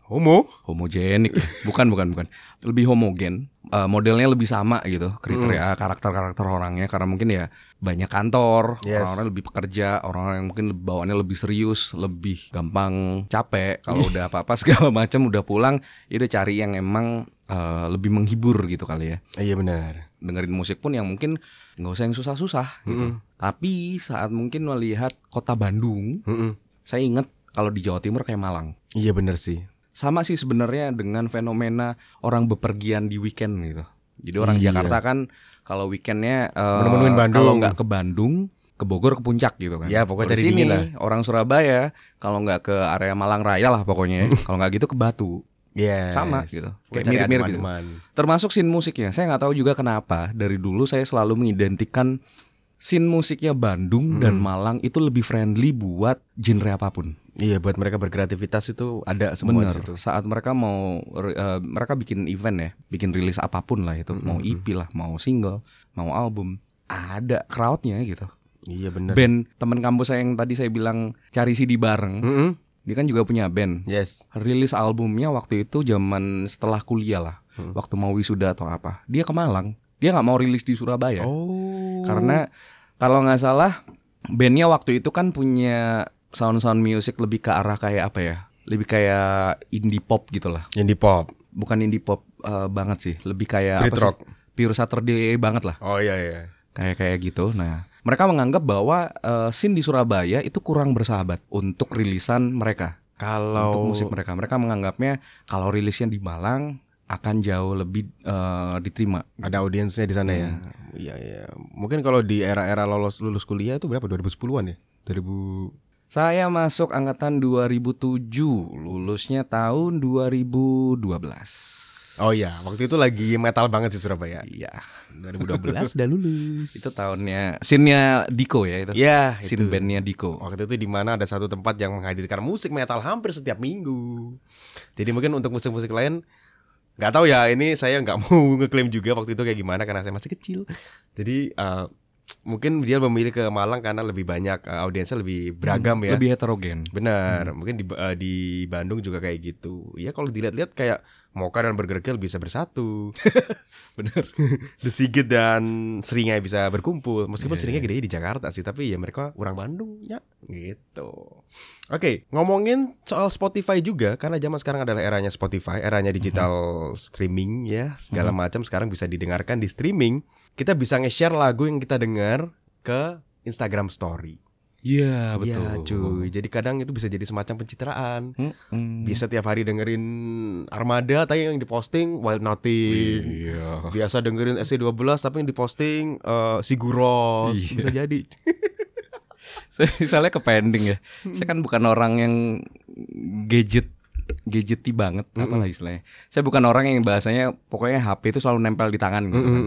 Speaker 1: Homo.
Speaker 2: homogenik bukan bukan bukan lebih homogen Eh, modelnya lebih sama gitu kriteria karakter karakter orangnya karena mungkin ya banyak kantor
Speaker 1: Yes.
Speaker 2: orang-orang lebih pekerja orang-orang yang mungkin bawaannya lebih serius lebih gampang capek kalau udah apa-apa segala macam udah pulang ya udah cari yang emang eh, lebih menghibur gitu kali ya
Speaker 1: Iya benar.
Speaker 2: dengerin musik pun yang mungkin nggak usah yang susah-susah gitu
Speaker 1: Mm-mm.
Speaker 2: tapi saat mungkin melihat kota Bandung
Speaker 1: Mm-mm.
Speaker 2: saya inget kalau di Jawa Timur kayak Malang
Speaker 1: Iya benar sih.
Speaker 2: sama sih sebenarnya dengan fenomena orang bepergian di weekend gitu. Jadi orang
Speaker 1: Iya.
Speaker 2: Jakarta kan kalau weekendnya eh,
Speaker 1: Menemuin Bandung.
Speaker 2: kalau nggak ke Bandung, ke Bogor, ke Puncak gitu kan.
Speaker 1: Ya, pokoknya
Speaker 2: Kalau di
Speaker 1: cari
Speaker 2: sini
Speaker 1: dingin lah.
Speaker 2: orang Surabaya kalau nggak ke area Malang Raya lah pokoknya. ya. kalau nggak gitu ke Batu.
Speaker 1: Iya.
Speaker 2: Sama gitu. Kayak mirip-mirip gitu. Termasuk scene musiknya. Saya nggak tahu juga kenapa dari dulu saya selalu mengidentikan scene musiknya Bandung
Speaker 1: Hmm.
Speaker 2: dan Malang itu lebih friendly buat genre apapun.
Speaker 1: Iya buat mereka berkreativitas itu ada semua di
Speaker 2: Bener.
Speaker 1: situ.
Speaker 2: Saat mereka mau re- eh, mereka bikin event ya, bikin rilis apapun lah itu, mau EP lah, mau single, mau album, ada crowdnya gitu.
Speaker 1: Iya benar.
Speaker 2: Band teman kampus saya yang tadi saya bilang cari CD bareng,
Speaker 1: Mm-mm.
Speaker 2: dia kan juga punya band.
Speaker 1: Yes.
Speaker 2: Rilis albumnya waktu itu zaman setelah kuliah lah,
Speaker 1: Mm.
Speaker 2: waktu mau wisuda atau apa. Dia ke Malang, dia nggak mau rilis di Surabaya
Speaker 1: Oh.
Speaker 2: Iya. karena kalau nggak salah bandnya waktu itu kan punya sound-sound music lebih ke arah kayak apa ya? Lebih kayak indie pop gitu lah
Speaker 1: yang di pop.
Speaker 2: bukan indie pop eh, banget sih, lebih kayak
Speaker 1: Brit
Speaker 2: apa
Speaker 1: rock.
Speaker 2: sih? Pure Saturday banget lah,
Speaker 1: Oh iya iya.
Speaker 2: kayak kayak gitu. Nah, mereka menganggap bahwa eh, scene di Surabaya itu kurang bersahabat untuk rilisan mereka, untuk
Speaker 1: Kalau
Speaker 2: musik mereka. Mereka menganggapnya kalau rilisnya di Malang akan jauh lebih eh, diterima.
Speaker 1: ada audiensnya di sana ya.
Speaker 2: Hmm.
Speaker 1: Iya iya. Mungkin kalau di era-era lolos lulus kuliah itu berapa? 2010-an ya? 2000
Speaker 2: Saya masuk angkatan 2007, lulusnya tahun 2012.
Speaker 1: Oh iya, waktu itu lagi metal banget sih Surabaya.
Speaker 2: Iya,
Speaker 1: 2012 udah lulus.
Speaker 2: itu tahunnya scene-nya Diko ya itu.
Speaker 1: Ya, itu.
Speaker 2: Scene bandnya Diko.
Speaker 1: Waktu itu di mana ada satu tempat yang menghadirkan musik metal hampir setiap minggu. Jadi mungkin untuk musik-musik lain nggak tahu ya ini saya nggak mau ngeklaim juga waktu itu kayak gimana karena saya masih kecil. Jadi eh, mungkin dia memilih ke Malang karena lebih banyak eh, audiensnya lebih beragam ya.
Speaker 2: Lebih heterogen.
Speaker 1: Benar, mungkin di eh, di Bandung juga kayak gitu. Ya kalau dilihat-lihat kayak Moka dan Burger Kill bisa bersatu.
Speaker 2: Bener.
Speaker 1: The Sigit dan Seringai bisa berkumpul. Meskipun Seringai gede di Jakarta sih, tapi ya mereka orang Bandung ya gitu. Oke, ngomongin soal Spotify juga karena zaman sekarang adalah eranya Spotify, eranya digital streaming ya. Segala macam sekarang bisa didengarkan di streaming. Kita bisa nge-share lagu yang kita dengar ke Instagram story.
Speaker 2: Iya betul.
Speaker 1: Iya, cuy. Jadi kadang itu bisa jadi semacam pencitraan.
Speaker 2: Mm-mm.
Speaker 1: Biasa tiap hari dengerin Armada tapi yang diposting Wild Nothing.
Speaker 2: Iya.
Speaker 1: biasa dengerin SC12 tapi yang diposting eh, Siguros
Speaker 2: Iya.
Speaker 1: bisa jadi
Speaker 2: Saya misalnya ke pending ya. Saya kan bukan orang yang gadget gadgety banget apa lah istilahnya. Saya bukan orang yang bahasanya pokoknya HP itu selalu nempel di tangan gitu. kan.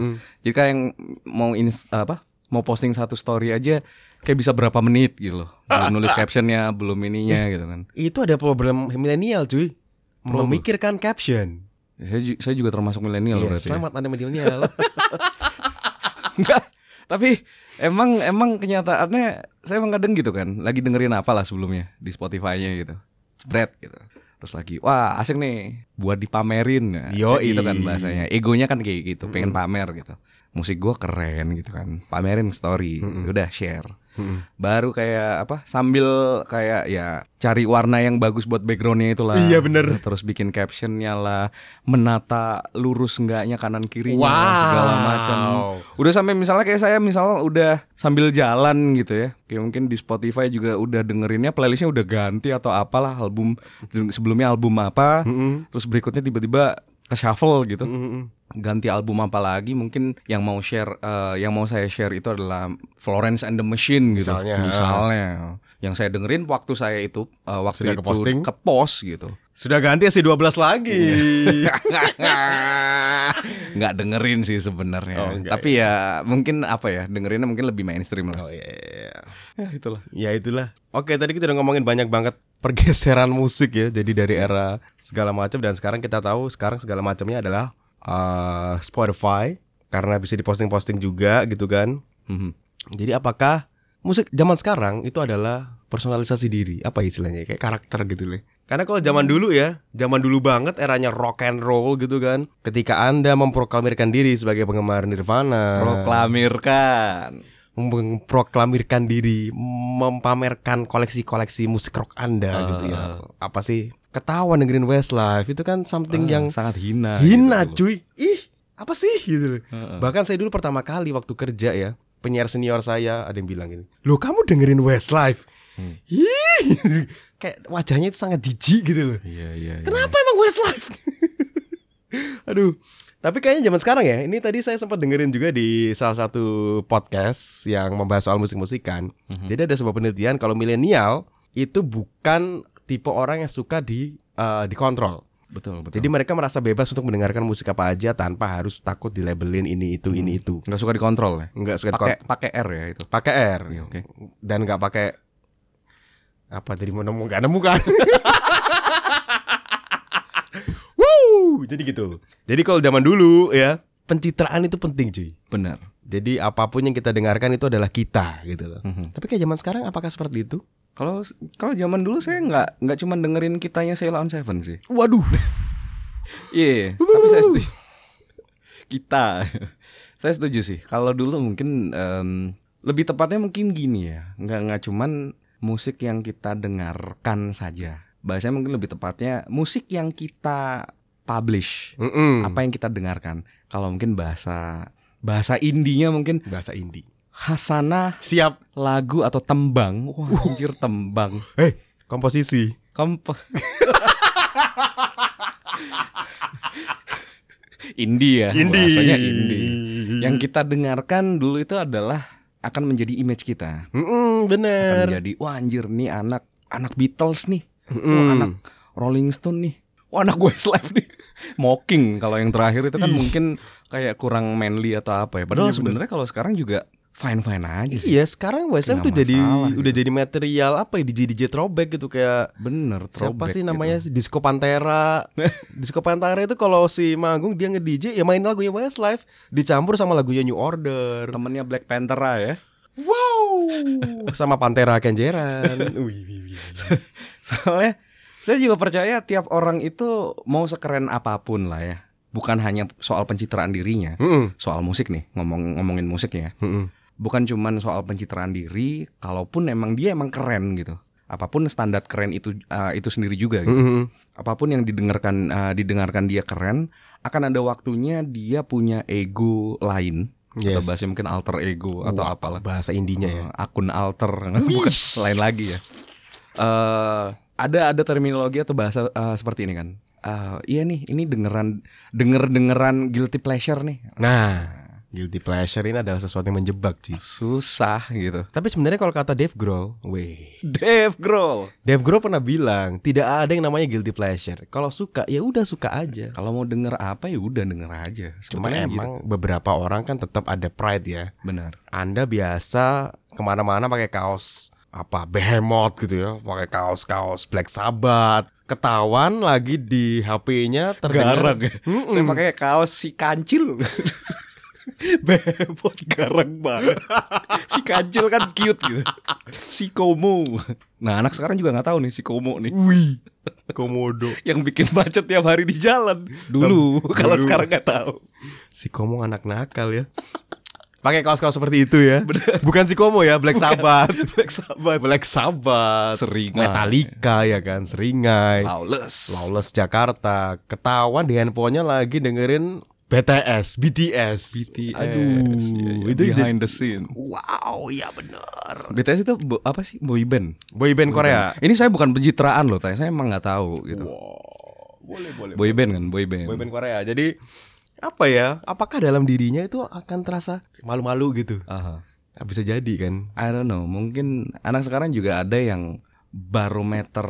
Speaker 2: Jadi kayak yang mau ins- apa? Mau posting satu story aja kayak bisa berapa menit gitu loh. Belum nulis captionnya, belum ininya gitu kan.
Speaker 1: itu ada problem milenial cuy
Speaker 2: Problem.
Speaker 1: memikirkan caption
Speaker 2: Saya ju- saya juga termasuk milenial
Speaker 1: Iya,
Speaker 2: berarti. ya.
Speaker 1: selamat anda milenial
Speaker 2: Enggak. Tapi emang emang kenyataannya saya emang kadang gitu kan, lagi dengerin apa lah sebelumnya di Spotify-nya gitu. Bread gitu. terus lagi wah asik nih buat dipamerin nah,
Speaker 1: Yoi.
Speaker 2: gitu kan bahasanya egonya kan kayak gitu pengen pamer gitu musik gua keren gitu kan pamerin story udah share
Speaker 1: Mm-mm.
Speaker 2: baru kayak apa sambil kayak ya cari warna yang bagus buat backgroundnya itulah Nah,
Speaker 1: Iya, bener.
Speaker 2: terus bikin captionnya lah menata lurus enggaknya kanan kirinya
Speaker 1: Wow.
Speaker 2: segala macam udah sampai misalnya kayak saya misal udah sambil jalan gitu ya kayak mungkin di Spotify juga udah dengerinnya playlistnya udah ganti atau apalah album sebelumnya album apa
Speaker 1: Mm-mm.
Speaker 2: terus berikutnya tiba-tiba ke shuffle gitu
Speaker 1: Mm-mm.
Speaker 2: ganti album apa lagi mungkin yang mau share eh, yang mau saya share itu adalah Florence and the Machine gitu
Speaker 1: Misalnya. eh.
Speaker 2: Misalnya. yang saya dengerin waktu saya itu eh, waktu
Speaker 1: Sudah
Speaker 2: itu
Speaker 1: keposting?
Speaker 2: ke post gitu
Speaker 1: Sudah ganti S12 lagi.
Speaker 2: Iya. nggak dengerin sih sebenarnya
Speaker 1: Oh, nggak,
Speaker 2: tapi ya mungkin apa ya dengerinnya mungkin lebih mainstream
Speaker 1: oh
Speaker 2: lah
Speaker 1: iya, iya, iya.
Speaker 2: ya, itulah
Speaker 1: Ya itulah. Oke, tadi kita udah ngomongin banyak banget pergeseran musik ya. Jadi dari era segala macam dan sekarang kita tahu sekarang segala macamnya adalah eh, Spotify karena bisa diposting-posting juga gitu kan.
Speaker 2: Mhm.
Speaker 1: Jadi apakah musik zaman sekarang itu adalah personalisasi diri? Apa istilahnya? Kayak karakter gitu loh. Karena kalau zaman dulu ya, zaman dulu banget eranya rock and roll gitu kan. Ketika Anda memproklamirkan diri sebagai penggemar Nirvana,
Speaker 2: proklamirkan
Speaker 1: memproklamirkan diri, mempamerkan koleksi-koleksi musik rock
Speaker 2: Ah.
Speaker 1: Anda gitu ya. Apa sih? Ketahuan dengerin Westlife itu kan something yang
Speaker 2: Ah, sangat hina
Speaker 1: hina
Speaker 2: gitu Ah. loh.
Speaker 1: cuy. Ih, apa sih gitu loh.
Speaker 2: Heeh.
Speaker 1: Bahkan saya dulu pertama kali waktu kerja ya, penyiar senior saya ada yang bilang gini, "Loh, kamu dengerin Westlife?"
Speaker 2: Hmm.
Speaker 1: Ih, kayak wajahnya itu sangat jijik gitu loh.
Speaker 2: iya iya iya.
Speaker 1: Kenapa emang Westlife? Aduh. Tapi kayaknya zaman sekarang ya. Ini tadi saya sempat dengerin juga di salah satu podcast yang membahas soal musik-musikan. Jadi ada sebuah penelitian kalau milenial itu bukan tipe orang yang suka di eh, dikontrol.
Speaker 2: betul betul
Speaker 1: Jadi mereka merasa bebas untuk mendengarkan musik apa aja tanpa harus takut dilabelin ini itu ini itu.
Speaker 2: nggak suka dikontrol ya
Speaker 1: Nggak suka
Speaker 2: pakai
Speaker 1: dikont-
Speaker 2: pakai R ya itu
Speaker 1: pakai R
Speaker 2: Iya, oke
Speaker 1: dan nggak pakai apa tadi mau nemu nggak nemu kan Wuh, jadi gitu jadi kalau zaman dulu ya pencitraan itu penting cuy
Speaker 2: benar
Speaker 1: jadi apapun yang kita dengarkan itu adalah kita gitu loh
Speaker 2: Mhm.
Speaker 1: tapi kayak zaman sekarang apakah seperti itu
Speaker 2: Kalau kalau zaman dulu saya nggak nggak cuma dengerin kitanya Sheila on Seven sih.
Speaker 1: waduh
Speaker 2: Iya, tapi saya setuju. Kita, saya setuju sih. Kalau dulu mungkin em, lebih tepatnya mungkin gini ya, nggak nggak cuman musik yang kita dengarkan saja. Bahasanya mungkin lebih tepatnya musik yang kita publish,
Speaker 1: Mm-mm.
Speaker 2: apa yang kita dengarkan. Kalau mungkin bahasa bahasa indinya mungkin
Speaker 1: bahasa indie
Speaker 2: hasanah
Speaker 1: siap
Speaker 2: lagu atau tembang. Wah, anjir tembang.
Speaker 1: eh komposisi
Speaker 2: Kompo. India, ya, bahasanya indie. Eh, Yang kita dengarkan dulu itu adalah akan menjadi image kita.
Speaker 1: Mm-mm,
Speaker 2: Akan ya.
Speaker 1: bener
Speaker 2: menjadi wah anjir nih anak anak Beatles nih, wah
Speaker 1: Mm-mm.
Speaker 2: Oh, anak Rolling Stone nih. Wah anak Westlife nih. Mocking kalau yang terakhir itu kan mungkin kayak kurang manly atau apa ya.
Speaker 1: Iya,
Speaker 2: Padahal
Speaker 1: bener.
Speaker 2: sebenarnya kalau sekarang juga fine-fine aja sih.
Speaker 1: Iya sekarang WSM tuh
Speaker 2: Nggak
Speaker 1: jadi
Speaker 2: masalah,
Speaker 1: udah jadi material apa ya DJ DJ throwback gitu kayak siapa
Speaker 2: Bener, throwback
Speaker 1: sih
Speaker 2: gitu.
Speaker 1: namanya sih? Disco Pantera. Disco Pantera itu kalau si manggung dia nge DJ ya main lagunya Westlife dicampur sama lagunya New Order.
Speaker 2: Temennya Black Panthera ya.
Speaker 1: Wow. sama Pantera Kenjeran. Wih, wih, wih.
Speaker 2: Soalnya saya juga percaya tiap orang itu mau sekeren apapun lah ya. Bukan hanya soal pencitraan dirinya,
Speaker 1: Mm-mm,
Speaker 2: soal musik nih, ngomong ngomongin musik ya.
Speaker 1: mm-mm.
Speaker 2: Bukan cuman soal pencitraan diri, kalaupun emang dia emang keren gitu. Apapun standar keren itu eh, itu sendiri juga gitu.
Speaker 1: Mm-mm.
Speaker 2: Apapun yang didengarkan eh, didengarkan dia keren, akan ada waktunya dia punya ego lain. Atau
Speaker 1: Yes.
Speaker 2: bahasanya mungkin alter ego atau
Speaker 1: Wah,
Speaker 2: apalah
Speaker 1: Bahasa indinya ya.
Speaker 2: Eh, akun alter bukan lain lagi ya Eh ada ada terminologi atau bahasa eh, seperti ini kan Eh, iya nih ini dengeran denger dengeran guilty pleasure nih
Speaker 1: Nah, guilty pleasure ini adalah sesuatu yang menjebak, sih.
Speaker 2: susah gitu
Speaker 1: Tapi sebenarnya kalau kata Dave Grohl, weh,
Speaker 2: Dave Grohl
Speaker 1: Dave Grohl pernah bilang tidak ada yang namanya guilty pleasure. Kalau suka ya udah suka aja.
Speaker 2: kalau mau denger apa ya udah denger aja
Speaker 1: Cuma
Speaker 2: Sebetulnya gitu.
Speaker 1: emang beberapa orang kan tetap ada pride ya.
Speaker 2: benar
Speaker 1: Anda biasa kemana-mana pakai kaos apa behemoth gitu ya, pakai kaos-kaos Black Sabbath. Ketahuan lagi di HP-nya terdengar
Speaker 2: garang ya. saya pakai kaos si kancil Bebot garang banget. Si kajil kan cute gitu. Si Komo. Nah anak sekarang juga nggak tahu nih si Komo nih.
Speaker 1: Wih, komodo.
Speaker 2: Yang bikin macet tiap hari di jalan. Dulu.
Speaker 1: Dulu.
Speaker 2: Kalau sekarang nggak tahu.
Speaker 1: Si Komo anak nakal ya. Pakai kaos-kaos seperti itu ya. Bukan si Komo ya, Black Sabbath.
Speaker 2: Black Sabbath. Nah, iya.
Speaker 1: Black Sabbath.
Speaker 2: Seringai.
Speaker 1: Metallica ya kan, Seringai.
Speaker 2: Ah. Lawless.
Speaker 1: Lawless Jakarta. Ketahuan di handphonenya lagi dengerin BTS, BTS.
Speaker 2: BTS.
Speaker 1: Aduh,
Speaker 2: iya, iya.
Speaker 1: itu
Speaker 2: behind the scene.
Speaker 1: Wow, ya bener.
Speaker 2: BTS itu bo- apa sih boy band?
Speaker 1: Boyband Korea.
Speaker 2: Ini saya bukan pencitraan loh, tanya saya emang nggak tahu gitu.
Speaker 1: Wow, boleh boleh.
Speaker 2: Boy band kan, boy band.
Speaker 1: Boyband Korea. Jadi apa ya? Apakah dalam dirinya itu akan terasa malu-malu gitu?
Speaker 2: Aha.
Speaker 1: Nah, Bisa jadi kan.
Speaker 2: I don't know, mungkin anak sekarang juga ada yang barometer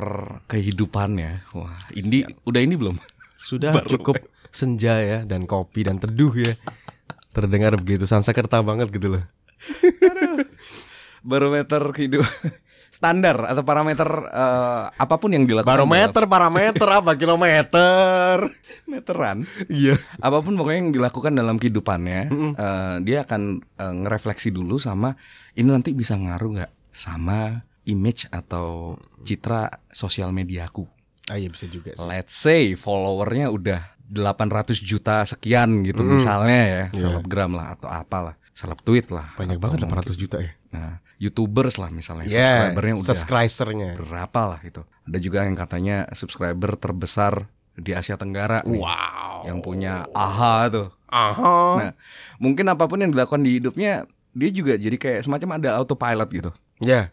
Speaker 2: kehidupannya. Wah, ini udah ini belum?
Speaker 1: Sudah cukup senja ya dan kopi dan teduh ya. Terdengar begitu sansakerta banget gitu loh.
Speaker 2: Barometer kehidupan standar atau parameter eh, apapun yang dilakukan
Speaker 1: Barometer, parameter apa kilometer?
Speaker 2: dalam- meteran
Speaker 1: Iya.
Speaker 2: apapun pokoknya yang dilakukan dalam kehidupannya eh, dia akan eh, ngerefleksi dulu sama ini nanti bisa ngaruh nggak sama image atau citra sosial mediaku
Speaker 1: Ah iya bisa juga sih.
Speaker 2: let's say followernya udah 800 juta sekian gitu misalnya ya selebgram lah atau apalah seleb tweet lah
Speaker 1: Banyak
Speaker 2: atau
Speaker 1: banget
Speaker 2: mungkin-
Speaker 1: 800 juta ya.
Speaker 2: nah youtubers lah
Speaker 1: Nah,
Speaker 2: misalnya
Speaker 1: Yeah,
Speaker 2: subscribernya udah
Speaker 1: subscribernya.
Speaker 2: berapa lah itu ada juga yang katanya subscriber terbesar di Asia Tenggara nih,
Speaker 1: Wow.
Speaker 2: yang punya aha tuh
Speaker 1: Aha.
Speaker 2: Nah, mungkin apapun yang dilakukan di hidupnya, dia juga jadi kayak semacam ada autopilot gitu.
Speaker 1: Ya.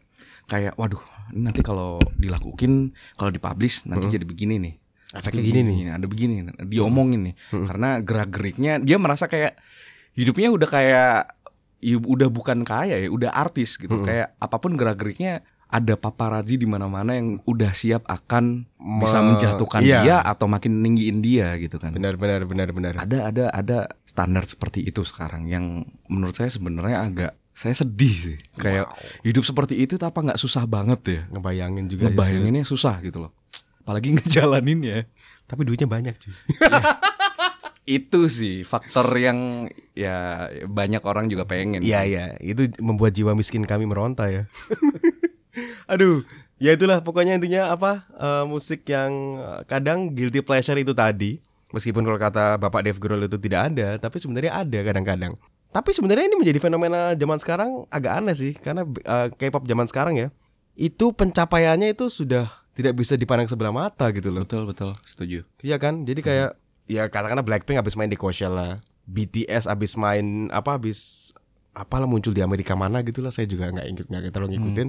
Speaker 2: Kayak, waduh, ini nanti kalau dilakuin, kalau dipublish nanti jadi begini nih.
Speaker 1: Efeknya gini nih. Hmm.
Speaker 2: Ada begini, diomongin nih. Karena gerak-geriknya dia merasa kayak hidupnya udah kayak ya udah bukan kaya ya, udah artis
Speaker 1: Hmm.
Speaker 2: gitu. Kayak apapun gerak-geriknya ada paparazzi di mana-mana yang udah siap akan bisa
Speaker 1: Me-
Speaker 2: menjatuhkan
Speaker 1: iya.
Speaker 2: dia atau makin ninggiin dia gitu kan
Speaker 1: Benar benar benar benar.
Speaker 2: ada ada ada standar seperti itu sekarang yang menurut saya sebenarnya agak saya sedih sih kayak hidup seperti itu tapi apa nggak susah banget ya
Speaker 1: Ngebayangin juga ya Iya, sih.
Speaker 2: ngebayanginnya susah gitu loh apalagi ngejalaninnya
Speaker 1: Tapi duitnya banyak cuy.
Speaker 2: itu sih faktor yang ya banyak orang juga pengen
Speaker 1: Iya
Speaker 2: sih.
Speaker 1: iya, itu membuat jiwa miskin kami meronta ya. Aduh, ya itulah pokoknya intinya apa eh, musik yang eh, kadang guilty pleasure itu tadi. Meskipun kalau kata Bapak Dave Grohl itu tidak ada, tapi sebenarnya ada kadang-kadang. Tapi sebenarnya ini menjadi fenomena zaman sekarang agak aneh sih karena eh, K-pop zaman sekarang ya. Itu pencapaiannya itu sudah tidak bisa dipandang sebelah mata gitu loh.
Speaker 2: betul betul setuju
Speaker 1: Iya kan? Jadi kayak ya katakanlah Blackpink habis main di Coachella, BTS habis main apa habis apalah muncul di Amerika mana gitu lah saya juga nggak inget nggak terlalu ngikutin.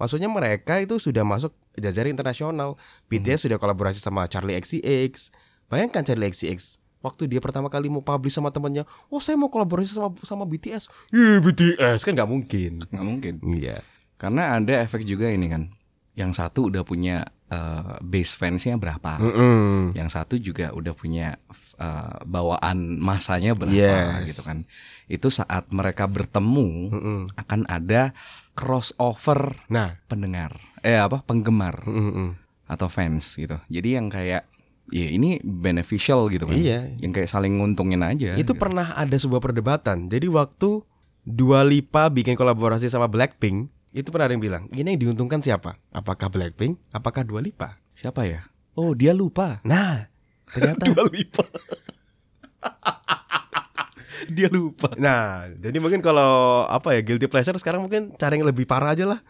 Speaker 1: Maksudnya mereka itu sudah masuk jajaran internasional. BTS sudah kolaborasi sama Charlie XCX. Bayangkan Charlie XCX waktu dia pertama kali mau publish sama temennya, oh saya mau kolaborasi sama sama BTS. Ih BTS kan nggak mungkin.
Speaker 2: nggak mungkin
Speaker 1: Iya.
Speaker 2: karena ada efek juga ini kan yang satu udah punya eh, base fansnya berapa
Speaker 1: Mm-mm.
Speaker 2: yang satu juga udah punya uh, bawaan masanya berapa
Speaker 1: Yes.
Speaker 2: gitu kan itu saat mereka bertemu
Speaker 1: Mm-mm.
Speaker 2: akan ada crossover
Speaker 1: Nah.
Speaker 2: pendengar eh apa penggemar
Speaker 1: Mm-mm.
Speaker 2: atau fans gitu jadi yang kayak ya ini beneficial gitu kan
Speaker 1: Iya.
Speaker 2: yang kayak saling nguntungin aja
Speaker 1: Itu
Speaker 2: gitu.
Speaker 1: pernah ada sebuah perdebatan. Jadi waktu Dua Lipa bikin kolaborasi sama Blackpink, itu pernah ada yang bilang, ini yang diuntungkan siapa? Apakah Blackpink? Apakah Dua Lipa?
Speaker 2: siapa ya oh dia lupa
Speaker 1: Nah, ternyata
Speaker 2: lupa dia lupa
Speaker 1: Nah, jadi mungkin kalau apa ya guilty pleasure sekarang mungkin cari yang lebih parah aja lah.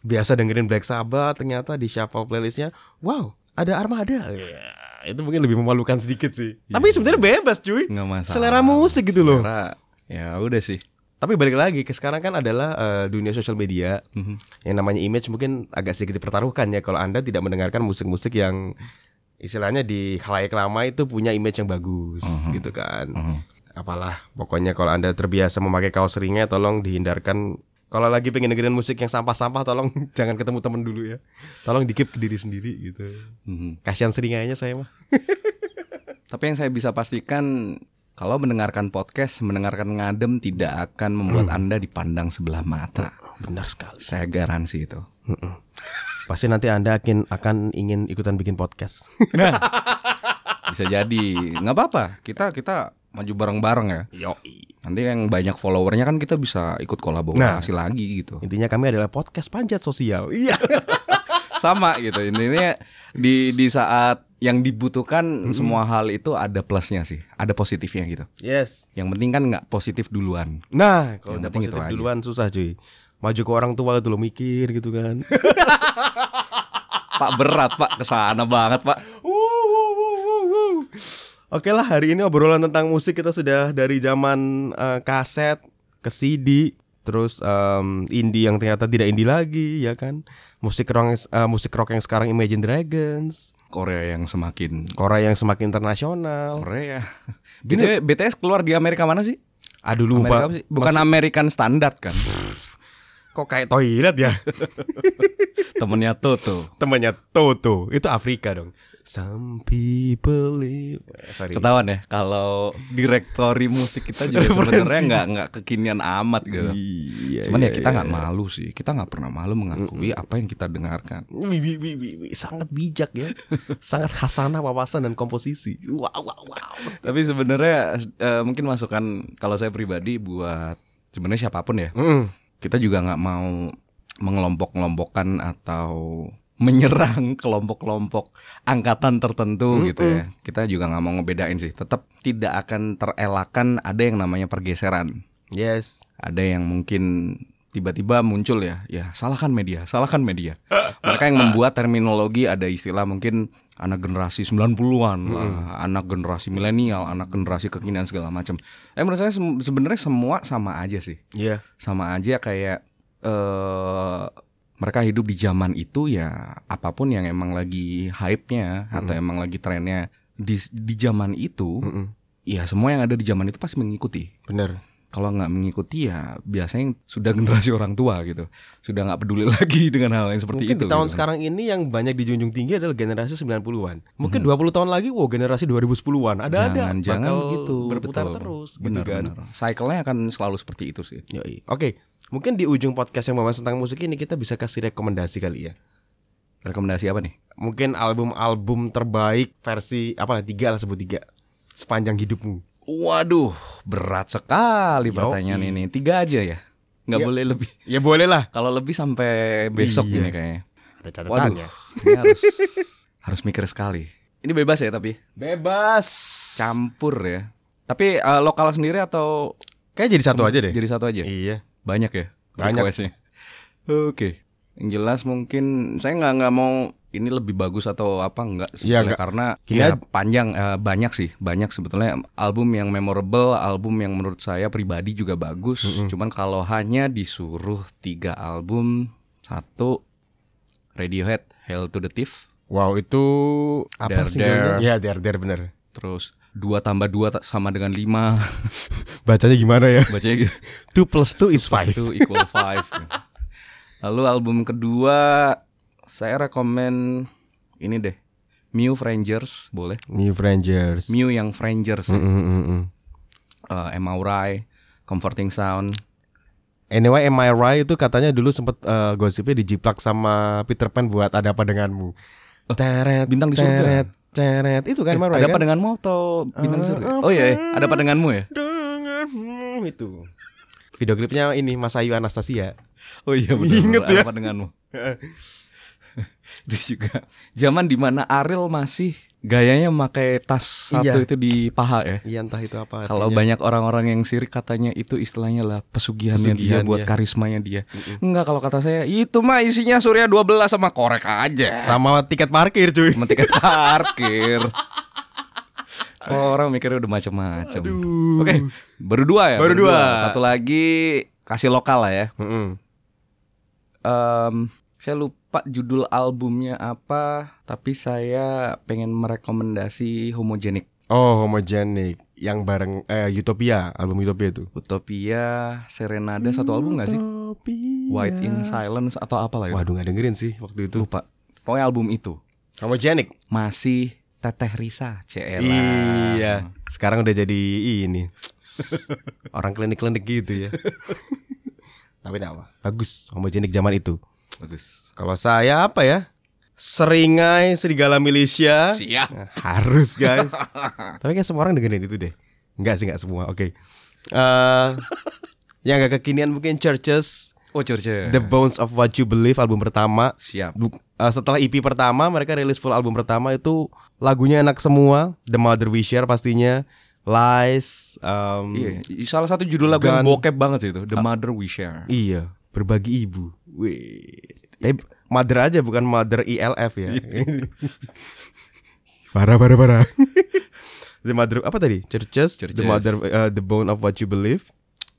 Speaker 1: Biasa dengerin Black Sabbath, ternyata di shuffle playlistnya, wow, ada Armada. Ya, itu mungkin lebih memalukan sedikit sih. Tapi sebenarnya bebas cuy.
Speaker 2: nggak masalah
Speaker 1: Selera musik gitu loh.
Speaker 2: Iya. Selera- ya udah sih
Speaker 1: Tapi balik lagi ke sekarang kan adalah eh, dunia sosial media
Speaker 2: Mhm.
Speaker 1: yang namanya image mungkin agak sedikit dipertaruhkan ya kalau anda tidak mendengarkan musik-musik yang istilahnya di khalayak lama itu punya image yang bagus gitu kan.
Speaker 2: Mhm.
Speaker 1: Apalah pokoknya kalau anda terbiasa memakai kaos ringnya tolong dihindarkan. Kalau lagi pengen dengerin musik yang sampah-sampah tolong jangan ketemu temen dulu ya. Tolong dikip ke diri sendiri gitu.
Speaker 2: Mhm.
Speaker 1: Kasihan seringainya saya mah.
Speaker 2: Tapi yang saya bisa pastikan kalau mendengarkan podcast, mendengarkan ngadem tidak akan membuat Anda dipandang sebelah mata.
Speaker 1: Oh, Benar sekali.
Speaker 2: Saya garansi itu.
Speaker 1: Pasti nanti anda akan akan ingin ikutan bikin podcast.
Speaker 2: Bisa jadi, nggak apa-apa. Kita kita maju bareng-bareng ya.
Speaker 1: Yoi.
Speaker 2: Nanti yang banyak followernya kan kita bisa ikut kolaborasi lagi gitu.
Speaker 1: Intinya kami adalah podcast panjat sosial. Iya.
Speaker 2: Sama gitu. Intinya di di saat yang dibutuhkan semua hal itu ada plusnya sih, ada positifnya gitu.
Speaker 1: Yes.
Speaker 2: Yang penting kan nggak positif duluan.
Speaker 1: Nah, kalau
Speaker 2: Yang
Speaker 1: udah
Speaker 2: penting
Speaker 1: positif
Speaker 2: itu aja.
Speaker 1: duluan susah cuy. Maju ke orang tua dulu mikir gitu kan.
Speaker 2: Pak berat, Pak kesana banget, Pak.
Speaker 1: Wuh, wuh, wuh, wuh, wuh. Oke lah, hari ini obrolan tentang musik kita sudah dari zaman eh, kaset ke CD, terus em, indie yang ternyata tidak indie lagi, ya kan? Musik rock, eh, musik rock yang sekarang Imagine Dragons,
Speaker 2: Korea yang semakin
Speaker 1: Korea yang semakin internasional.
Speaker 2: Korea. BTW, BTS keluar di Amerika mana sih?
Speaker 1: Aduh
Speaker 2: Amerika
Speaker 1: lupa,
Speaker 2: apa sih? Bukan American Standard kan?
Speaker 1: kok kayak toilet ya?
Speaker 2: Temennya Toto.
Speaker 1: Temannya Toto, itu Afrika dong. Some people live. Eh, Sorry.
Speaker 2: Ketahuan ya kalau direktori musik kita juga sebenarnya nggak nggak kekinian amat gitu.
Speaker 1: Iya,
Speaker 2: Cuman ya
Speaker 1: iya,
Speaker 2: kita
Speaker 1: iya.
Speaker 2: nggak malu sih, kita nggak pernah malu mengakui apa yang kita dengarkan.
Speaker 1: Wih, wih, wih, wih, wih. sangat bijak ya, sangat hasanah wawasan dan komposisi. Wow, wow, wow.
Speaker 2: Tapi sebenarnya eh, mungkin masukan kalau saya pribadi buat sebenarnya siapapun ya,
Speaker 1: Mm.
Speaker 2: kita juga nggak mau mengelompok-kelompokkan atau menyerang kelompok-kelompok angkatan tertentu gitu ya. Kita juga nggak mau ngebedain sih. Tetap tidak akan terelakkan ada yang namanya pergeseran.
Speaker 1: Yes.
Speaker 2: Ada yang mungkin tiba-tiba muncul ya, ya salahkan media, salahkan media. Mereka yang membuat terminologi ada istilah mungkin anak generasi 90-an lah, anak generasi milenial, anak generasi kekinian segala macam. Eh menurut saya sem- sebenarnya semua sama aja sih
Speaker 1: Iya.
Speaker 2: sama aja kayak eh mereka hidup di zaman itu ya apapun yang emang lagi hype-nya atau emang lagi trennya di di zaman itu ya semua yang ada di zaman itu pasti mengikuti
Speaker 1: Bener.
Speaker 2: kalau nggak mengikuti ya biasanya yang sudah generasi orang tua gitu sudah nggak peduli lagi dengan hal yang seperti
Speaker 1: Mungkin
Speaker 2: itu
Speaker 1: di tahun
Speaker 2: gitu.
Speaker 1: sekarang ini yang banyak dijunjung tinggi adalah generasi 90-an. Mungkin 20 tahun lagi wow generasi 2010-an. Ada-ada
Speaker 2: jangan jangan
Speaker 1: bakal
Speaker 2: gitu
Speaker 1: berputar
Speaker 2: betul.
Speaker 1: terus
Speaker 2: benar,
Speaker 1: gitu kan.
Speaker 2: benar. cycle-nya akan selalu seperti itu sih
Speaker 1: Yoi. Oke, mungkin di ujung podcast yang membahas tentang musik ini kita bisa kasih rekomendasi kali ya.
Speaker 2: rekomendasi apa nih
Speaker 1: Mungkin album-album terbaik versi apalah tiga lah sebut tiga sepanjang hidupmu.
Speaker 2: Waduh, berat sekali
Speaker 1: Yoi.
Speaker 2: pertanyaan ini. Tiga aja ya, nggak
Speaker 1: Iya.
Speaker 2: boleh lebih.
Speaker 1: Ya boleh lah.
Speaker 2: Kalau lebih sampai besok
Speaker 1: Iya.
Speaker 2: ini kayaknya.
Speaker 1: Ada
Speaker 2: Waduh,
Speaker 1: catatannya.
Speaker 2: ini harus harus mikir sekali. Ini bebas ya tapi
Speaker 1: Bebas.
Speaker 2: campur ya. Tapi eh, lokal sendiri atau
Speaker 1: Kayak jadi satu aja deh.
Speaker 2: jadi satu aja?
Speaker 1: Iya.
Speaker 2: Banyak ya
Speaker 1: Banyak.
Speaker 2: requestnya? Oke. Yang jelas mungkin saya nggak nggak mau ini lebih bagus atau apa nggak
Speaker 1: Iya,
Speaker 2: sebetulnya
Speaker 1: nggak.
Speaker 2: karena
Speaker 1: Kita-
Speaker 2: ya panjang eh, banyak sih banyak sebetulnya album yang memorable album yang menurut saya pribadi juga bagus cuman kalau hanya disuruh tiga album satu Radiohead Hail to the Thief
Speaker 1: Wow itu apa
Speaker 2: Dare,
Speaker 1: singlenya?
Speaker 2: dare.
Speaker 1: Ya dare dare bener.
Speaker 2: terus dua tambah dua ta- sama dengan lima
Speaker 1: Bacanya gimana ya?
Speaker 2: bacanya gitu
Speaker 1: 2 plus 2 is
Speaker 2: Plus
Speaker 1: 5
Speaker 2: two equal five. Lalu album kedua saya rekomen ini deh. Mew Frangers boleh.
Speaker 1: New Rangers
Speaker 2: Mew yang Frangers
Speaker 1: Mm, mm, mm, mm.
Speaker 2: eh, Emma Urai, Comforting Sound.
Speaker 1: Anyway, Am I Right itu katanya dulu sempet eh, gosipnya dijiplak sama Peter Pan buat ada apa denganmu. Oh, Teret,
Speaker 2: Bintang di surga.
Speaker 1: Teret, teret. Itu kan Am I Right
Speaker 2: Eh, ada apa
Speaker 1: kan?
Speaker 2: denganmu atau bintang surga? Oh iya, iya. ada apa denganmu ya?
Speaker 1: denganmu itu. Video klipnya ini Mas Ayu Anastasia.
Speaker 2: Oh iya benar.
Speaker 1: Ingat
Speaker 2: ada
Speaker 1: ya.
Speaker 2: apa denganmu? itu juga zaman dimana Ariel masih gayanya memakai tas satu
Speaker 1: Iya.
Speaker 2: itu di paha ya.
Speaker 1: Iya entah itu apa.
Speaker 2: Kalau
Speaker 1: artinya.
Speaker 2: banyak orang-orang yang sirik katanya itu istilahnya lah pesugihannya dia
Speaker 1: Pesugihan,
Speaker 2: buat
Speaker 1: ya.
Speaker 2: karismanya dia. Enggak kalau kata saya itu mah isinya Surya 12 sama korek aja.
Speaker 1: sama tiket parkir cuy.
Speaker 2: Sama tiket parkir. orang mikirnya udah macam-macam. Oke, berdua ya.
Speaker 1: Baru dua.
Speaker 2: Satu lagi kasih lokal lah ya.
Speaker 1: Mm-mm.
Speaker 2: Em, saya lupa judul albumnya apa, tapi saya pengen merekomendasi Homogenic.
Speaker 1: Oh, homogenic yang bareng eh Utopia, album Utopia itu.
Speaker 2: Utopia, Serenada satu album gak sih?
Speaker 1: Utopia.
Speaker 2: White in Silence atau apalah ya?
Speaker 1: Waduh, nggak dengerin sih waktu itu.
Speaker 2: lupa. Pokoknya album itu
Speaker 1: Homogenic.
Speaker 2: masih Teteh Risa, CL.
Speaker 1: Iya. Sekarang udah jadi ini. Orang klinik-klinik gitu ya. Tapi enggak apa. Bagus homogenik zaman itu.
Speaker 2: Bagus.
Speaker 1: Kalau saya apa ya? Seringai serigala Malaysia.
Speaker 2: Siap.
Speaker 1: Harus guys. Tapi kayak semua orang dengerin itu deh. Enggak sih enggak semua. Oke. Eh, yang agak kekinian mungkin Churches
Speaker 2: Oh, Churchill.
Speaker 1: The Bones of What You Believe album pertama.
Speaker 2: Siap.
Speaker 1: Bu- eh, setelah EP pertama mereka rilis full album pertama itu lagunya enak semua. The Mother We Share pastinya. Lies. em,
Speaker 2: Iya, salah satu judul lagu yang
Speaker 1: Gun.
Speaker 2: bokep banget sih itu, The Mother We Share.
Speaker 1: Iya, berbagi ibu. Wih. Eh, mother aja bukan mother ILF ya. parah, parah, parah. the mother apa tadi? Churches, the
Speaker 2: Churches.
Speaker 1: mother eh, the bone of what you believe.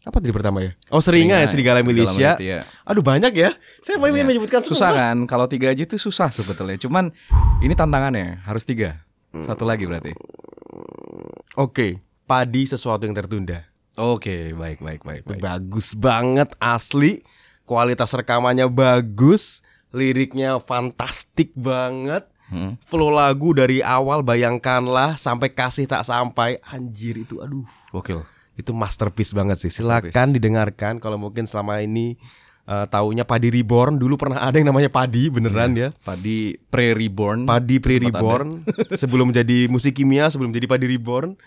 Speaker 1: Apa tadi pertama ya? Oh, seringa ya serigala milisya.
Speaker 2: Militia.
Speaker 1: Aduh banyak ya. Saya mau ingin menyebutkan semua.
Speaker 2: iya. Susah kan? Kalau tiga aja itu susah sebetulnya. Cuman ini tantangannya harus tiga. Satu lagi berarti.
Speaker 1: Oke, padi sesuatu yang tertunda.
Speaker 2: Oke, baik, baik, baik, baik.
Speaker 1: Bagus banget asli. Kualitas rekamannya bagus, liriknya fantastik banget.
Speaker 2: Hmm.
Speaker 1: Flow lagu dari awal bayangkanlah sampai kasih tak sampai anjir itu aduh
Speaker 2: Gokil.
Speaker 1: itu masterpiece banget sih. Silakan didengarkan kalau mungkin selama ini eh, taunya Padi Reborn dulu pernah ada yang namanya Padi beneran ya.
Speaker 2: Padi pre-reborn.
Speaker 1: Padi Pre
Speaker 2: Iya. Sempat ada.
Speaker 1: Reborn sebelum jadi musik kimia, sebelum jadi Padi Reborn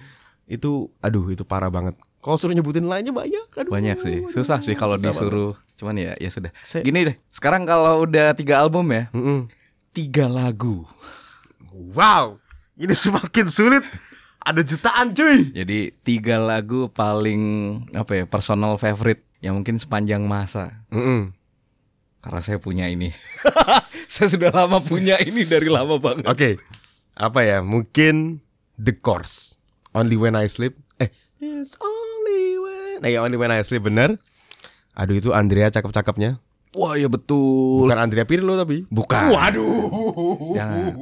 Speaker 1: itu aduh itu parah banget. Kalau suruh nyebutin lainnya banyak aduh.
Speaker 2: Banyak sih. Susah sih kalau
Speaker 1: Susah
Speaker 2: disuruh. Cuman ya ya sudah.
Speaker 1: Saya-
Speaker 2: Gini deh. Sekarang kalau udah tiga album ya,
Speaker 1: Mm-mm.
Speaker 2: tiga lagu.
Speaker 1: Wow, ini semakin sulit. Ada jutaan cuy.
Speaker 2: Jadi tiga lagu paling apa ya personal favorite yang mungkin sepanjang masa. Karena saya punya ini. saya sudah lama punya ini dari lama banget.
Speaker 1: Oke, apa ya? Mungkin The Course, Only When I Sleep. Eh, It's Only When. Nah, ya, Only When I Sleep bener. Aduh itu Andrea cakep-cakepnya.
Speaker 2: Wah ya betul.
Speaker 1: Bukan Andrea Pirlo tapi.
Speaker 2: Bukan.
Speaker 1: Waduh.
Speaker 2: Uhuh. Jangan.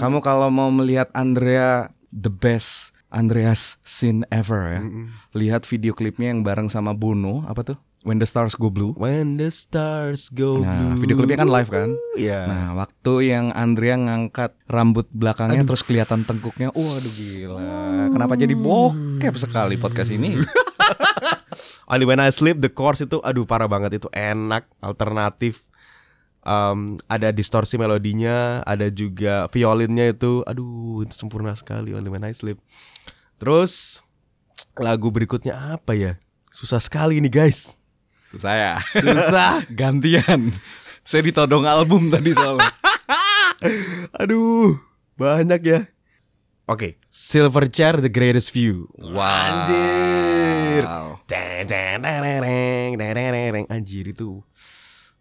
Speaker 2: Kamu kalau mau melihat Andrea the best Andreas scene ever ya. Lihat video klipnya yang bareng sama Bono apa tuh? When the Stars Go Blue.
Speaker 1: When the stars go
Speaker 2: Nah,
Speaker 1: blue.
Speaker 2: video klipnya kan live kan?
Speaker 1: Iya.
Speaker 2: Nah, waktu yang Andrea ngangkat rambut belakangnya terus kelihatan tengkuknya, waduh gila. Kenapa jadi bokep sekali podcast ini?
Speaker 1: Only When I Sleep, The Course itu aduh parah banget itu enak, alternatif. Um, ada distorsi melodinya, ada juga violinnya itu, aduh itu sempurna sekali Only When I Sleep. Terus lagu berikutnya apa ya? Susah sekali ini guys.
Speaker 2: Saya
Speaker 1: Susah.
Speaker 2: gantian. Saya ditodong album tadi soalnya.
Speaker 1: aduh, banyak ya. Oke, Silverchair The Greatest View.
Speaker 2: Wow.
Speaker 1: Anjir. Deng, deng, deng, deng, deng, deng, deng, deng, deng. Anjir itu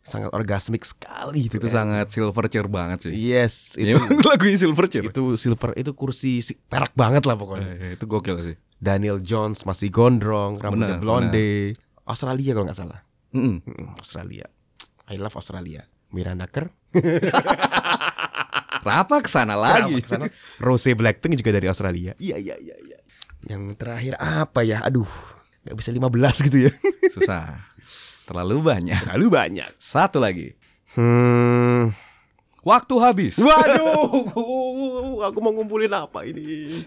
Speaker 1: sangat orgasmik sekali itu
Speaker 2: Itu
Speaker 1: kan.
Speaker 2: sangat silverchair banget sih.
Speaker 1: Yes,
Speaker 2: Itu
Speaker 1: itu
Speaker 2: lagunya silverchair.
Speaker 1: itu silver itu kursi si- perak banget lah pokoknya.
Speaker 2: Eh, itu gokil sih.
Speaker 1: Daniel Jones masih gondrong, rambutnya
Speaker 2: Bener,
Speaker 1: blonde. Australia kalau nggak salah.
Speaker 2: Mm-mm.
Speaker 1: Mm, Australia. I love Australia. Miranda Kerr
Speaker 2: Kenapa kesana lagi?
Speaker 1: Kenapa kesana? Rose Blackpink juga dari Australia. Ah, Iya iya iya iya. Yang terakhir apa ya? Aduh, nggak bisa 15 gitu ya.
Speaker 2: Susah. Terlalu banyak.
Speaker 1: Terlalu banyak.
Speaker 2: Satu lagi.
Speaker 1: Hmm.
Speaker 2: Waktu habis.
Speaker 1: Waduh, aku mau ngumpulin apa ini?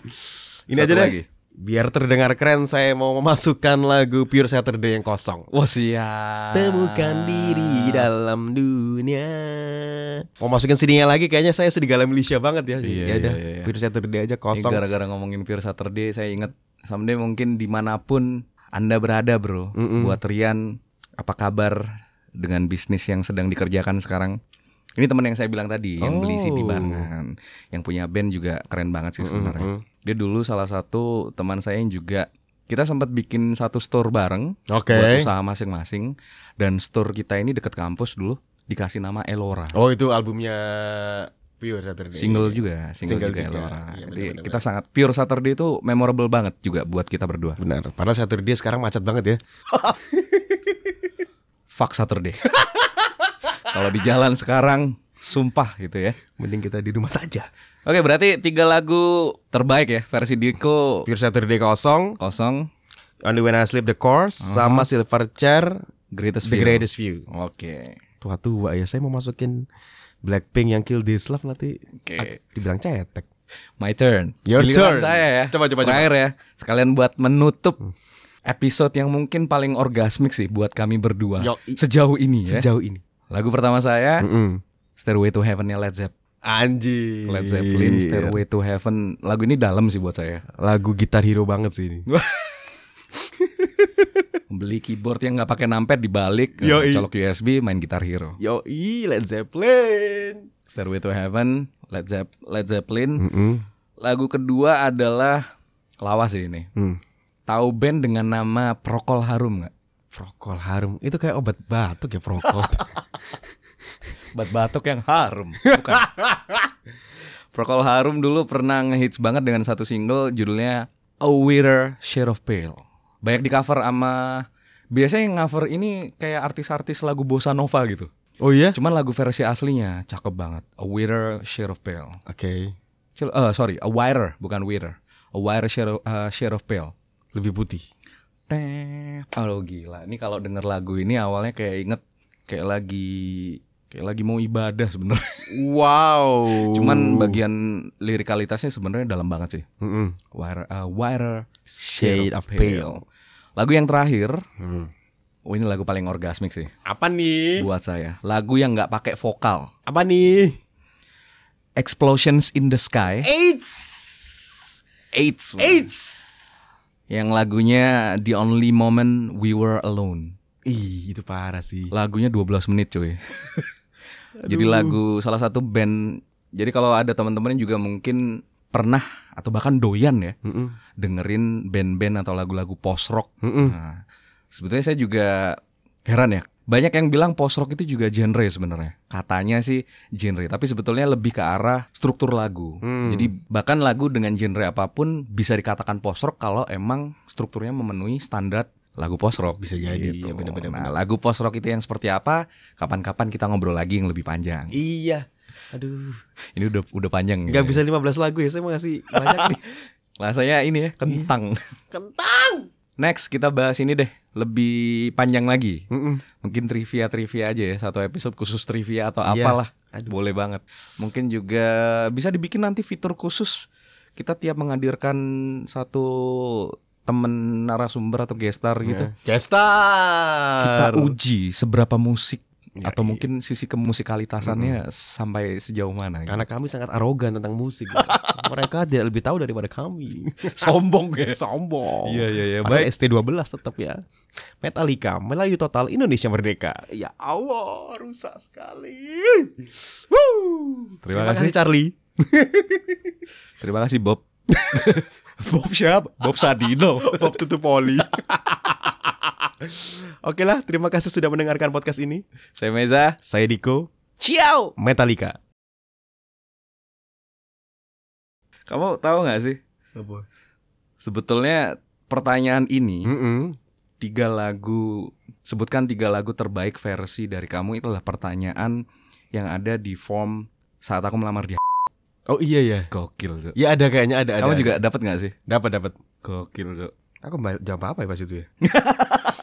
Speaker 1: Ini
Speaker 2: Satu
Speaker 1: aja deh.
Speaker 2: lagi.
Speaker 1: Biar terdengar keren, saya mau memasukkan lagu Pure Saturday yang kosong.
Speaker 2: Wah siap.
Speaker 1: Temukan diri
Speaker 2: Ah.
Speaker 1: dalam dunia. Mau masukin CD-nya lagi, kayaknya saya serigala Malaysia banget ya.
Speaker 2: Iya,
Speaker 1: ya udah,
Speaker 2: iya, iya.
Speaker 1: Pure Saturday aja
Speaker 2: Ini
Speaker 1: kosong.
Speaker 2: gara-gara ngomongin Pure Saturday saya inget someday mungkin dimanapun anda berada bro
Speaker 1: Mm-mm.
Speaker 2: buat Rian apa kabar dengan bisnis yang sedang dikerjakan sekarang ini teman yang saya bilang tadi yang beli CD
Speaker 1: Oh.
Speaker 2: barengan yang punya band juga keren banget sih sebenarnya
Speaker 1: Mm-mm.
Speaker 2: dia dulu salah satu teman saya yang juga kita sempat bikin satu store bareng
Speaker 1: Oke.
Speaker 2: buat usaha masing-masing dan store kita ini deket kampus dulu dikasih nama Elora
Speaker 1: Oh, itu albumnya Pure Saturday.
Speaker 2: Single juga,
Speaker 1: Iya. Single
Speaker 2: single, juga,
Speaker 1: juga.
Speaker 2: Elora.
Speaker 1: Iya,
Speaker 2: Jadi
Speaker 1: benar-benar.
Speaker 2: kita sangat pure Saturday itu memorable banget juga buat kita berdua.
Speaker 1: Benar. Padahal Saturday sekarang macet banget ya.
Speaker 2: Fuck Saturday. Kalau di jalan sekarang sumpah gitu ya.
Speaker 1: Mending kita di rumah saja.
Speaker 2: Oke, berarti tiga lagu terbaik ya versi Diko
Speaker 1: Pure Saturday kosong,
Speaker 2: kosong
Speaker 1: Only When I Sleep the Course, sama Silverchair
Speaker 2: Greatest
Speaker 1: The
Speaker 2: Fear.
Speaker 1: Greatest View.
Speaker 2: Oke.
Speaker 1: Tua-tua ya, saya mau masukin Blackpink yang Kill This Love nanti
Speaker 2: Oke.
Speaker 1: ak- dibilang cetek.
Speaker 2: My turn.
Speaker 1: Your turn.
Speaker 2: Giliran saya ya.
Speaker 1: Coba, coba, Hmm. coba.
Speaker 2: Terakhir ya. Sekalian buat menutup episode yang mungkin paling orgasmik sih buat kami berdua
Speaker 1: Yo, i-
Speaker 2: sejauh ini ya.
Speaker 1: Sejauh Hmm. ini.
Speaker 2: Lagu pertama saya
Speaker 1: Mm-mm.
Speaker 2: Stairway to Heaven-nya Led Zepp.
Speaker 1: Anjir.
Speaker 2: Led
Speaker 1: Iya.
Speaker 2: Zeppelin Stairway to Heaven. Lagu ini dalam sih buat saya.
Speaker 1: Lagu gitar hero banget sih ini.
Speaker 2: Beli keyboard yang nggak pakai numpad dibalik, eh,
Speaker 1: Yoi.
Speaker 2: colok USB, main gitar hero.
Speaker 1: Yo, Led Zeppelin.
Speaker 2: Stairway to Heaven, Led, Zepp- Led Zeppelin.
Speaker 1: Mm-mm.
Speaker 2: Lagu kedua adalah lawas sih ini.
Speaker 1: Hmm.
Speaker 2: Tahu band dengan nama Prokol Harum nggak?
Speaker 1: Prokol harum. Itu kayak obat batuk ya prokol.
Speaker 2: Bat batuk yang harum. Bukan. Prokol Harum dulu pernah ngehits banget dengan satu single judulnya A Weirder Shade of Pale. Banyak di cover sama biasanya yang cover ini kayak artis-artis lagu bossa nova gitu.
Speaker 1: oh iya?
Speaker 2: Cuman lagu versi aslinya cakep banget. A Weirder Shade of Pale.
Speaker 1: Oke.
Speaker 2: Cil- eh, sorry, A Wider bukan Weirder. A Wider Shade of, eh, Shade of Pale.
Speaker 1: Lebih putih.
Speaker 2: Tep. Oh gila, ini kalau denger lagu ini awalnya kayak inget kayak lagi kayak lagi mau ibadah sebenarnya.
Speaker 1: Wow. Uh.
Speaker 2: Cuman bagian lirikalitasnya sebenarnya dalam banget sih.
Speaker 1: Mm-mm.
Speaker 2: Wire, uh, wire
Speaker 1: Shade of pale.
Speaker 2: Lagu yang terakhir,
Speaker 1: Hmm.
Speaker 2: oh ini lagu paling orgasmik sih
Speaker 1: Apa nih?
Speaker 2: buat saya. Lagu yang nggak pakai vokal.
Speaker 1: Apa nih?
Speaker 2: Explosions in the Sky.
Speaker 1: AIDS.
Speaker 2: AIDS.
Speaker 1: AIDS.
Speaker 2: Yang lagunya The Only Moment We Were Alone.
Speaker 1: Ih, itu parah sih.
Speaker 2: Lagunya 12 menit cuy. Jadi lagu salah satu band. Jadi kalau ada teman-teman yang juga mungkin pernah atau bahkan doyan ya
Speaker 1: Mm-mm.
Speaker 2: dengerin band-band atau lagu-lagu post rock.
Speaker 1: Mm-mm.
Speaker 2: Nah, sebetulnya saya juga heran ya. Banyak yang bilang post rock itu juga genre sebenarnya. Katanya sih genre, tapi sebetulnya lebih ke arah struktur lagu.
Speaker 1: Hmm.
Speaker 2: Jadi bahkan lagu dengan genre apapun bisa dikatakan post rock kalau emang strukturnya memenuhi standar lagu post rock.
Speaker 1: Bisa jadi
Speaker 2: Iya,
Speaker 1: tuh.
Speaker 2: bener-bener. Nah, lagu post rock itu yang seperti apa? Kapan-kapan kita ngobrol lagi yang lebih panjang.
Speaker 1: Iya. Aduh.
Speaker 2: Ini udah udah panjang.
Speaker 1: Gak bisa
Speaker 2: gitu
Speaker 1: 15 lagu ya, saya mau ngasih banyak nih.
Speaker 2: ya. Rasanya ini ya kentang.
Speaker 1: Iya. Kentang.
Speaker 2: Next kita bahas ini deh, lebih panjang lagi.
Speaker 1: Mm-mm.
Speaker 2: mungkin trivia trivia aja ya satu episode khusus trivia atau
Speaker 1: Iya.
Speaker 2: apalah
Speaker 1: Aduh.
Speaker 2: boleh banget mungkin juga bisa dibikin nanti fitur khusus kita tiap menghadirkan satu temen narasumber atau gestar
Speaker 1: Iya.
Speaker 2: gitu
Speaker 1: Nah.
Speaker 2: kita
Speaker 1: Gestar.
Speaker 2: uji seberapa musik
Speaker 1: Ya,
Speaker 2: atau
Speaker 1: iya.
Speaker 2: mungkin sisi kemusikalitasannya sampai sejauh mana
Speaker 1: iya.
Speaker 2: gitu.
Speaker 1: Karena kami sangat arogan tentang musik. gitu. Mereka dia lebih tahu daripada kami.
Speaker 2: sombong ya
Speaker 1: Sombong.
Speaker 2: iya iya iya
Speaker 1: Padahal
Speaker 2: baik
Speaker 1: ST12 tetap ya. Metallica, Melayu Total, Indonesia Merdeka. Ya Allah, rusak sekali. Woo.
Speaker 2: Terima kasih.
Speaker 1: Charlie.
Speaker 2: terima kasih Bob Bob siapa Bob Sadino
Speaker 1: Bob tutup poli. Oke lah, terima kasih sudah mendengarkan podcast ini.
Speaker 2: saya Meza
Speaker 1: Saya Diko,
Speaker 2: ciao
Speaker 1: Metallica.
Speaker 2: kamu tahu nggak sih
Speaker 1: Oh,
Speaker 2: sebetulnya pertanyaan ini
Speaker 1: Mm-mm.
Speaker 2: tiga lagu sebutkan tiga lagu terbaik versi dari kamu itulah pertanyaan yang ada di form saat aku melamar dia
Speaker 1: Oh iya ya.
Speaker 2: gokil Cuk.
Speaker 1: Ya ada kayaknya ada ada.
Speaker 2: kamu
Speaker 1: ada.
Speaker 2: juga dapat nggak sih
Speaker 1: dapat dapat.
Speaker 2: gokil Cuk.
Speaker 1: Aku mbak- jawab apa ya pas itu ya?